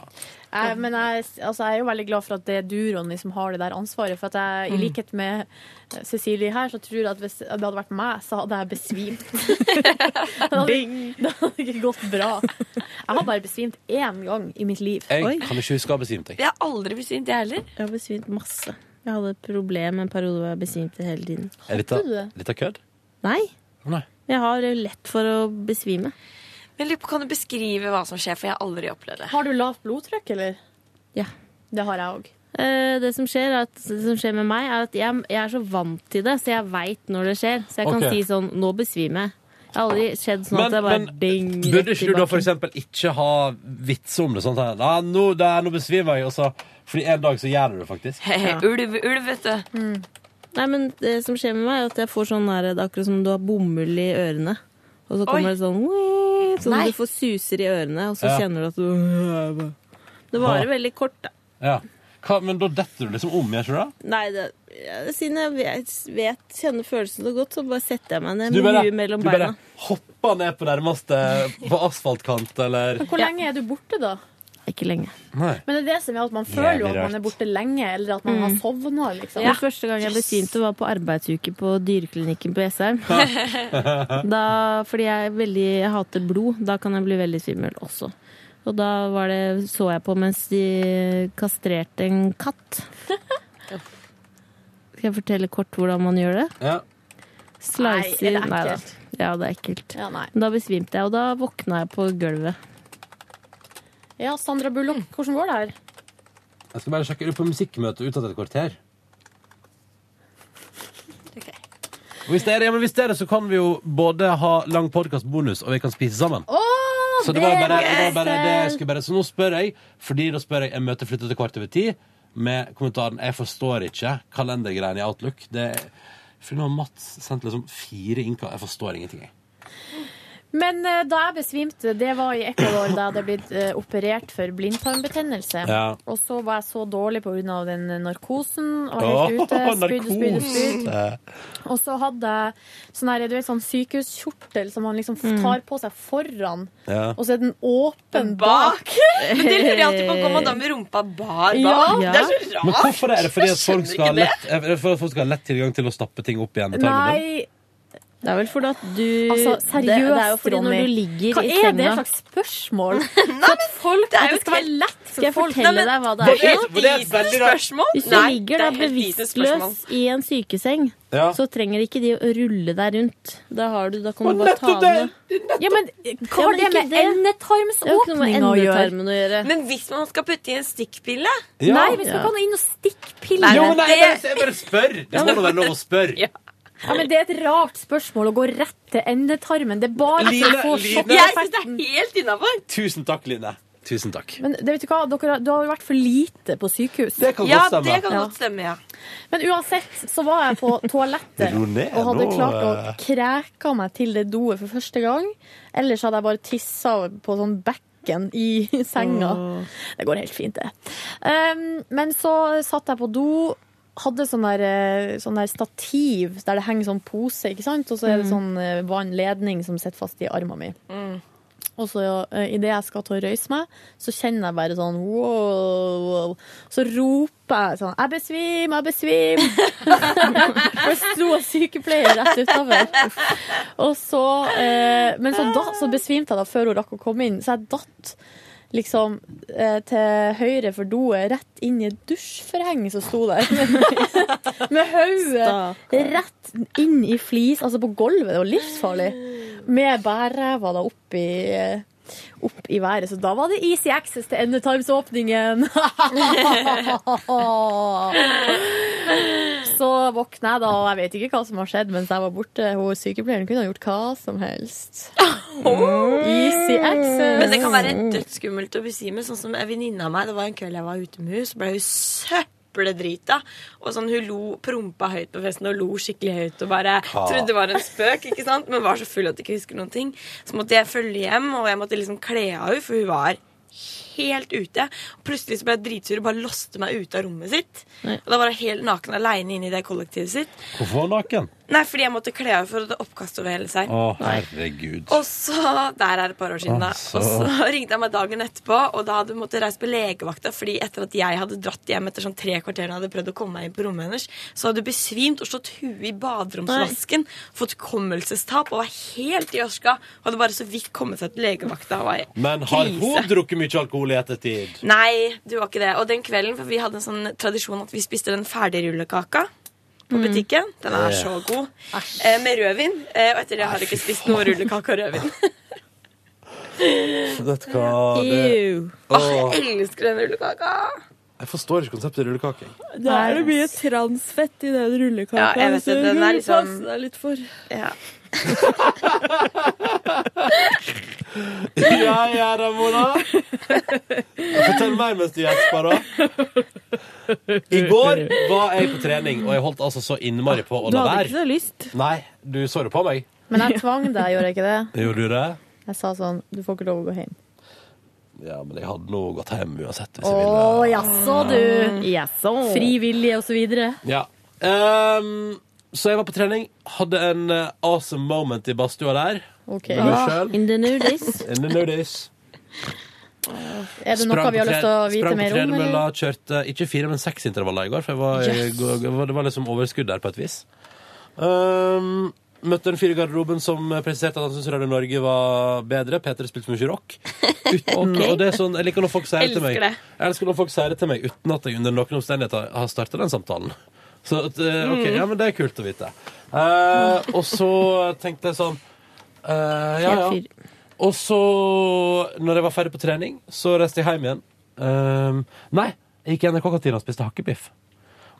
[SPEAKER 4] Jeg, men jeg, altså, jeg er jo veldig glad for at det er du, Ronny, som har det der ansvaret. For at
[SPEAKER 15] Mm.
[SPEAKER 4] jeg, i likhet med eh, Cecilie her, så tror jeg at hvis det hadde vært meg, så hadde jeg besvimt. det, hadde, det hadde ikke gått bra. Jeg har bare besvimt én gang i mitt liv.
[SPEAKER 2] Jeg kan ikke huske å ha besvimt, jeg.
[SPEAKER 15] Jeg har aldri besvimt, jeg heller. Jeg har besvimt masse. Jeg hadde et problem en periode hvor jeg besvimte hele tiden.
[SPEAKER 2] Er dette,
[SPEAKER 15] eh.
[SPEAKER 2] dette kødd?
[SPEAKER 15] Nei.
[SPEAKER 2] Nei.
[SPEAKER 15] Jeg har lett for å besvime.
[SPEAKER 13] Men lurer på, Kan du beskrive hva som skjer, for jeg har aldri opplevd det.
[SPEAKER 4] Har du lavt blodtrykk, eller?
[SPEAKER 15] Ja.
[SPEAKER 4] Det har jeg òg.
[SPEAKER 15] Eh, Det som skjer, er at, det som skjer med meg, er at jeg, jeg er så vant til det, så jeg veit når det skjer. Så jeg kan
[SPEAKER 2] Ok.
[SPEAKER 15] si sånn Nå besvimer jeg. Det har aldri skjedd sånn
[SPEAKER 2] Men,
[SPEAKER 15] at jeg bare
[SPEAKER 2] men
[SPEAKER 15] ding rett
[SPEAKER 2] burde ikke du da
[SPEAKER 15] tilbake.
[SPEAKER 2] for eksempel ikke ha vitser om det? Sånn at «Nei, nå, der, nå besvimer jeg, og så Fordi en dag så gjør du det faktisk.
[SPEAKER 15] Ja.
[SPEAKER 13] Ulv, ulv, vet du.
[SPEAKER 15] Nei, men det som skjer med meg, er at jeg får sånn der, det er akkurat som du har bomull i ørene. Og så
[SPEAKER 13] Oi.
[SPEAKER 15] kommer det sånn «wii», Sånn
[SPEAKER 13] Nei.
[SPEAKER 15] at du får suser i ørene, og så
[SPEAKER 2] Ja.
[SPEAKER 15] kjenner du at du Det
[SPEAKER 2] Ja.
[SPEAKER 15] varer veldig kort, da.
[SPEAKER 2] Ja. Hva, men da detter du liksom om, gjør ikke du det?
[SPEAKER 15] Nei, det, ja, siden jeg vet, vet, kjenner følelsen så godt, så bare setter jeg meg ned
[SPEAKER 2] Du
[SPEAKER 15] med
[SPEAKER 2] bare,
[SPEAKER 15] huet mellom
[SPEAKER 2] du bare
[SPEAKER 15] beina.
[SPEAKER 2] hopper ned på nærmeste på asfaltkant, eller
[SPEAKER 4] Men hvor lenge er du borte, da?
[SPEAKER 15] Ikke lenge.
[SPEAKER 2] Nei.
[SPEAKER 4] Men det er det som er at man føler jo
[SPEAKER 15] Jævlig
[SPEAKER 4] at man er
[SPEAKER 15] rart.
[SPEAKER 4] borte lenge, eller at man
[SPEAKER 15] Mm.
[SPEAKER 4] har sovna, liksom.
[SPEAKER 15] Den første gang jeg besvimte, var på arbeidsuke på dyreklinikken på Jessheim. da, fordi jeg, er veldig, jeg hater blod. Da kan jeg bli veldig svimmel også. Og da var det, så jeg på mens de kastrerte en katt. Skal jeg fortelle kort hvordan man gjør det?
[SPEAKER 2] Ja.
[SPEAKER 15] Slicer
[SPEAKER 4] Nei, er det
[SPEAKER 15] Nei da.
[SPEAKER 4] ekkelt?
[SPEAKER 15] Ja, det er ekkelt.
[SPEAKER 4] Ja, nei.
[SPEAKER 15] Men da besvimte jeg, og da våkna jeg på gulvet.
[SPEAKER 4] Ja, Sandra Bullock, hvordan går det her?
[SPEAKER 2] Jeg skal bare sjekke ut på musikkmøte utad et kvarter. Og hvis det er det, ja, men hvis det er det, så kan vi jo både ha lang podkastbonus, og vi kan spise sammen. Så det var bare, det var bare det jeg skulle bare Så nå spør jeg, fordi da spør jeg Jeg møter flyttet til kvart over ti Med kommentaren 'Jeg forstår ikke kalendergreiene i Outlook'. Det for nå har Mats sendt liksom fire innka. Jeg forstår ingenting, jeg.
[SPEAKER 4] Men eh, da jeg besvimte, det var i Ecuador da jeg hadde blitt eh, operert for blindtarmbetennelse.
[SPEAKER 2] Ja.
[SPEAKER 4] Og så var jeg så dårlig pga. den narkosen. Og var helt
[SPEAKER 13] eh,
[SPEAKER 4] ute, spyd, spyd, spyd. Og så hadde jeg sånn her, du vet, sånn sykehuskjortel som man liksom tar på seg foran,
[SPEAKER 2] Ja.
[SPEAKER 4] og så er den åpen bak.
[SPEAKER 13] Bak! Men det lurer jeg alltid på. Går man da med rumpa bar bak?
[SPEAKER 4] Ja.
[SPEAKER 13] Det er så rart!
[SPEAKER 2] Men hvorfor er det fordi at folk
[SPEAKER 13] Jeg skjønner
[SPEAKER 2] skal ha
[SPEAKER 13] ikke det.
[SPEAKER 2] lett, er det for at folk skal ha lett tilgang til å stappe ting opp igjen? i tarmen din?
[SPEAKER 4] Nei.
[SPEAKER 15] Det er vel fordi at du
[SPEAKER 4] Altså,
[SPEAKER 15] det,
[SPEAKER 4] seriøst,
[SPEAKER 15] det er jo fordi
[SPEAKER 4] Ronny.
[SPEAKER 15] når du ligger
[SPEAKER 4] Hva
[SPEAKER 15] i
[SPEAKER 4] er det
[SPEAKER 15] senga
[SPEAKER 4] slags spørsmål? For at folk,
[SPEAKER 15] er
[SPEAKER 4] at
[SPEAKER 15] jo
[SPEAKER 4] det skal være lett
[SPEAKER 15] Skal jeg fortelle deg hva det
[SPEAKER 2] Det
[SPEAKER 15] er?
[SPEAKER 2] er helt- det er et veldig rart- spørsmål.
[SPEAKER 15] Hvis du
[SPEAKER 2] Nei,
[SPEAKER 15] ligger da
[SPEAKER 2] det er helt lite spørsmål.
[SPEAKER 15] bevisstløs i en sykeseng,
[SPEAKER 2] Ja.
[SPEAKER 15] så trenger ikke de å rulle deg rundt. Da, har du, da kan
[SPEAKER 4] Og
[SPEAKER 15] du bare ta
[SPEAKER 4] nettopp
[SPEAKER 15] av
[SPEAKER 4] Ja, men hva har det
[SPEAKER 15] ikke
[SPEAKER 4] med
[SPEAKER 15] det. Det er jo ikke noe med
[SPEAKER 4] endetarmsåpninga å gjøre?
[SPEAKER 15] endetarmen å gjøre.
[SPEAKER 13] Men hvis man skal putte i en stikkpille
[SPEAKER 2] Ja.
[SPEAKER 4] Nei, hvis man kan inn og stikke piller
[SPEAKER 2] Jo, nei, jeg bare, jeg bare spør! Det må da være lov å spørre.
[SPEAKER 4] Ja, men Det er et rart spørsmål å gå rett til endetarmen. Det er bare at
[SPEAKER 2] Line,
[SPEAKER 4] du får
[SPEAKER 2] Line. Jeg synes
[SPEAKER 4] sjokkeffekten.
[SPEAKER 13] det er helt innafor.
[SPEAKER 2] Tusen takk, Line. Tusen takk.
[SPEAKER 4] Men det, vet du hva, Dere, har- du har jo vært for lite på sykehus.
[SPEAKER 2] Det kan Ja, godt stemme. det kan godt
[SPEAKER 13] stemme, ja.
[SPEAKER 4] Men uansett så var jeg på toalettet
[SPEAKER 2] Ro ned
[SPEAKER 4] og hadde
[SPEAKER 2] nå,
[SPEAKER 4] klart å
[SPEAKER 2] eh.
[SPEAKER 4] kræka meg til det doet for første gang. Ellers hadde jeg bare tissa på sånn bekken i senga. Det går helt fint, det. Um, men så satt jeg på do. Hadde sånn der, eh, sånn der stativ der det henger sånn pose, ikke sant? og så er det
[SPEAKER 13] Mm.
[SPEAKER 4] sånn eh, vannledning som sitter fast i armen min. Og så idet jeg skal til å røyse meg, så kjenner jeg bare sånn wow, wow. Så roper jeg sånn 'Jeg besvimer, jeg besvimer'. For det sto en sykepleier rett utafor. Og så eh, Men så, da, så besvimte jeg da før hun rakk å komme inn, så jeg datt. Liksom eh, til høyre for doet, rett inn i et dusjforheng som sto der. Med hodet rett inn i flis, altså på gulvet. Det var livsfarlig.
[SPEAKER 16] med bærræva da opp i, eh, opp i været. Så da var det easy access til Endetimes-åpningen. så våkna jeg da, og jeg vet ikke hva som har skjedd mens jeg var borte. Hun sykepleieren kunne ha gjort hva som helst. Easy access.
[SPEAKER 13] Men det kan være dødsskummelt å bli med. Sånn som en venninne av meg, det var en kveld jeg var ute med henne, så ble hun søppeldrita. Og sånn, hun lo, prompa høyt på festen og lo skikkelig høyt og bare
[SPEAKER 7] Ha.
[SPEAKER 13] trodde det var en spøk, ikke sant? men var så full at hun ikke husker noen ting. Så måtte jeg følge hjem, og jeg måtte liksom kle av henne, for hun var helt ute. Og plutselig så ble jeg dritsur og bare låste meg ute av rommet sitt.
[SPEAKER 2] Nei.
[SPEAKER 13] Og da var jeg helt naken aleine inne i det kollektivet sitt.
[SPEAKER 2] Hvorfor var han naken?
[SPEAKER 13] Nei, fordi jeg måtte kle av henne for at det oppkast over hele seg.
[SPEAKER 2] Å, herregud.
[SPEAKER 13] Og så, Der er det et par år siden, da.
[SPEAKER 2] Altså.
[SPEAKER 13] Og så ringte jeg meg dagen etterpå, og da hadde hun måttet reise på legevakta, fordi etter at jeg hadde dratt hjem etter sånn tre kvarter og hadde prøvd å komme meg inn på rommet hennes, så hadde hun besvimt og slått huet i baderomsvasken, fått hukommelsestap og var helt i ørska. Og hadde bare så vidt kommet seg til legevakta. Og var i
[SPEAKER 2] Men har
[SPEAKER 13] krise.
[SPEAKER 2] hun drukket mye alkohol i ettertid?
[SPEAKER 13] Nei, du var ikke det. Og den kvelden, for vi hadde en sånn tradisjon at vi spiste den ferdigrullekaka på
[SPEAKER 7] Mm.
[SPEAKER 13] butikken. Den er
[SPEAKER 7] Ja.
[SPEAKER 13] så god. Eh, med rødvin. Eh, og etter det har jeg ikke spist noe rullekake og rødvin.
[SPEAKER 2] Vet du hva det- Åh,
[SPEAKER 13] Jeg elsker den rullekaka.
[SPEAKER 2] Jeg forstår ikke konseptet rullekake.
[SPEAKER 7] Det er jo mye transfett i den rullekaka.
[SPEAKER 13] Ja, jeg vet
[SPEAKER 7] så
[SPEAKER 13] det. Den
[SPEAKER 7] du
[SPEAKER 13] er
[SPEAKER 7] må
[SPEAKER 13] liksom-
[SPEAKER 7] passe deg litt for.
[SPEAKER 13] Ja.
[SPEAKER 2] Ja, ja da, Mona. Fortell meg mens du gjesper, da. I går var jeg på trening, og jeg holdt altså så innmari på å
[SPEAKER 15] Du
[SPEAKER 2] la
[SPEAKER 15] hadde ikke
[SPEAKER 2] være.
[SPEAKER 15] så lyst.
[SPEAKER 2] Nei, du så det på meg.
[SPEAKER 15] Men
[SPEAKER 16] Jeg tvang deg, gjorde jeg ikke det?
[SPEAKER 2] Gjorde du det?
[SPEAKER 16] Jeg sa sånn, du får ikke lov å gå hjem.
[SPEAKER 2] Ja, men jeg hadde nå gått hjem uansett.
[SPEAKER 16] Å, jaså du. Jaså. Fri vilje og så videre.
[SPEAKER 2] Ja. Ehm, så jeg var på trening, hadde en eh, awesome moment i badstua der.
[SPEAKER 16] Ok.
[SPEAKER 2] Med meg selv.
[SPEAKER 15] In the nudies.
[SPEAKER 2] In the nudies.
[SPEAKER 16] Er det noe
[SPEAKER 2] Sprang
[SPEAKER 16] vi har
[SPEAKER 2] på
[SPEAKER 16] lyst
[SPEAKER 2] tre-
[SPEAKER 16] til å vite
[SPEAKER 2] sprang på
[SPEAKER 16] mer om?
[SPEAKER 2] tredemølla,
[SPEAKER 16] Eller?
[SPEAKER 2] kjørte ikke fire, men seks intervaller i går, for jeg var,
[SPEAKER 16] Yes.
[SPEAKER 2] det var- det var liksom overskudd der på et vis. Ehm, møtte en fyr i garderoben som presiserte at han syntes Radio Norge var bedre. Peter spilte så mye rock. Uten, og det er sånn, jeg liker når folk sier det til meg.
[SPEAKER 7] Elsker det.
[SPEAKER 2] Jeg elsker når folk sier det til meg uten at jeg under noen omstendigheter har starta den samtalen. Så at, eh, ok,
[SPEAKER 7] Mm.
[SPEAKER 2] ja, men det er kult å vite. Eh, og så tenkte jeg sånn eh, Ja, ja.
[SPEAKER 7] Helt
[SPEAKER 2] Og så, når jeg var ferdig på trening, så reiste jeg hjem igjen. Ehm, nei, jeg gikk i NRK-kantina og spiste hakkebiff.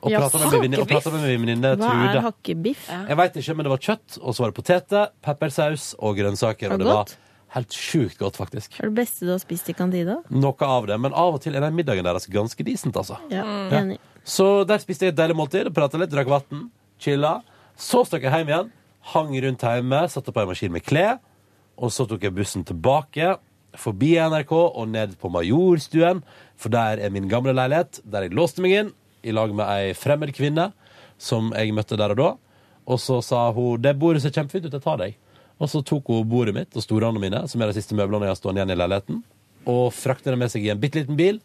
[SPEAKER 2] Og
[SPEAKER 15] Ja,
[SPEAKER 2] prata med min venninne- og
[SPEAKER 15] hakkebiff?
[SPEAKER 2] pratet med min venninne
[SPEAKER 15] Hva er
[SPEAKER 2] Trude.
[SPEAKER 15] hakkebiff?
[SPEAKER 2] Jeg veit ikke, men det var kjøtt, og så var det poteter, peppersaus og grønnsaker.
[SPEAKER 15] Var
[SPEAKER 2] Og
[SPEAKER 15] det
[SPEAKER 2] det var
[SPEAKER 15] godt?
[SPEAKER 2] helt sjukt godt, faktisk.
[SPEAKER 15] Er det beste du har spist i kantina?
[SPEAKER 2] Noe av det. Men av og til er den middagen deres ganske decent, altså.
[SPEAKER 15] Ja,
[SPEAKER 2] Ja.
[SPEAKER 15] enig.
[SPEAKER 2] Så der spiste jeg et deilig måltid, prata litt, drakk vann, chilla. Så stakk jeg hjem igjen, hang rundt hjemme, satte på en maskin med klær. Og så tok jeg bussen tilbake, forbi NRK og ned på Majorstuen, for der er min gamle leilighet, der jeg låste meg inn, i lag med ei fremmed kvinne som jeg møtte der og da. Og så sa hun 'Det bordet ser kjempefint ut, jeg tar deg'. Og så tok hun bordet mitt og stolene mine, som er de siste møblene jeg har stående igjen i leiligheten, og frakta det med seg i en bitte liten bil.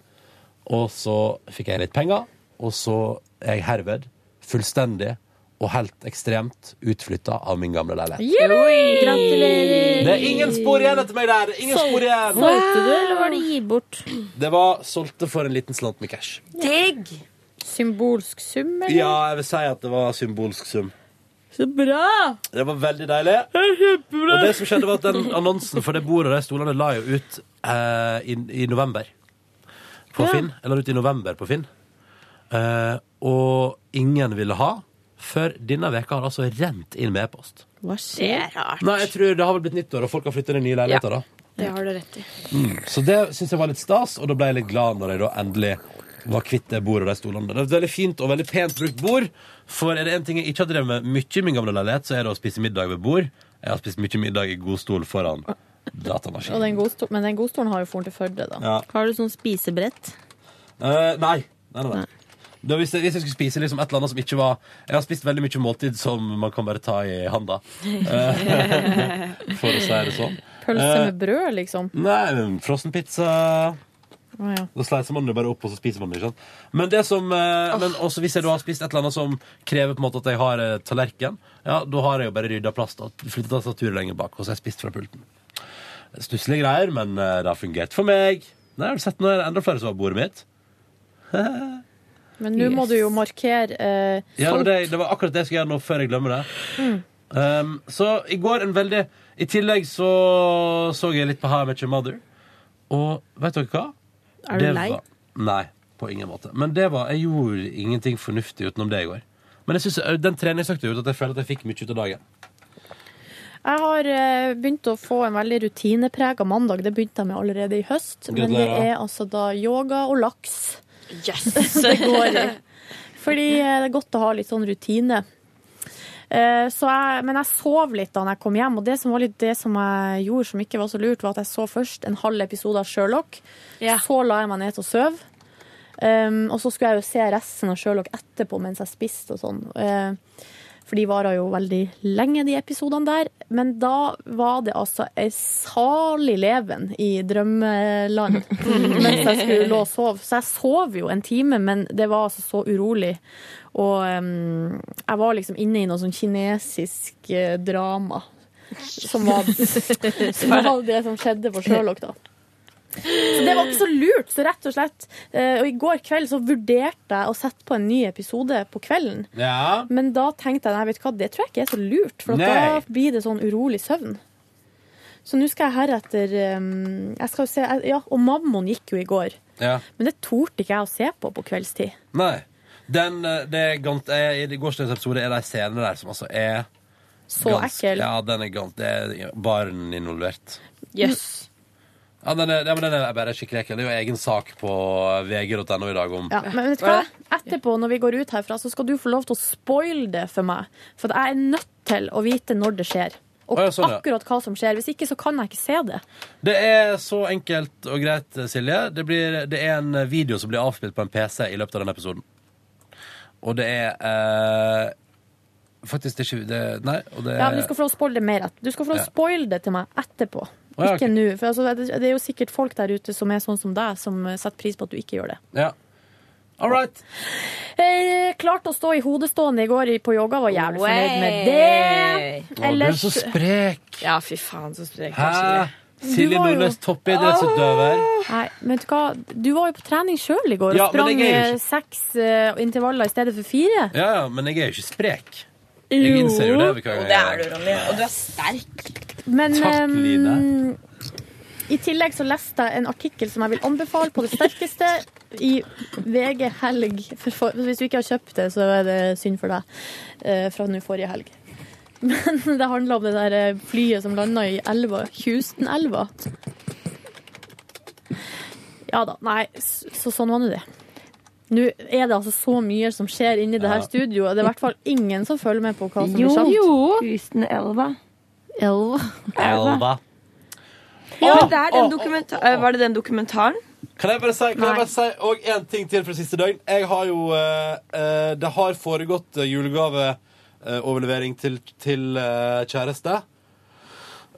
[SPEAKER 2] Og så fikk jeg litt penger, og så er jeg herved fullstendig og helt ekstremt utflytta av min gamle leilighet.
[SPEAKER 15] Yippee! Gratulerer!
[SPEAKER 2] Det er ingen spor igjen etter meg der! Ingen spor igjen!
[SPEAKER 15] Solgte du, eller var det gi bort?
[SPEAKER 2] Det var solgte for en liten slant med cash.
[SPEAKER 13] Digg!
[SPEAKER 16] Symbolsk sum, eller?
[SPEAKER 2] Ja, jeg vil si at det var symbolsk sum.
[SPEAKER 16] Så bra!
[SPEAKER 2] Det var veldig deilig. Og det som skjedde, var at den annonsen for det bordet og de stolene la jo ut eh, i, i november på
[SPEAKER 7] Ja.
[SPEAKER 2] Finn. Eller ut i november på Finn. Eh, og ingen ville ha før denne veka har det altså rent inn med e-post.
[SPEAKER 15] Hva
[SPEAKER 13] Det er rart.
[SPEAKER 2] Nei, jeg tror det har vel blitt nyttår, og folk har flyttet inn i nye leiligheter da.
[SPEAKER 13] Det har du rett i.
[SPEAKER 2] Mm. Så det syns jeg var litt stas, og da ble jeg litt glad når jeg da endelig var kvitt det bordet og de stolene. Det er et veldig fint og veldig pent brukt bord, for er det én ting jeg ikke har drevet med mye i min gamle leilighet, så er det å spise middag ved bord. Jeg har spist mye middag i godstol foran
[SPEAKER 16] Og
[SPEAKER 2] datamaskin.
[SPEAKER 16] den godsto- men den godstolen har jo foren til Førde, da.
[SPEAKER 2] Ja.
[SPEAKER 15] Har du sånn spisebrett?
[SPEAKER 2] Eh, nei. Nei, nei, nei. Da, hvis, jeg, hvis jeg skulle spise liksom et eller annet som ikke var Jeg har spist veldig mye måltid som man kan bare ta i handa. Eh, for å si det sånn.
[SPEAKER 16] Pølse
[SPEAKER 2] Eh,
[SPEAKER 16] med brød, liksom.
[SPEAKER 2] Nei, men frossenpizza
[SPEAKER 16] Å, ja.
[SPEAKER 2] Da sleiser man det bare opp, og så spiser man det. ikke sant? Men det som, eh, men også hvis jeg da har spist et eller annet som krever på en måte at jeg har eh, tallerken, ja, da har jeg jo bare rydda plass og flytta tastaturet lenger bak, og så har jeg spist fra pulten. Stusslige greier, men eh, det har fungert for meg. Nei, Har du sett nå er det enda flere som har bordet mitt?
[SPEAKER 16] Men nå må du jo markere eh,
[SPEAKER 2] Ja, det, var
[SPEAKER 16] salt.
[SPEAKER 4] eh,
[SPEAKER 2] det, det var akkurat det jeg skulle gjøre nå, før jeg glemmer det.
[SPEAKER 16] Mm.
[SPEAKER 2] Um, så i går en veldig I tillegg så så jeg litt på How I Met Your Mother. Og vet dere hva?
[SPEAKER 17] Er du
[SPEAKER 2] Det
[SPEAKER 17] lei?
[SPEAKER 2] Var, nei, på ingen måte. Men det var Jeg gjorde ingenting fornuftig utenom det i går. Men jeg synes, eh, den treningsøkta gjorde at jeg føler at jeg fikk mye ut av dagen.
[SPEAKER 4] Jeg har eh, begynt å få en veldig rutineprega mandag. Det begynte jeg med allerede i høst. Men det
[SPEAKER 17] Gratulerer.
[SPEAKER 4] er altså da yoga og laks.
[SPEAKER 13] Yes!
[SPEAKER 4] det går i. Fordi eh, det er godt å ha litt sånn rutine. Eh, Så jeg, men jeg sov litt da jeg kom hjem, og det som, var litt det som jeg gjorde som ikke var så lurt, var at jeg så først en halv episode av Sherlock. Så la jeg meg ned til å sove. Um, og så skulle jeg jo se resten av Sherlock etterpå mens jeg spiste og sånn. Eh, for de varer jo veldig lenge, de episodene der. Men da var det altså ei salig leven i drømmeland mens jeg skulle lå og sove. Så jeg sov jo en time, men det var altså så urolig. Og em, jeg var liksom inne i noe sånn kinesisk eh, drama. Som var, som var det som skjedde på Sherlock, da. Så det var ikke så lurt, så rett og slett. eh, Og i går kveld så vurderte jeg å sette på en ny episode på kvelden.
[SPEAKER 2] Ja.
[SPEAKER 4] Men da tenkte jeg nei, vet du hva, det tror jeg ikke er så lurt, for at
[SPEAKER 2] Nei.
[SPEAKER 4] da blir det sånn urolig søvn. Så nå skal jeg heretter um, Jeg skal jo se jeg- Ja, og Mammon gikk jo i går.
[SPEAKER 2] Ja.
[SPEAKER 4] Men det torde ikke jeg å se på på kveldstid.
[SPEAKER 2] Nei. Den, eh, det er gans, eh, I gårsdagens episode er det ei scene der som altså er
[SPEAKER 4] Så ekkel.
[SPEAKER 2] Ja, den er gans, det er barn involvert.
[SPEAKER 4] Yes.
[SPEAKER 2] Ja, den er, ja, men den er bare skikkelig ekkel. Det er jo egen sak på vg.no i dag om
[SPEAKER 4] Ja, men vet du hva? Etterpå, når vi går ut herfra, så skal du få lov til å spoile det for meg. For jeg er nødt til å vite når det skjer. Og
[SPEAKER 2] Å, ja, sånn, ja.
[SPEAKER 4] akkurat hva som skjer. Hvis ikke så kan jeg ikke se det.
[SPEAKER 2] Det er så enkelt og greit, Silje. Det, blir, det er en video som blir avspilt på en PC i løpet av denne episoden. Og det er eh, Faktisk, det er ikke det, Nei. Og det,
[SPEAKER 4] Ja, men du skal få lov å spoile det mer rett. Du skal få lov å
[SPEAKER 2] Eh, Ja.
[SPEAKER 4] spoile det til meg etterpå.
[SPEAKER 2] Å, ja, ok.
[SPEAKER 4] Ikke nå. For altså, det det er jo sikkert folk der ute som er sånn som deg, som eh, setter pris på at du ikke gjør det.
[SPEAKER 2] ja. All right.
[SPEAKER 4] Eh, klarte å stå i hodestående i går i- på yoga, var jævlig fornøyd med det.
[SPEAKER 2] Å, du er så sprek.
[SPEAKER 13] Ja, fy faen, så sprek.
[SPEAKER 2] Hæ?
[SPEAKER 4] Du
[SPEAKER 2] Silje
[SPEAKER 4] var jo-
[SPEAKER 2] Nordnes, toppidrettsutøver.
[SPEAKER 4] Nei, men vet du hva? Du var jo på trening sjøl i går og
[SPEAKER 2] Ja, men
[SPEAKER 4] sprang
[SPEAKER 2] jeg er jo
[SPEAKER 4] eh,
[SPEAKER 2] ikke-
[SPEAKER 4] seks eh, intervaller i stedet for fire.
[SPEAKER 2] Ja, ja, men jeg er jo ikke sprek. Jeg innser jo det. hver gang jeg-
[SPEAKER 13] Jo, det er du, Ronny. Og du er sterk.
[SPEAKER 4] Men
[SPEAKER 2] Takk,
[SPEAKER 4] ehm,
[SPEAKER 2] Line.
[SPEAKER 4] i tillegg så leste jeg en artikkel som jeg vil anbefale på det sterkeste i VG helg. For, for, hvis du ikke har kjøpt det, så er det synd for deg. eh, fra nå forrige helg. Men det handler om det der eh, flyet som landa i elva. Houston-elva. Ja da. Nei, s- så sånn var nå det. Nå er det altså så mye som skjer inni det her
[SPEAKER 13] Ja.
[SPEAKER 4] studioet. Det er i hvert fall ingen som følger med på hva som
[SPEAKER 13] Jo.
[SPEAKER 4] blir sagt.
[SPEAKER 13] Jo.
[SPEAKER 4] Houston-elva. Elva.
[SPEAKER 2] Elva.
[SPEAKER 13] Ja,
[SPEAKER 2] Å,
[SPEAKER 13] men det er den
[SPEAKER 2] å,
[SPEAKER 13] dokumenta- eh, Var det den dokumentaren?
[SPEAKER 2] Kan jeg bare si, kan jeg bare si og en ting til fra siste døgn? Jeg har jo eh, eh, Det har foregått eh, julegaveoverlevering til, til eh, kjæreste.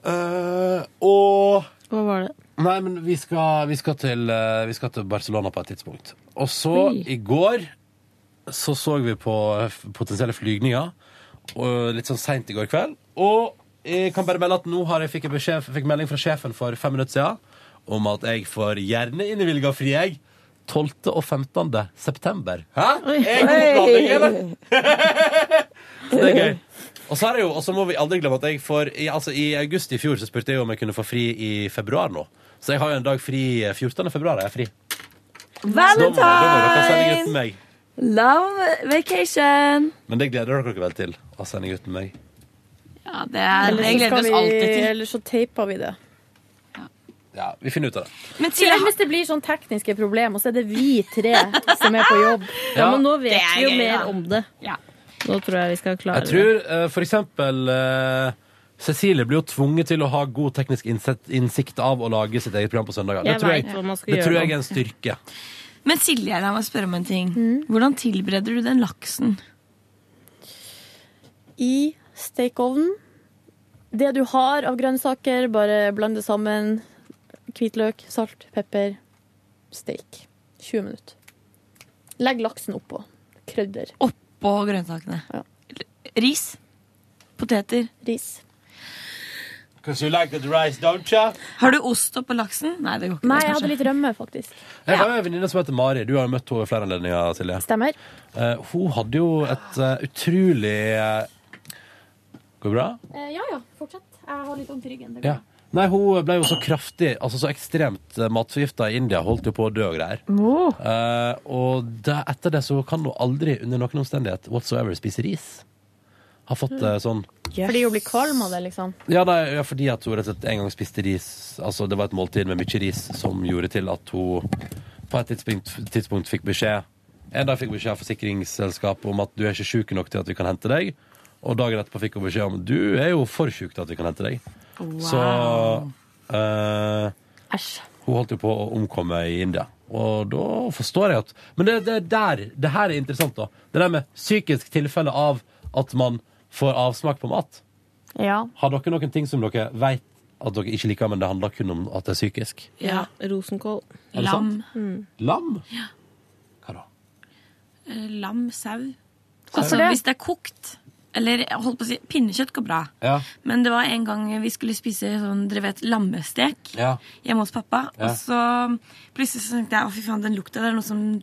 [SPEAKER 2] Eh, og
[SPEAKER 18] Hva var det?
[SPEAKER 2] Nei, men vi skal, vi, skal til, eh, vi skal til Barcelona på et tidspunkt. Og så,
[SPEAKER 18] Oi.
[SPEAKER 2] i går, så så vi på eh, f- potensielle flygninger. Og litt sånn seint i går kveld. Og jeg kan bare melde at nå har jeg fikk, jeg beskjed, fikk melding fra sjefen for fem minutter siden om at jeg får gjerne innvilga fri, jeg. 12. og 15. september. Hæ? Jeg går på planlegging, eller? Så det er gøy. Og så er det jo, og så må vi aldri glemme at jeg får i, altså, I august i fjor så spurte jeg om jeg kunne få fri i februar nå. Så jeg har jo en dag fri eh, 14. februar. er jeg fri. Så da må- da må dere sende
[SPEAKER 13] Valentine!
[SPEAKER 2] gutten meg.
[SPEAKER 13] Love vacation!
[SPEAKER 2] Men det gleder dere vel til? Å sende gutten meg.
[SPEAKER 13] Ja,
[SPEAKER 4] Eller så
[SPEAKER 13] Jeg gleder
[SPEAKER 4] skal
[SPEAKER 13] oss
[SPEAKER 4] vi-
[SPEAKER 13] alltid til.
[SPEAKER 4] Eller så taper vi det.
[SPEAKER 2] Ja, Vi finner ut av det.
[SPEAKER 13] Men
[SPEAKER 4] Silje, hvis det blir sånn tekniske problemer, så er det vi tre som er på jobb.
[SPEAKER 2] Ja, Ja, men nå
[SPEAKER 18] vet vi jo mer
[SPEAKER 4] om det.
[SPEAKER 18] Nå tror jeg vi skal klare
[SPEAKER 2] Jeg tror eh, for eksempel eh, Cecilie blir jo tvunget til å ha god teknisk innsett, innsikt av å lage sitt eget program på søndager. Det
[SPEAKER 13] Jeg
[SPEAKER 2] tror jeg,
[SPEAKER 13] vet hva man skal
[SPEAKER 2] det
[SPEAKER 13] gjøre
[SPEAKER 2] tror
[SPEAKER 13] da.
[SPEAKER 2] jeg er en styrke.
[SPEAKER 13] Men Silje, la meg spørre om en ting. Hvordan tilbereder du den laksen?
[SPEAKER 4] I stekeovnen. Det du har av grønnsaker, bare bland det sammen. Hvitløk, salt, pepper. Steik. 20 minutter. Legg laksen oppå. Krydder.
[SPEAKER 13] Oppå grønnsakene. Ris? Poteter?
[SPEAKER 4] Ris.
[SPEAKER 2] Because you like the rice, don't you?
[SPEAKER 13] Har du ost oppå laksen? Nei, det går ikke.
[SPEAKER 4] Nei,
[SPEAKER 13] det,
[SPEAKER 4] jeg hadde
[SPEAKER 13] kanskje.
[SPEAKER 4] litt rømme, faktisk.
[SPEAKER 2] Jeg har jo en venninne som heter Mari. Du har jo møtt henne i flere anledninger, Silje.
[SPEAKER 4] Stemmer.
[SPEAKER 2] Eh, hun hadde jo et eh, utrolig eh, Går det bra?
[SPEAKER 4] Eh, ja ja, fortsett. Jeg har litt vondt i ryggen. det går
[SPEAKER 2] Ja. Nei, hun ble jo så kraftig, altså så ekstremt eh, matforgifta i India. Holdt jo på å dø og greier. Eh, og det, etter det så kan hun aldri under noen omstendighet whatsoever spise ris. Har fått eh, sånn
[SPEAKER 4] Fordi hun blir kvalm av det, liksom.
[SPEAKER 2] ja, nei, ja, fordi at hun rett og slett en gang spiste ris Altså, det var et måltid med mye ris som gjorde til at hun på et tidspunkt, tidspunkt fikk beskjed En dag fikk beskjed av forsikringsselskapet om at du er ikke syk nok til at vi kan hente deg. Og dagen etterpå fikk hun beskjed om du er jo for syk til at vi kan hente deg. Så eh, Hun holdt jo på å omkomme i India. Og da forstår jeg at Men det, det, er der, det her er interessant, da. Det der med psykisk tilfelle av at man får avsmak på mat.
[SPEAKER 4] Ja.
[SPEAKER 2] Har dere noen ting som dere vet at dere ikke liker, men det handler kun om at det er psykisk?
[SPEAKER 19] Ja, rosenkål.
[SPEAKER 2] Er det sant?
[SPEAKER 19] Mm.
[SPEAKER 2] Lam?
[SPEAKER 13] Eh, Lam sau.
[SPEAKER 2] Sau.
[SPEAKER 13] Altså,
[SPEAKER 2] Hvorfor det?
[SPEAKER 13] hvis det er kokt. Eller jeg holdt på å si, pinnekjøtt går bra.
[SPEAKER 2] Ja.
[SPEAKER 13] Men det var en gang vi skulle spise sånn, dere vet, lammestek
[SPEAKER 2] Ja.
[SPEAKER 13] hjemme hos pappa.
[SPEAKER 2] Ja.
[SPEAKER 13] Og så plutselig så tenkte jeg å fy faen, den lukta det er noe som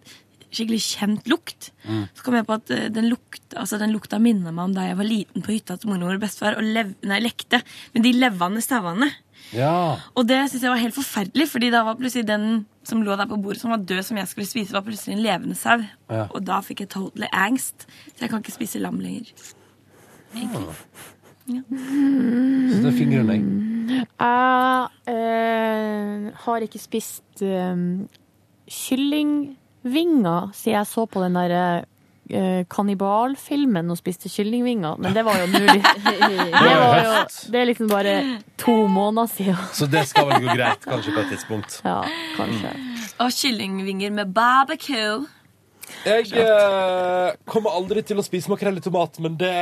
[SPEAKER 13] skikkelig kjent lukt.
[SPEAKER 2] Mm.
[SPEAKER 13] Så kom jeg på at eh, den, lukt, altså, den lukta minner meg om da jeg var liten på hytta til mormor og bestefar og lev, nei, lekte med de levende sauene.
[SPEAKER 2] Ja.
[SPEAKER 13] Og det synes jeg var helt forferdelig, fordi da var plutselig den som lå der på bordet, som var død, som jeg skulle spise, var plutselig en levende sau.
[SPEAKER 2] Ja.
[SPEAKER 13] Og da fikk jeg totally angst, så jeg kan ikke spise lam lenger.
[SPEAKER 2] Ah.
[SPEAKER 13] Ja.
[SPEAKER 2] Så det er fingeren, jeg.
[SPEAKER 4] Jeg eh, har ikke spist eh, kyllingvinger siden jeg så på den der eh, kannibalfilmen og spiste kyllingvinger. Men det var jo nå litt- Det, var jo, det er liksom bare to måneder siden.
[SPEAKER 2] Så det skal vel gå greit, kanskje, på et tidspunkt.
[SPEAKER 4] Ja, kanskje.
[SPEAKER 13] Og kyllingvinger med barbecue.
[SPEAKER 2] Jeg eh, kommer aldri til å spise makrell i tomat, men det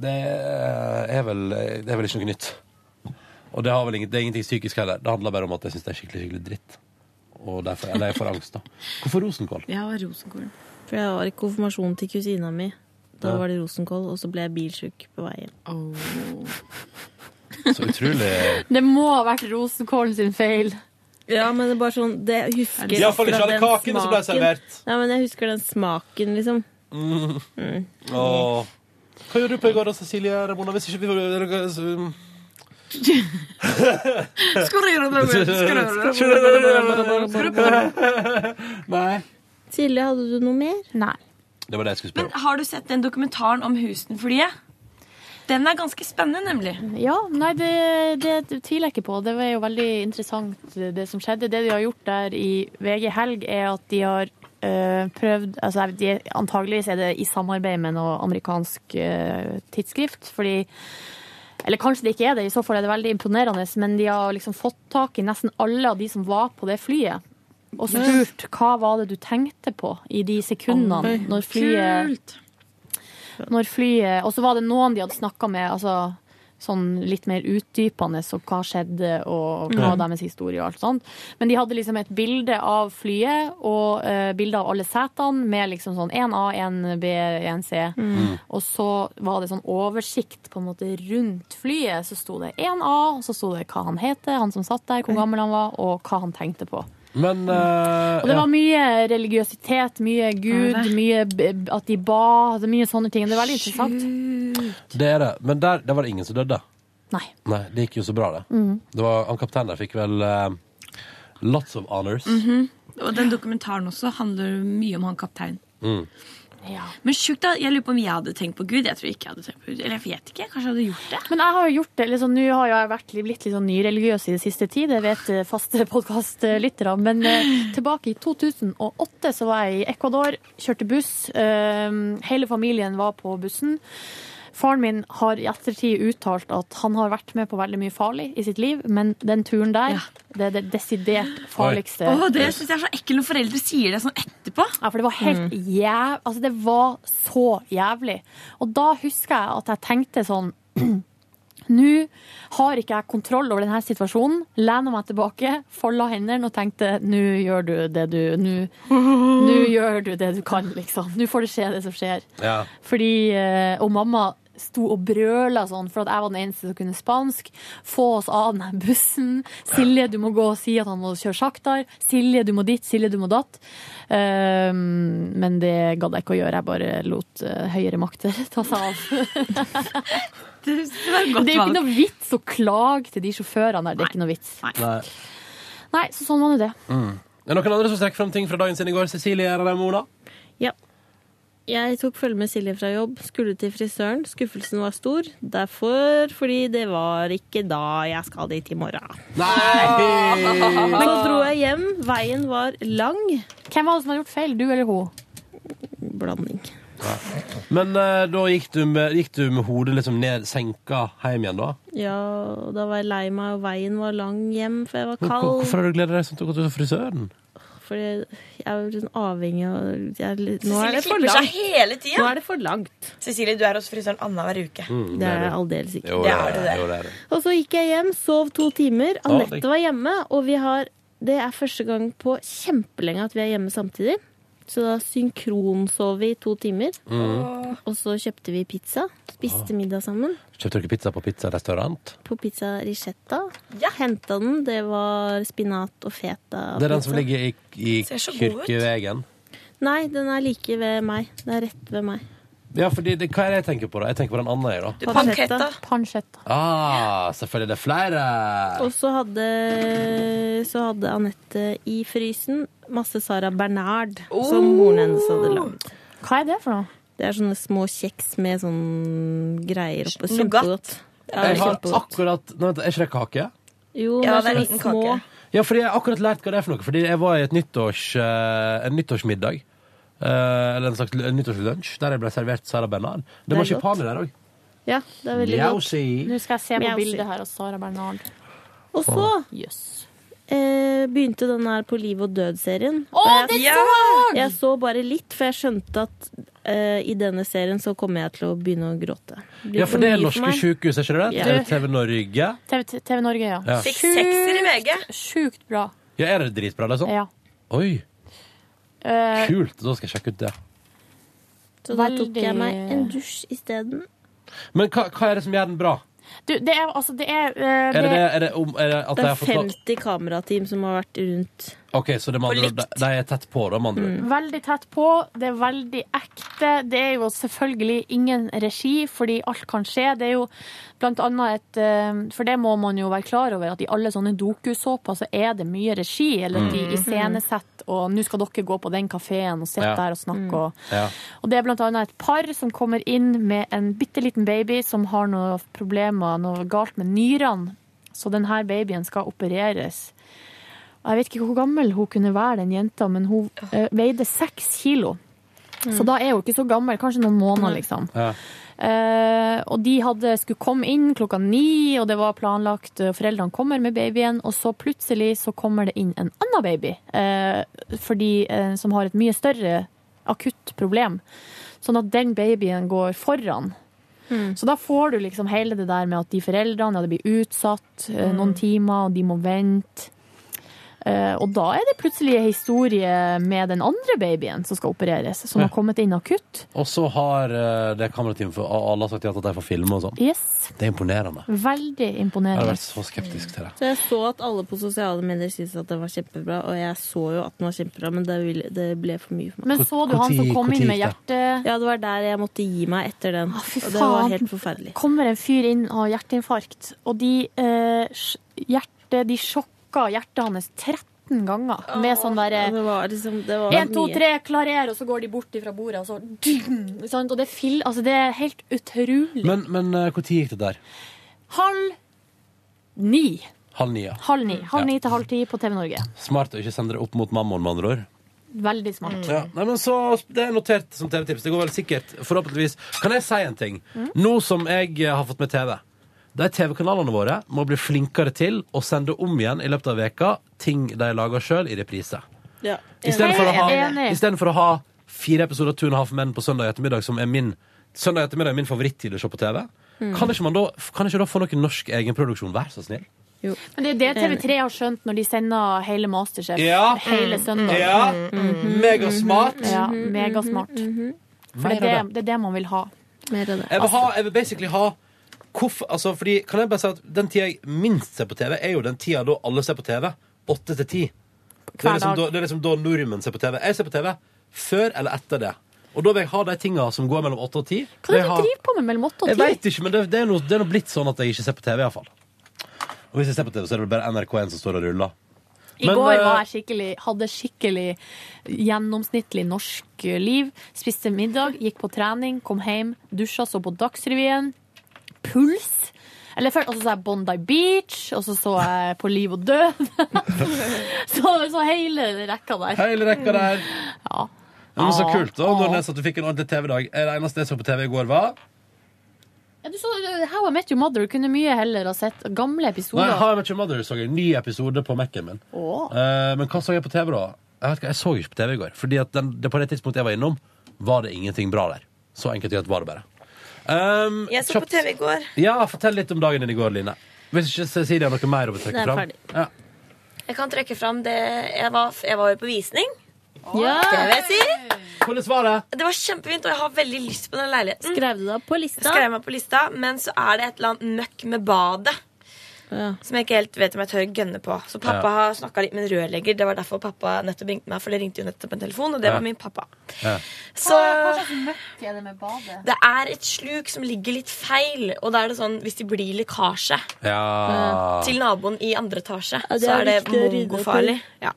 [SPEAKER 2] Det er vel, det er vel ikke noe nytt. Og det, har vel ingen, det er ingenting psykisk heller. Det handler bare om at jeg syns det er skikkelig skikkelig dritt. Og derfor, eller jeg får angst, da. Hvorfor rosenkål?
[SPEAKER 19] Jeg har rosenkål. For jeg var i konfirmasjonen til kusina mi. Da
[SPEAKER 2] Ja.
[SPEAKER 19] var det rosenkål, og så ble jeg bilsjuk på vei hjem.
[SPEAKER 2] Så utrolig
[SPEAKER 4] Det må ha vært rosenkålen sin feil.
[SPEAKER 19] Ja, men det er bare sånn det jeg husker
[SPEAKER 2] I alle fall ikke
[SPEAKER 19] akkurat
[SPEAKER 2] alle
[SPEAKER 19] den
[SPEAKER 2] sånn kakene som ble
[SPEAKER 19] smaken.
[SPEAKER 2] servert.
[SPEAKER 19] Ja, men jeg husker den smaken, liksom.
[SPEAKER 2] mm. Åh. Hva gjorde du på i går da, Cecilie Ramona? Hvis ikke vi Nei.
[SPEAKER 19] Silje, hadde du noe mer?
[SPEAKER 4] Nei.
[SPEAKER 2] Det var det jeg skulle spørre om.
[SPEAKER 13] Har du sett den dokumentaren om Houston-flyet? Den er ganske spennende, nemlig.
[SPEAKER 4] Ja, nei, det, det tviler jeg ikke på. Det var jo veldig interessant, det som skjedde. Det de har gjort der i VG helg, er at de har eh, prøvd altså de, Antageligvis er det i samarbeid med noe amerikansk eh, tidsskrift, fordi eller kanskje det ikke er det, i så fall er det veldig imponerende. Men de har liksom fått tak i nesten alle av de som var på det flyet. Og spurt hva var det du tenkte på i de sekundene
[SPEAKER 19] Oi,
[SPEAKER 4] når flyet Når flyet Og så var det noen de hadde snakka med, altså sånn litt mer utdypende, så hva skjedde, og hva
[SPEAKER 19] Mm.
[SPEAKER 4] var deres historie og alt sånt. Men de hadde liksom et bilde av flyet og eh, bilde av alle setene med liksom sånn 1A, 1B, 1C.
[SPEAKER 19] Mm.
[SPEAKER 4] Og så var det sånn oversikt på en måte rundt flyet. Så sto det 1A, og så sto det hva han heter, han som satt der, hvor gammel han var, og hva han tenkte på.
[SPEAKER 2] Men eh,
[SPEAKER 4] Og det
[SPEAKER 2] ja.
[SPEAKER 4] var mye religiøsitet, mye Gud, mye b- b- at de ba, det er mye sånne ting. Det er veldig interessant.
[SPEAKER 2] Det er det. Men der, der var det ingen som døde.
[SPEAKER 4] Nei.
[SPEAKER 2] Nei, Det gikk jo så bra, det.
[SPEAKER 4] Mm.
[SPEAKER 13] Mhm.
[SPEAKER 2] det var, han kapteinen der fikk vel eh, lots of honors.
[SPEAKER 13] Mhm. Og den dokumentaren også handler mye om han kapteinen.
[SPEAKER 2] Mm.
[SPEAKER 13] Men sjukt, da. Jeg lurer på om jeg hadde tenkt på Gud. Jeg tror ikke jeg hadde tenkt på Gud. Eller jeg vet ikke. Kanskje jeg hadde gjort det.
[SPEAKER 4] Men jeg har jo gjort det, liksom, nå har jeg vært litt, litt sånn nyreligiøs i det siste tid, det vet eh, faste podcastlyttere, men eh, tilbake i 2008 så var jeg i Ecuador, kjørte buss, eh, hele familien var på bussen. Faren min har i ettertid uttalt at han har vært med på veldig mye farlig i sitt liv, men den turen der, det er det desidert farligste.
[SPEAKER 13] Åh, det syns jeg er så ekkelt når foreldre sier det sånn etterpå.
[SPEAKER 4] Ja, for det var helt jæv... Altså, det var så jævlig. Og da husker jeg at jeg tenkte sånn Nå har ikke jeg kontroll over denne situasjonen. Lener meg tilbake, folda hendene og tenkte nå gjør du det du Nå nå gjør du det du kan, liksom. Nå får det skje, det som skjer.
[SPEAKER 2] Ja.
[SPEAKER 4] Fordi, eh, Og mamma sto og brøla sånn for at jeg var den eneste som kunne spansk. Få oss av den her bussen. Silje, du må gå og si at han må kjøre saktere. Silje, du må dit. Silje, du må datt. Eh, men det gadd jeg ikke å gjøre. Jeg bare lot eh, høyere makter ta seg av.
[SPEAKER 20] Det var et godt
[SPEAKER 4] Men det er jo ikke
[SPEAKER 20] valg.
[SPEAKER 4] noe vits å klage til de sjåførene der. Det er ikke noe vits.
[SPEAKER 2] Nei.
[SPEAKER 4] Nei, så sånn var nå det.
[SPEAKER 2] Mm. Er det noen andre som trekker fram ting fra dagen sin i går? Cecilie er det Mona?
[SPEAKER 13] Ja. Jeg tok følge med Silje fra jobb, skulle til frisøren. Skuffelsen var stor. Derfor fordi det var ikke da jeg skal dit i morgen.
[SPEAKER 4] Nei!
[SPEAKER 13] Så dro jeg hjem. Veien var lang.
[SPEAKER 4] Hvem var det som hadde gjort feil? Du eller hun?
[SPEAKER 13] Blanding.
[SPEAKER 2] Men eh, da gikk du, med, gikk du med hodet liksom ned, senka hjem igjen da?
[SPEAKER 13] Ja, og da var jeg lei meg, og veien var lang hjem, for jeg var
[SPEAKER 2] Hvor- hvor- Hvorfor
[SPEAKER 13] kald.
[SPEAKER 2] har du gledet deg sånn til å gå til frisøren?
[SPEAKER 13] Fordi jeg er jo sånn avhengig av jeg, er litt- Nå
[SPEAKER 3] Cecilie
[SPEAKER 13] er det for
[SPEAKER 3] klipper seg
[SPEAKER 13] langt.
[SPEAKER 3] hele tiden.
[SPEAKER 13] Nå er det for langt.
[SPEAKER 3] Cecilie, du er hos frisøren annenhver uke.
[SPEAKER 13] Mm, Det er det er du. aldeles ikke. Jo,
[SPEAKER 3] det
[SPEAKER 13] det er
[SPEAKER 3] er du
[SPEAKER 13] det.
[SPEAKER 3] det.
[SPEAKER 13] Jo,
[SPEAKER 3] det,
[SPEAKER 13] Og så gikk jeg hjem, sov to timer.
[SPEAKER 2] Ja, det-
[SPEAKER 13] Anette var hjemme, og vi har Det er første gang på kjempelenge at vi er hjemme samtidig. Så da synkronsov vi i to timer.
[SPEAKER 3] Mm.
[SPEAKER 2] Mhm.
[SPEAKER 13] Og så kjøpte vi pizza. Spiste middag sammen.
[SPEAKER 2] Kjøpte dere pizza på pizzarestaurant?
[SPEAKER 13] På pizza Ricetta. Ja. Henta den. Det var spinat og feta.
[SPEAKER 2] Det er den
[SPEAKER 13] pizza.
[SPEAKER 2] som ligger i, i
[SPEAKER 13] Ser så god ut.
[SPEAKER 2] Kirkevegen.
[SPEAKER 13] Nei, den er like ved meg. Den er rett ved meg.
[SPEAKER 2] Ja, fordi det, hva er det jeg tenker på da? Jeg tenker på den andre jeg da.
[SPEAKER 4] Pancetta.
[SPEAKER 2] Ah, selvfølgelig det er flere!
[SPEAKER 13] Og så hadde, Eh, så hadde Anette i frysen masse Sara Bernard,
[SPEAKER 3] Oh.
[SPEAKER 13] som moren hennes hadde lagd.
[SPEAKER 4] Hva er det for noe?
[SPEAKER 13] Det er sånne små kjeks med sånn greier oppå.
[SPEAKER 2] Nougat.
[SPEAKER 13] Kjempegodt. Ja,
[SPEAKER 2] jeg har
[SPEAKER 13] kjempegodt.
[SPEAKER 2] akkurat Nei, vent, er ikke det kake?
[SPEAKER 13] Jo,
[SPEAKER 3] Ja,
[SPEAKER 13] det er
[SPEAKER 3] det er
[SPEAKER 13] sånne
[SPEAKER 3] liten
[SPEAKER 13] små
[SPEAKER 3] kake.
[SPEAKER 2] Ja, fordi jeg har akkurat lært hva det er for noe. Fordi jeg var i et nyttårs, eh, en nyttårsmiddag. eh, eller en slags en nyttårslunsj, der jeg ble servert Sara Bernard. Det
[SPEAKER 13] Det
[SPEAKER 2] var
[SPEAKER 13] er godt.
[SPEAKER 2] marsipan i der òg.
[SPEAKER 13] Ja, det er veldig godt.
[SPEAKER 2] Mjausi.
[SPEAKER 4] Nå skal jeg se på
[SPEAKER 13] Mjausi.
[SPEAKER 4] bildet her av Sara Bernard.
[SPEAKER 13] Mm. Og så eh, begynte den her På liv og død-serien.
[SPEAKER 4] Å,
[SPEAKER 13] Og
[SPEAKER 4] den så jeg!
[SPEAKER 13] Jeg så bare litt, for jeg skjønte at eh, i denne serien så kommer jeg til å begynne å gråte. Det blir
[SPEAKER 2] Ja, for det
[SPEAKER 13] mye
[SPEAKER 2] er norske
[SPEAKER 13] meg.
[SPEAKER 2] sykehus, er ikke det?
[SPEAKER 13] Ja.
[SPEAKER 2] det? Er TV Norge.
[SPEAKER 4] TV, TV Norge, ja.
[SPEAKER 2] Ja.
[SPEAKER 3] Fikk sekser i VG.
[SPEAKER 4] Sjukt bra.
[SPEAKER 2] Ja, er det dritbra, liksom?
[SPEAKER 4] Ja.
[SPEAKER 2] Oi,
[SPEAKER 4] Eh,
[SPEAKER 2] kult! Da skal jeg sjekke ut det.
[SPEAKER 13] Så da tok jeg
[SPEAKER 4] Veldig-
[SPEAKER 13] meg en dusj isteden.
[SPEAKER 2] Men hva, hva er det som gjør den bra?
[SPEAKER 4] Du, det er altså Det er, eh,
[SPEAKER 2] Er det, det, er det, om, er det at
[SPEAKER 13] Det
[SPEAKER 2] de
[SPEAKER 13] er
[SPEAKER 2] har fått lov
[SPEAKER 13] 50 kamerateam som har vært rundt.
[SPEAKER 2] OK, så det med andre, ord, de de er tett på, da, med andre
[SPEAKER 13] Mm.
[SPEAKER 2] ord.
[SPEAKER 4] Veldig tett på, det er veldig ekte. Det er jo selvfølgelig ingen regi, fordi alt kan skje. Det er jo blant annet et eh, For det må man jo være klar over, at i alle sånne dokusåper så er det mye regi. Eller at de
[SPEAKER 13] Mm.
[SPEAKER 4] iscenesetter, og nå skal dere gå på den kafeen og sitte
[SPEAKER 13] Ja.
[SPEAKER 4] der og snakke og
[SPEAKER 2] Ja.
[SPEAKER 4] og det er blant annet et par som kommer inn med en bitte liten baby som har noen problemer, noe galt med nyrene. Så denne babyen skal opereres. Og Jeg vet ikke hvor gammel hun kunne være, den jenta, men hun eh, veide seks kilo. Så da er hun ikke så gammel, kanskje noen måneder, liksom.
[SPEAKER 2] Ja.
[SPEAKER 4] Eh, og de hadde, skulle komme inn klokka ni, og det var planlagt eh, Foreldrene kommer med babyen, og så plutselig så kommer det inn en annen baby eh, fordi, eh, som har et mye større akutt problem. Sånn at den babyen går foran.
[SPEAKER 2] Hmm.
[SPEAKER 4] Så da får du liksom hele det der med at de foreldrene ja, det blir utsatt
[SPEAKER 2] Hmm.
[SPEAKER 4] eh, noen timer, og de må vente. Eh, og da er det plutselig en historie med den andre babyen som skal opereres, som
[SPEAKER 2] Ja.
[SPEAKER 4] har kommet inn akutt.
[SPEAKER 2] Og så har eh, det kamerateamet for og alle har sagt ja til at de får filme og sånn.
[SPEAKER 4] Yes.
[SPEAKER 2] Det er imponerende.
[SPEAKER 4] Veldig
[SPEAKER 2] Jeg
[SPEAKER 4] imponerende.
[SPEAKER 2] har vært så skeptisk til det.
[SPEAKER 13] Så jeg så at alle på sosiale medier syntes at det var kjempebra, og jeg så jo at den var kjempebra, men det, ville, det ble for mye for meg.
[SPEAKER 4] Men så du han som kom inn med hjertet
[SPEAKER 13] Ja, det var der jeg måtte gi meg etter den.
[SPEAKER 4] fy
[SPEAKER 13] og det var
[SPEAKER 4] faen.
[SPEAKER 13] helt forferdelig.
[SPEAKER 4] Kommer en fyr inn og har hjerteinfarkt, og de, eh, sj- hjerte, de sjokka hjertet hans 13 ganger med sånn derre
[SPEAKER 13] Ja, det var liksom det var
[SPEAKER 4] Én, to,
[SPEAKER 13] mye.
[SPEAKER 4] tre, klarer, og så går de bort fra bordet, og så ding, sant? Og det, er fil, altså, det er helt utrolig.
[SPEAKER 2] Men, men eh, hvor tid gikk det der?
[SPEAKER 4] Halv ni.
[SPEAKER 2] Halv ni, ja.
[SPEAKER 4] Halv ni Halv
[SPEAKER 2] Ja.
[SPEAKER 4] ni til halv ti på TV Norge.
[SPEAKER 2] Smart å ikke sende det opp mot mammon, med andre ord.
[SPEAKER 4] Veldig smart.
[SPEAKER 2] Ja, nei, men så, det er notert som TV-tips. Det går vel sikkert, forhåpentligvis. Kan jeg si en ting? Nå som jeg eh, har fått med TV De TV-kanalene våre må bli flinkere til å sende om igjen i løpet av veka ting de lager sjøl, i reprise.
[SPEAKER 13] Ja.
[SPEAKER 2] Istedenfor å, ha-
[SPEAKER 13] Enig.
[SPEAKER 2] i stedet for å ha fire episoder av Two and a Half Men på søndag ettermiddag, som er min Søndag ettermiddag er min favorittid å se på TV.
[SPEAKER 4] Mm.
[SPEAKER 2] Kan ikke man da, kan ikke da få noe norsk egenproduksjon? Vær så snill.
[SPEAKER 4] Men det er det TV3 har skjønt når de sender hele Masterchef
[SPEAKER 2] Ja. Mm.
[SPEAKER 4] hele søndag.
[SPEAKER 2] Ja. Mm-hmm,
[SPEAKER 4] Mhm.
[SPEAKER 2] Megasmart.
[SPEAKER 4] Ja, megasmart. For det Altså-
[SPEAKER 2] Mer
[SPEAKER 4] er
[SPEAKER 2] av
[SPEAKER 4] det, det er det man vil ha.
[SPEAKER 21] Mer av det.
[SPEAKER 2] Jeg vil, ha, jeg vil basically ha hvorfor, altså, fordi, Kan jeg bare si at den tida jeg minst ser på TV, er jo den tida da alle ser på TV. Åtte til ti. Det er,
[SPEAKER 4] Hver
[SPEAKER 2] liksom
[SPEAKER 4] dag.
[SPEAKER 2] da, det er liksom da nordmenn ser på TV. Jeg ser på TV før eller etter det. Og da vil jeg ha de tinga som går mellom åtte og ti.
[SPEAKER 4] Hva er det
[SPEAKER 2] Jeg
[SPEAKER 4] du
[SPEAKER 2] har-
[SPEAKER 4] driver på med mellom åtte og
[SPEAKER 2] Jeg
[SPEAKER 4] ti?
[SPEAKER 2] veit ikke, men det, det er noe- det er nå blitt sånn at jeg ikke ser på TV, iallfall. Og hvis jeg ser på TV, så er det vel bare NRK1 som står og ruller.
[SPEAKER 4] I
[SPEAKER 2] Men,
[SPEAKER 4] går var
[SPEAKER 2] eh,
[SPEAKER 4] jeg skikkelig, hadde skikkelig gjennomsnittlig norsk liv. Spiste middag, gikk på trening, kom hjem, dusja, så på Dagsrevyen. Puls. Eller først, og så så jeg Bondi Beach, og så så jeg På liv og død. så, så hele rekka der.
[SPEAKER 2] Hele rekka der.
[SPEAKER 4] Ja.
[SPEAKER 2] Ja, men så
[SPEAKER 4] Ja.
[SPEAKER 2] kult, da. Nordnes, at du fikk en ordentlig TV-dag. Det eneste jeg så på TV i går, var
[SPEAKER 4] Ja, du så eh, How I Met Your Mother. Du kunne mye heller ha sett gamle
[SPEAKER 2] Nei,
[SPEAKER 4] episoder.
[SPEAKER 2] How I Met Your Mother så jeg en ny episode på Mac-en min.
[SPEAKER 4] Åh.
[SPEAKER 2] Eh, men hva så jeg på TV, da? Jeg, vet ikke, jeg så ikke på TV i går. Fordi at den, det, på det tidspunktet jeg var innom, var det ingenting bra der. Så enkelt og greit var det bare. Um,
[SPEAKER 13] Jeg så på
[SPEAKER 2] kjapt-
[SPEAKER 13] TV i går.
[SPEAKER 2] Ja, fortell litt om dagen din i går, Line. Hvis ikke Cecilie har noe mer å
[SPEAKER 13] Nei,
[SPEAKER 2] trekke fram.
[SPEAKER 13] ferdig.
[SPEAKER 2] Ja.
[SPEAKER 13] Jeg kan trekke fram det Jeg var, jeg var jo på visning.
[SPEAKER 21] Ja.
[SPEAKER 13] Det vil jeg si.
[SPEAKER 2] Hvordan var det?
[SPEAKER 13] Det var kjempefint, og jeg har veldig lyst på den leiligheten.
[SPEAKER 21] Skrev du deg på lista?
[SPEAKER 13] Skrev meg på lista, Men så er det et eller annet møkk med badet. Som jeg ikke helt vet om jeg tør gønne på. Så pappa
[SPEAKER 22] Ja.
[SPEAKER 13] har snakka litt med en rørlegger. Det var derfor pappa nettopp ringte meg, for det ringte jo nettopp en telefon, og det
[SPEAKER 22] Ja.
[SPEAKER 13] var min pappa.
[SPEAKER 22] Ja.
[SPEAKER 13] Så
[SPEAKER 4] Hva slags møkk er det med badet?
[SPEAKER 13] det er et sluk som ligger litt feil, og da er det sånn hvis det blir lekkasje
[SPEAKER 2] Ja.
[SPEAKER 13] Eh, til naboen i andre etasje,
[SPEAKER 22] Ah. Ja, det
[SPEAKER 13] så
[SPEAKER 22] er
[SPEAKER 13] er det
[SPEAKER 22] viktig å rydde opp i.
[SPEAKER 13] mongofarlig. Ja.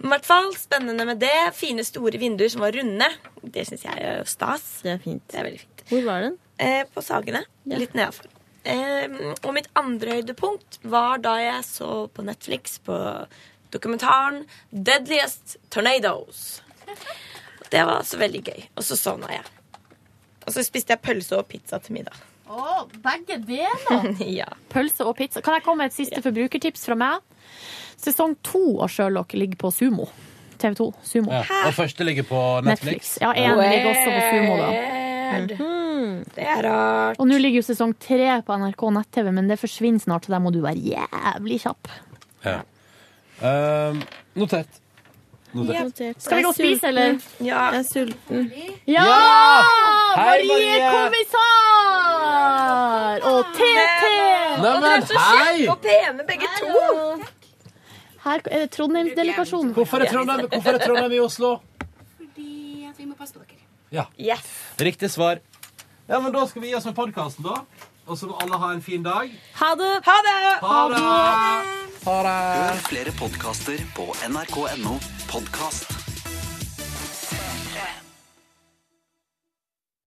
[SPEAKER 13] Men i hvert fall, spennende med det. Fine, store vinduer som var runde. Det syns jeg er stas.
[SPEAKER 21] Det er fint.
[SPEAKER 13] Det er veldig fint.
[SPEAKER 21] Hvor var den?
[SPEAKER 13] Eh, på Sagene.
[SPEAKER 21] Ja.
[SPEAKER 13] Litt nedafor. Eh, og mitt andre høydepunkt var da jeg så på Netflix på dokumentaren Deadliest Tornadoes. Det var altså veldig gøy. Og så sovna jeg. Og så spiste jeg pølse og pizza til middag.
[SPEAKER 4] Å, begge deler?
[SPEAKER 13] ja.
[SPEAKER 4] Pølse og pizza. Kan jeg komme med et siste forbrukertips fra meg? Sesong to av Sherlock ligger på Sumo. TV 2. Sumo.
[SPEAKER 2] Ja. Og første ligger på Netflix.
[SPEAKER 4] Ja, én ligger også på Sumo, da.
[SPEAKER 21] Mhm.
[SPEAKER 13] Det er rart.
[SPEAKER 4] Og nå ligger jo sesong tre på NRK nett-TV, men det forsvinner snart, så der må du være jævlig kjapp.
[SPEAKER 2] Ja. Um, notert.
[SPEAKER 4] Ja.
[SPEAKER 2] Notert.
[SPEAKER 4] Skal vi gå og spise, eller?
[SPEAKER 13] Ja.
[SPEAKER 21] Jeg er sulten.
[SPEAKER 4] Ja!
[SPEAKER 21] Hei,
[SPEAKER 4] Marie
[SPEAKER 21] Marie!
[SPEAKER 4] Kommissar! Og TT!
[SPEAKER 2] Neimen, Dere er så kjekke hei! og
[SPEAKER 13] pene, begge
[SPEAKER 4] to. Her er det Trondheimsdelegasjonen.
[SPEAKER 2] Hvorfor er Trondheim, hvorfor er Trondheim i Oslo?
[SPEAKER 22] Fordi at vi må passe på dere.
[SPEAKER 2] Ja.
[SPEAKER 13] Yes.
[SPEAKER 2] Riktig svar. Ja, men Da skal vi gi oss med podkasten, da. Og så må alle ha en fin dag.
[SPEAKER 21] Ha det!
[SPEAKER 13] Ha det!
[SPEAKER 2] Ha det! Ha det!
[SPEAKER 23] Hør flere podkaster på nrk.no podkast.